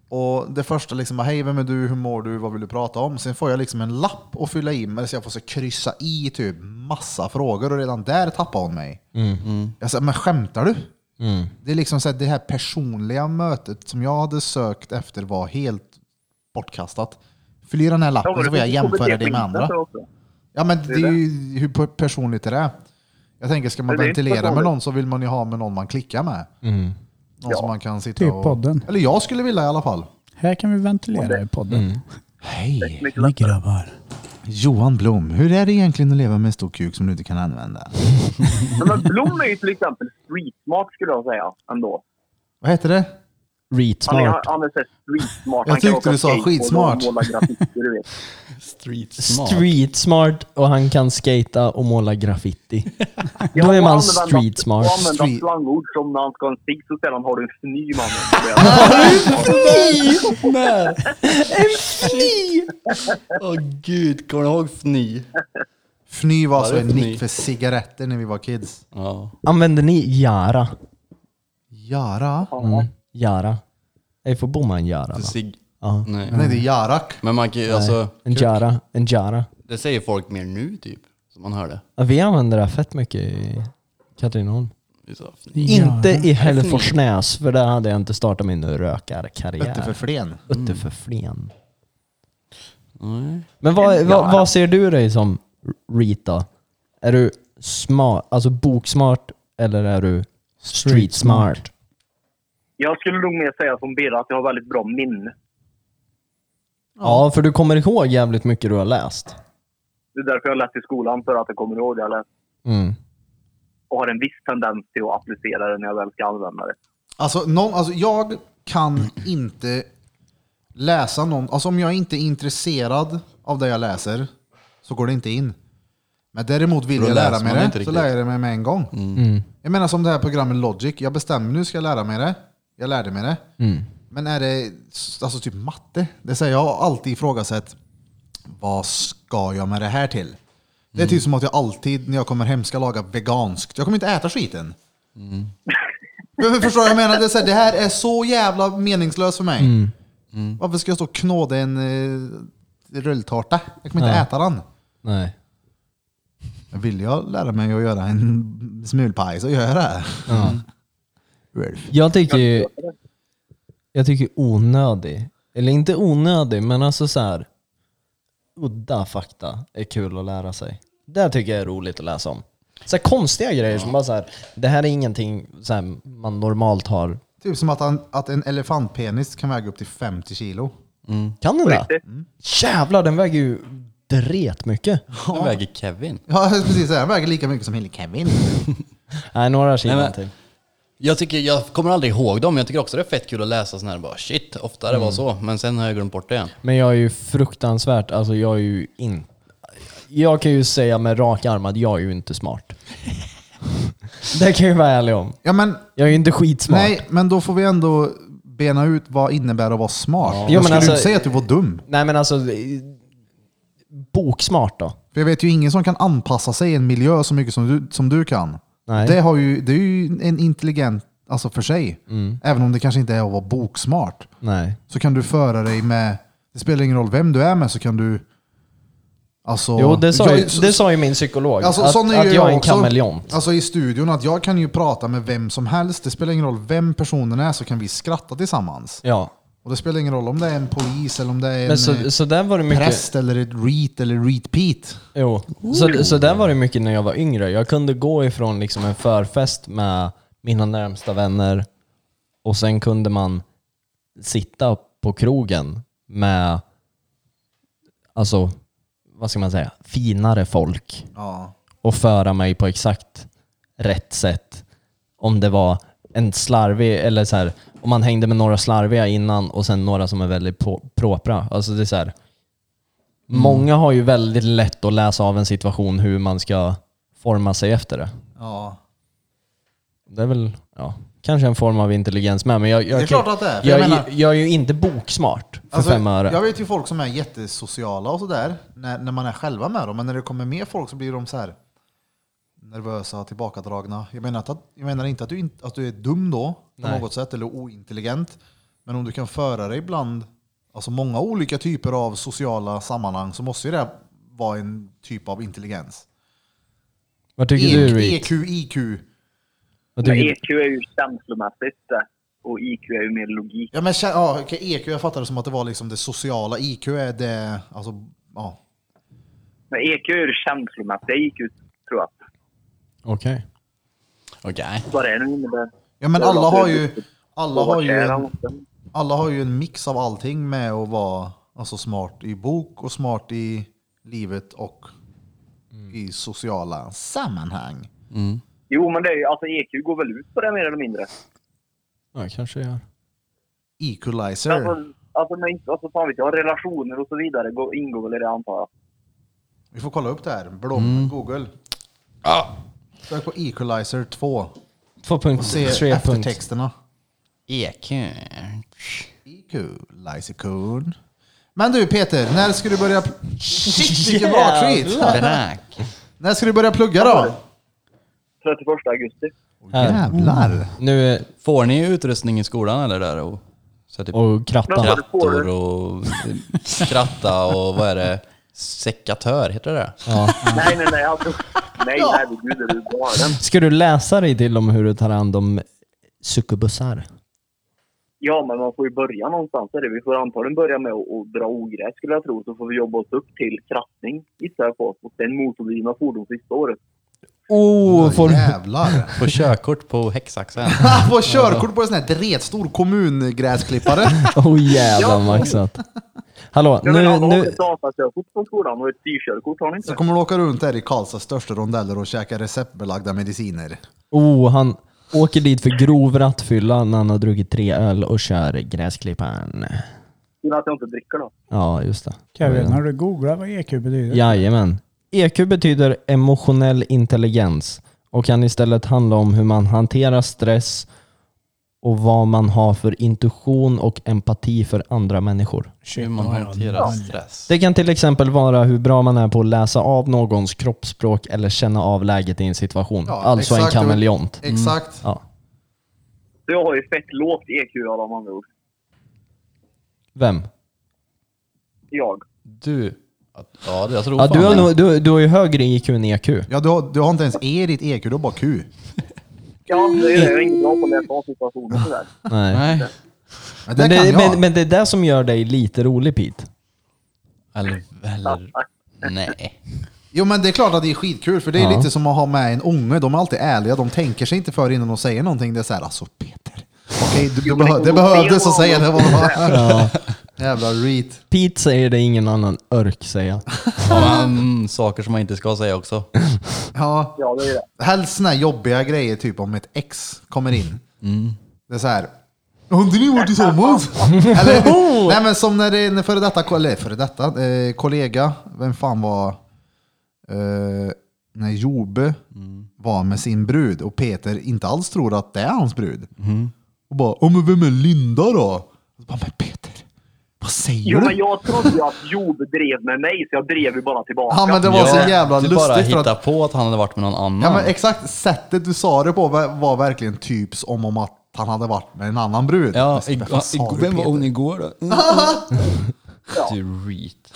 B: Och det första liksom, bara, hej vem är du, hur mår du, vad vill du prata om? Sen får jag liksom en lapp att fylla i, men så jag får så kryssa i typ massa frågor och redan där tappar hon mig.
D: Mm.
B: Jag sa, men skämtar du? Det är liksom så här, det här personliga mötet som jag hade sökt efter var helt bortkastat. Fyll i den här
I: Ja, men
B: lappen
I: det
B: så Alltså, får jag
I: finns
B: jämföra
I: KBT
B: dig med
I: på
B: andra.
I: internet också.
B: Ja men det är ju hur per- personligt är det? Jag tänker, ska man
I: Men det är inte
B: ventilera med
I: personligt.
B: någon så vill man ju ha med någon man klickar med. Någon som man kan sitta
C: Typ
B: och...
C: podden.
B: Eller jag skulle vilja i alla fall.
C: Här kan vi ventilera i podden.
B: Mm. Hej!
I: Mycket lättare.
C: grabbar.
B: Johan Blom, hur är det egentligen att leva med en stor kuk som du inte kan använda?
I: Men, men Blom är ju till exempel streetsmart skulle jag säga ändå.
B: Vad heter det?
I: Han är,
D: Reetsmart.
I: han är så här streetsmart.
B: Jag
I: Han kan
B: tyckte
I: åka
B: du sa
I: skateboard och
B: skitsmart.
I: Måla graffiti, du vet.
A: Street smart.
D: Streetsmart och han kan skata och måla graffiti.
I: Ja,
D: Då är
I: och
D: man
I: använda-
D: streetsmart.
I: Och använda
B: Street-
I: slangord som när han ska ha en cigg så säger han har du en fny mannen?
A: Åh gud, kommer du ihåg FNY?
B: Fny var alltså
A: det
B: en
A: är fny.
B: nick för cigaretter när vi var kids.
A: Ja.
D: Använder ni Jara?
B: Jara?
D: Jara. Jag får bomma en Jara. va?
A: Sig.
D: Ja.
A: Nej.
B: Nej, det är Jarak.
A: Men man kan ju, alltså,
D: En Jara. En Jara.
A: det säger folk mer nu typ. Som man hör det.
D: Ja, vi använder det fett mycket i Katrineholm.
A: Vi sa FNY.
D: Inte i Hälleforsnäs, för där hade jag inte startat min
B: Inte för
D: rökarkarriär.
B: Flen.
D: Utte för Flen.
A: Nej.
D: Men vad, vad, vad ser du dig som, Rita? Är du smart, alltså boksmart, eller är du street smart?
I: Jag skulle nog mer säga som Birra att jag har väldigt bra minne.
D: Ja, för du kommer ihåg jävligt mycket du har läst.
I: Det är därför jag läst i skolan, för att jag kommer ihåg det jag läst.
D: Mm.
I: Och har en viss tendens till att applicera det när jag väl ska använda det.
B: Alltså, någon, alltså jag kan inte läsa någon, alltså om jag inte är intresserad av det jag läser så går det inte in. Men däremot vill
A: För då
B: jag
A: läser
B: lära mig
A: man
B: det,
A: inte
B: så
A: riktigt.
B: lär jag det mig med en gång. Jag menar som det här programmet Logic, jag bestämmer nu ska jag lära mig det, jag lärde mig det. Men är det alltså typ matte, det säger jag har alltid ifrågasatt, vad ska jag med det här till? Det är typ som att jag alltid när jag kommer hem ska laga veganskt. Jag kommer inte äta skiten. Men, men förstår du vad jag menar? Det, är så här, det här är så jävla meningslöst för mig. Varför ska jag stå och knåda en eh, rulltårta? Jag kommer inte äta den.
D: Nej.
B: Men Vill jag lära mig att göra en smulpaj så gör jag det. Mm.
D: Jag tycker ju, jag tycker onödig, eller inte onödig, men alltså så här udda fakta är kul att lära sig. Det tycker jag är roligt att läsa om. Så här konstiga grejer som bara så här, det här är ingenting så här, man normalt har.
B: Typ som att, han, att en elefantpenis kan väga upp till 50 kilo.
D: Mm. Kan den det? Jävlar, den väger ju ret mycket.
A: Nu väger Kevin.
B: Ja, precis. Han väger lika mycket som Hille Kevin.
D: Nej, några kilo
A: Nej, men-
D: till.
A: Jag, tycker, jag kommer aldrig ihåg dem, jag tycker också det är fett kul att läsa sådana här bara shit, ofta det var
D: Mm.
A: så, men sen har jag glömt bort det igen.
D: Men jag är ju fruktansvärt, alltså jag är ju inte... Jag kan ju säga med rak arm att jag är ju inte smart. det kan jag ju vara ärlig om.
B: Ja, men
D: Jag är ju inte skitsmart. Nej.
B: nej, men då får vi ändå bena ut vad innebär att vara smart. Jag
D: Jo, men
B: skulle
D: alltså-
B: inte säga att du var dum.
D: Nej men alltså, eh, boksmart då?
B: För jag vet ju ingen som kan anpassa sig i en miljö så mycket som du, som du kan.
D: Nej.
B: Det, har ju, det är ju en intelligent, alltså för sig.
D: Mm.
B: Även om det kanske inte är att vara boksmart.
D: Nej.
B: Så kan du föra dig med, det spelar ingen roll vem du är med så kan du... Alltså,
D: Jo, det sa,
B: jag-
D: ju, det sa ju min psykolog.
B: Alltså,
D: att,
B: sån är
D: att
B: ju
D: jag, är en
B: också.
D: kameleont.
B: Alltså i studion, att jag kan ju prata med vem som helst. Det spelar ingen roll vem personen är så kan vi skratta tillsammans.
D: Ja.
B: Och det spelar ingen roll om det är en polis eller om det är
D: Men
B: en
D: så,
B: eh,
D: så där var det mycket...
B: präst eller ett reet eller reet-peat.
D: Jo. Så, så där var det mycket när jag var yngre. Jag kunde gå ifrån liksom en förfest med mina närmsta vänner och sen kunde man sitta på krogen med, alltså, vad ska man säga, finare folk
B: Ja.
D: och föra mig på exakt rätt sätt. Om det var en slarvig, eller så här, om man hängde med några slarviga innan och sen några som är väldigt på- propra. Alltså det är så här,
B: Mm.
D: Många har ju väldigt lätt att läsa av en situation hur man ska forma sig efter det.
B: ja.
D: Det är väl ja, kanske en form av intelligens med. Men jag, jag,
B: Det är
D: kan-
B: klart att det är, för
D: Jag,
B: jag
D: är ju-
B: menar-
D: jag är ju inte boksmart för
B: Alltså,
D: fem öre.
B: jag vet ju folk som är jättesociala och sådär, när, när man är själva med dem. Men när det kommer med folk så blir de så här nervösa och tillbakadragna. Jag menar, att, jag menar inte att du, inte- att du är dum då, på
D: Nej.
B: något sätt, eller ointelligent. Men om du kan föra dig bland alltså många olika typer av sociala sammanhang så måste ju det vara en typ av intelligens.
D: Vad tycker
B: E-
D: du Reed?
B: EQ, IQ.
D: Vad
I: Men
D: tycker du?
I: EQ är ju känslomässigt det. och IQ är ju mer logik.
B: Ja, men, kä- ja, okej, EQ, jag fattar det som att det var liksom det sociala. IQ är det, alltså, ja.
I: Men EQ är ju det känslomässiga IQ, tror jag.
D: Okej.
A: Okej.
I: Vad det nu innebär.
B: Ja, men
I: Det
B: alla
I: låter
B: har
I: ju
B: ju...
I: riktigt.
B: Alla
I: Och vad
B: har ju
I: är
B: en-
I: han?
B: alla har ju en mix av allting med att vara alltså, smart i bok och smart i livet och i sociala sammanhang.
I: Jo, men det är ju, alltså EQ går väl ut på det mer eller mindre.
D: Ja, kanske jag gör.
B: E Equalizer.
I: Alltså, alltså, men, inte- alltså fan vet jag, relationer och så vidare går, ingår väl i det antar jag.
B: Vi får kolla upp det här. Blom, Google. Sök på Equalizer 2 och se
D: 2.3. punkt.
B: eftertexterna.
A: EQ.
B: Equalizer-kun. Men du Peter, när ska du börja... Shit, vilken bakskit!
A: Drack.
B: När ska du börja plugga då?
I: 31 augusti.
B: Mm. Jävlar!
D: Nu är-
A: Får ni utrustning i skolan eller där? Och, så typ
D: och kratta.
I: Vänta.
A: krattor och skratta och vad är det? Sekatör, heter det det?
I: Nej, nej, nej. Alltså, nej, herregud. Är du galen?
D: Ska du läsa dig till om hur du tar hand om suckubussar?
I: Ja, men man får ju börja någonstans. Är det. Vi får antagligen börja med att att dra ogräs skulle jag tro. Så får vi jobba oss upp till krattning gissar jag på. Och sen motordrivna fordon sista året.
D: Oh, får du...
B: Jävlar!
A: På körkort på häxaxeln.
B: Få körkort på en sån här dretstor kommungräsklippare.
D: Oh jävlar maxat. Hallå,
I: Jag menar,
D: nu,
I: alla har
D: nu...
I: ett datakörkort från skolan och ett styrkörkort har ni
B: Så
I: inte.
B: kommer du åka runt där i Karlstads största rondeller och käka receptbelagda mediciner.
D: Oh, han åker dit för grov rattfylla när han har druckit tre öl och kör gräsklipparen.
I: Synd att jag inte dricker då.
D: Ja, just det.
C: Kevin, har du googlat vad EQ betyder?
D: Jajamän. EQ betyder emotionell intelligens och kan istället handla om hur man hanterar stress och vad man har för intuition och empati för andra människor.
A: Hur man hanterar stress.
D: Det kan till exempel vara hur bra man är på att läsa av någons kroppsspråk eller känna av läget i en situation.
B: Ja,
D: alltså
B: exakt.
D: en kameleont.
B: Exakt.
D: Ja.
I: Så jag har ju fett lågt E EQ alla med andra ord.
D: Vem?
I: Jag.
A: Du. Ja, jag tror
D: Ja,
A: fan
D: du, har
A: det.
D: nog, du, du har ju högre IQ än E EQ.
B: Ja, du har, du har inte ens E i ditt EQ, du har bara Q.
I: Ja,
B: Mm.
I: det är det. Jag är ingen bra på att läsa av situationer sådär.
D: Nej.
A: Nej.
B: Men det
D: Men,
B: kan
D: det,
B: jag.
D: men, men det är det som gör dig lite rolig Pete.
A: Eller, eller... Nej.
B: Jo men det är klart att det är skitkul, för det är
D: Ja.
B: lite som att ha med en unge. De är alltid ärliga, de tänker sig inte för innan de säger någonting. Det är såhär, alltså Peter, Okej, du, du behö- det behövdes att säga det. Var
D: Ja.
B: Jävla reet.
D: Pete säger det, ingen annan örk säger
A: Ja, men, saker som man inte ska säga också.
B: Ja,
I: Ja, det är det.
B: helst såna här jobbiga grejer, typ om ett ex kommer in. Det är så här. Har inte ni varit tillsammans? Eller, nej men som när det är en före detta, ko- eller före detta eh, kollega, vem fan var, eh, när Jobe var med sin brud och Peter inte alls tror att det är hans brud. Och bara, "Ja, men vem är Linda då? Och bara, men Peter, vad säger
I: Jo,
B: du?
I: men jag trodde ju att Job drev med mig, så jag drev ju bara tillbaka.
B: Ja men det var så
A: Ja,
B: jävla
A: du
B: lustigt.
A: bara
B: för att-
A: hitta på att han hade varit med någon annan.
B: Ja, men exakt. Sättet du sa det på var, var verkligen typ som om att han hade varit med en annan brud.
A: Ja,
B: Men
A: ig-
B: vad fan sa
A: ig-
B: du,
A: vem var
B: Peter?
A: hon igår då? Du reet.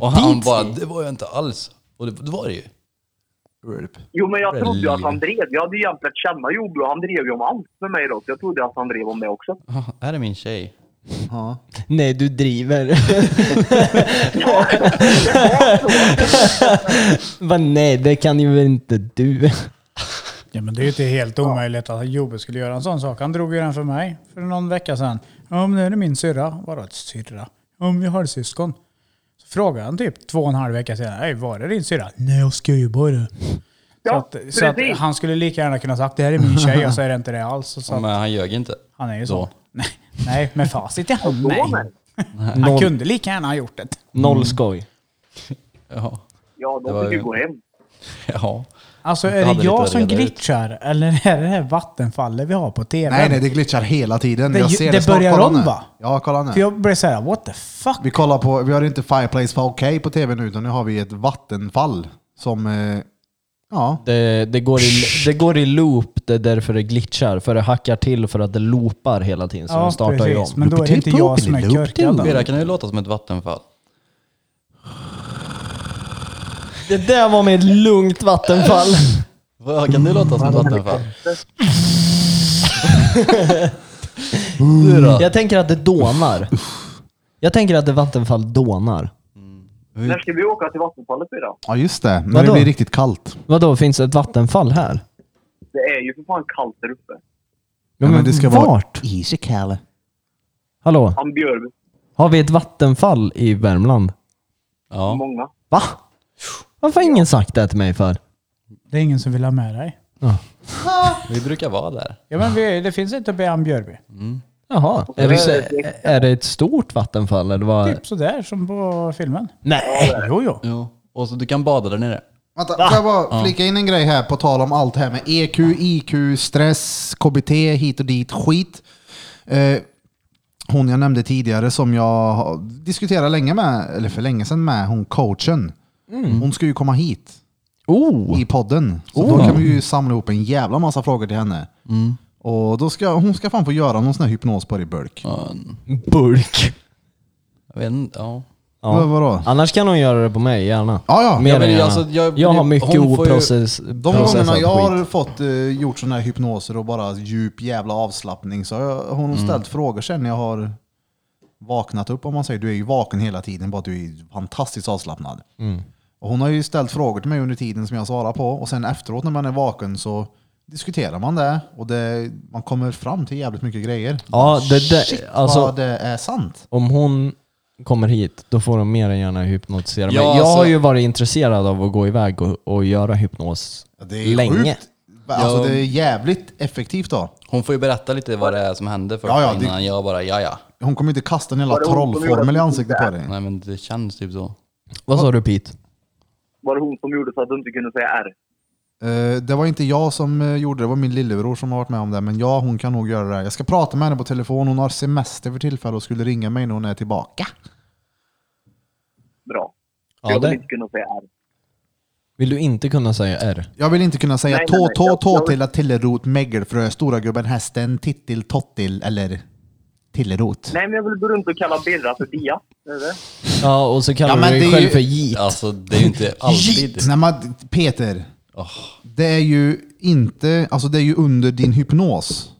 A: Och han bara, det var jag inte alls. Och det, det var det ju.
B: Urp.
I: Jo, men jag
A: Väl
I: trodde ju att han
A: liv.
I: drev. Jag hade ju egentligen lärt känna Job och han drev ju om allt med mig då, så jag trodde att han drev om det också.
A: Ah, Här är min tjej.
B: Ja.
D: Nej, du driver. Vad nej, det kan ju väl inte du.
C: Ja, men det är ju inte helt omöjligt att Jobbe skulle göra en sån sak. Han drog ju den för mig för någon vecka sedan. Ja, men nu är det min syrra. Vadå ett syrra? Ja, men jag har ett syskon. Så frågade han typ två och en halv vecka senare. Hej, var det din syrra? Nej, jag skojar bara.
I: Ja,
C: så att, så att
I: precis.
C: han skulle lika gärna kunna sagt det här är min tjej och så är det inte det alls. Och Så
A: Men
C: att,
A: han ljög inte.
C: han är ju
A: Då.
C: så. Nej, nej, med facit i hand. Nej.
I: men.
C: Han kunde lika gärna ha gjort det.
D: Noll skoj.
A: Ja.
I: Ja,
A: Det
I: då
A: var
I: fick
A: ju-
I: vi gå hem.
A: ja.
C: Alltså är
A: Jag hade
C: det
A: lite
C: jag
A: att
C: som
A: reda ut.
C: glitchar eller är det det här vattenfallet vi har på tv?
B: Nej, nej, det glitchar hela tiden.
C: Det-
B: jag ser det,
C: det
B: snart.
C: börjar
B: Kolla
C: om,
B: nu.
C: va?
B: Ja, kolla nu.
C: För jag blev såhär, what the fuck?
B: Vi kollar på, vi har inte Fireplace 4K på tv nu, utan nu har vi ett vattenfall som, eh, ja.
D: Det, det, går i, det går i loop, det är därför det glitchar. För det hackar till för att det loopar hela tiden. Så den startar ju om.
C: Men då är det inte jag som är körkad. då.
A: Bera kan ju låta som ett vattenfall.
D: Det där var med ett lugnt vattenfall.
A: Vad kan det låta som ett vattenfall?
D: Jag tänker att det dånar. Jag tänker att det vattenfall dånar.
I: När ska vi åka till vattenfallet idag?
B: Ja, just det. När
D: Vadå?
B: det blir riktigt kallt.
D: Vadå, finns det ett vattenfall här?
I: Det är ju för fan kallt där uppe.
B: Ja, men det ska vara-
D: vart?
G: Easy, Kalle.
D: Hallå?
I: Han bjöd
D: Har vi ett vattenfall i Värmland?
A: Ja.
I: många.
D: Va? Varför har ingen sagt det till mig för?
C: Det är ingen som vill ha med dig.
A: Vi brukar vara där.
C: Ja, men vi, det finns inte Björn Björby.
D: Jaha. Är det, så- är det ett stort vattenfall eller vad?
C: Typ sådär som på filmen.
D: Nej!
C: Jo, jo.
A: Ja. Och så du kan bada där nere.
B: Vänta, får jag bara flika in en grej här på tal om allt här med E EQ, IQ, stress, KBT, hit och dit, skit. Eh, hon jag nämnde tidigare som jag har- diskuterade länge med, eller för länge sedan med, hon coachen. Hon ska ju komma hit
D: Oh!
B: i podden. Så då kan vi ju samla ihop en jävla massa frågor till henne. Och då ska, hon ska fan få göra någon sån här hypnos på dig burk.
D: Burk.
A: Jag vet inte. Ja.
B: Vad- vadå?
D: Annars kan hon göra det på mig, gärna.
B: Ja, ja.
D: Mer
A: Ja, men
D: än gärna.
A: alltså,
D: jag,
A: jag-
D: har mycket
A: hon får ju-
D: oprocessad
B: De gångerna jag
D: skit.
B: har fått eh, gjort sådana här hypnoser och bara djup jävla avslappning så har jag, har hon
D: Mm.
B: ställt frågor sen när jag har vaknat upp om man säger. Du är ju vaken hela tiden, bara att du är fantastiskt avslappnad.
D: Mm.
B: Och hon har ju ställt frågor till mig under tiden som jag svarar på och sen efteråt när man är vaken så diskuterar man det och det, man kommer fram till jävligt mycket grejer.
D: Ja, det,
B: Shit
D: det, alltså,
B: vad det är sant.
D: om hon kommer hit, då får hon mer än gärna hypnotisera mig.
A: Ja,
D: jag har
A: alltså-
D: ju varit intresserad av att gå iväg och, och göra hypnos
B: Det är
D: länge.
B: sjukt. Alltså,
A: Ja.
B: det är jävligt effektivt då.
A: Hon får ju berätta lite vad det är som hände först
B: Ja, ja, det-
A: innan jag bara ja ja.
B: Hon kommer inte kasta en jävla
I: Var det hon som gjorde
B: trollformel i
I: att-
B: ansiktet på dig.
A: Nej men det känns typ så.
D: Vad sa du Pete?
I: Var det hon som gjorde så att du inte kunde säga R?
B: Eh, det var inte jag som eh, gjorde det, det var min lillebror som har varit med om det. Men ja, hon kan nog göra det. här. Jag ska prata med henne på telefon. Hon har semester för tillfället och skulle ringa mig när hon är tillbaka.
I: Bra.
D: Ja,
I: jag vill
D: det-
I: inte kunna säga R.
D: Vill du inte kunna säga R?
B: Jag vill inte kunna säga
I: Nej, nej,
B: tå,
I: nej.
B: tå,
I: Jag-
B: tå,
I: jag-
B: tilla, tillerot, megelfrö, stora gubben, hästen, tittil, tottil eller tillerot.
I: Nej, men jag vill gå runt och kalla Birra för Dia. Är det det?
D: Ja, och så kallar
B: Ja, men
D: du dig
B: det är
D: själv
B: ju-
D: för J.
A: Alltså det är ju inte alltid.
B: Nej, men Peter,
A: Åh.
B: det är ju inte, alltså det är ju under din hypnos.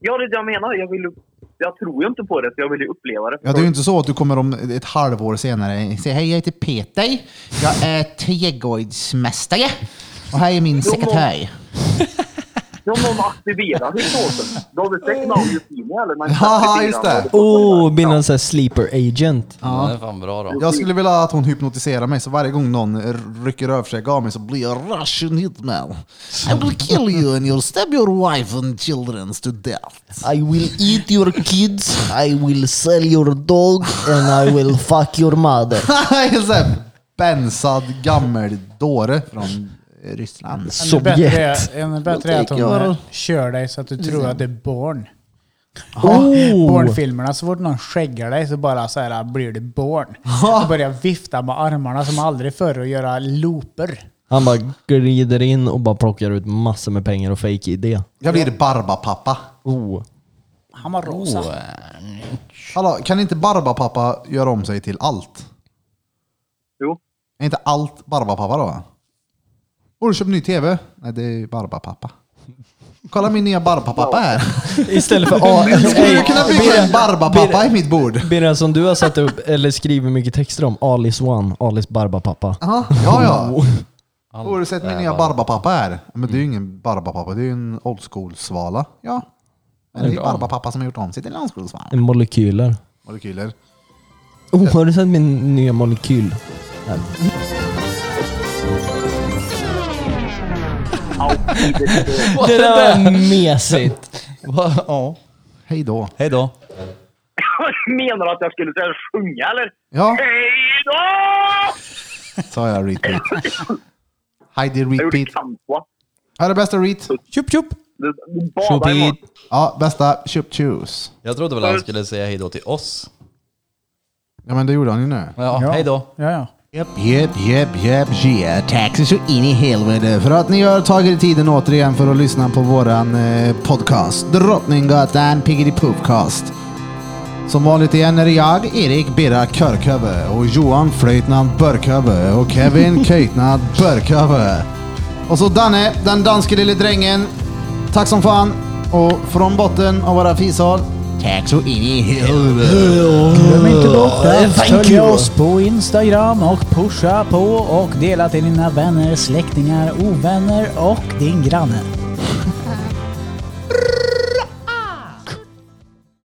I: Ja, det är det jag menar. Jag, vill, ju- jag tror ju inte på det, så jag vill ju uppleva det.
B: Ja, det är ju inte så att du kommer om ett halvår senare säga hej jag heter Peter, jag är trädgårdsmästare och här är min sekreterare.
I: Ja, någon aktiverar hypnosen. Du hade sett Now You See Me eller? Man kan
B: Ja,
I: aktivera
B: just
I: den
B: det.
I: och så
D: Oh,
I: vidare.
D: blir någon sån här sleeper agent.
A: Ja. Den är fan bra då.
B: Jag skulle vilja att hon hypnotiserar mig, så varje gång någon rycker överskegg av mig så blir jag Russian hitman. I will kill you and you'll stab your wife and children to death.
J: I will eat your kids, I will sell your dog and I will fuck your mother.
B: Jag är så här Bensad gammal dåre från Ryssland.
C: Ännu bättre,
D: Sovjet.
C: är- ännu bättre är att hon eh, kör dig så att du tror att det är barn.
D: Oh,
C: Barnfilmerna, så fort någon skäggar dig så bara så här, blir det barn. Och börjar vifta med armarna som aldrig förr och göra looper.
D: han bara glider in och bara plockar ut massor med pengar och fake idé.
B: Jag blir Barbapappa.
D: Oh.
C: Han var rosa.
B: Hallå, kan inte Barbapappa göra om sig till allt?
I: Jo.
B: Är inte allt Barbapappa då? Borde köpa ny tv? Nej, det är ju Barbapappa. Kolla min nya Barbapappa här.
D: Istället för A...
B: Skulle du kunna bygga en Barbapappa i mitt bord?
D: Birra, som du har satt upp, eller skrivit mycket texter om, Alice One, Alice Barbapappa.
B: Aha, ja, ja. Har du
A: Allt
B: sett
A: är
B: min nya
A: bara-
B: Barbapappa här? Men det är ju ingen Barbapappa, det är ju en old school-svala. Ja. Men det är Barbapappa som har gjort om sig till en old school-svala.
D: Molekyler.
B: Molekyler.
D: Oh, har du sett min nya molekyl? Det där var mesigt.
A: Va? Ja.
B: Hej då.
A: Hej då.
I: Menar du att jag skulle säga sjunga eller?
B: Ja,
I: Hej då!
B: sa jag repeat. Heidi
I: Jag gjorde
B: repeat.
I: kantwa.
B: Här är bästa reet.
D: Tjup tjup.
I: Du- du badar imorgon.
B: Ja, bästa chup choose.
A: Jag trodde väl han skulle säga hej då till oss.
B: Ja men det gjorde han ju nu.
A: Ja, hej då.
C: Ja, ja.
B: Japp, japp, japp, japp, yeah. Taxi så in i helvete för att ni har tagit er tiden återigen för att lyssna på våran eh, podcast Drottninggatan Piggity Poopcast. Som vanligt igen är det jag, Erik Birra Körköve och Johan Flöjtnant Börköve och Kevin Köjtnant Börköve. Och så Danne, den danske lille drängen. Tack som fan. Och från botten av våra fishål, tack så in i helvete.
C: Glöm liksom inte bort att följa oss på Instagram och pusha på och dela till dina vänner, släktingar, ovänner och din granne.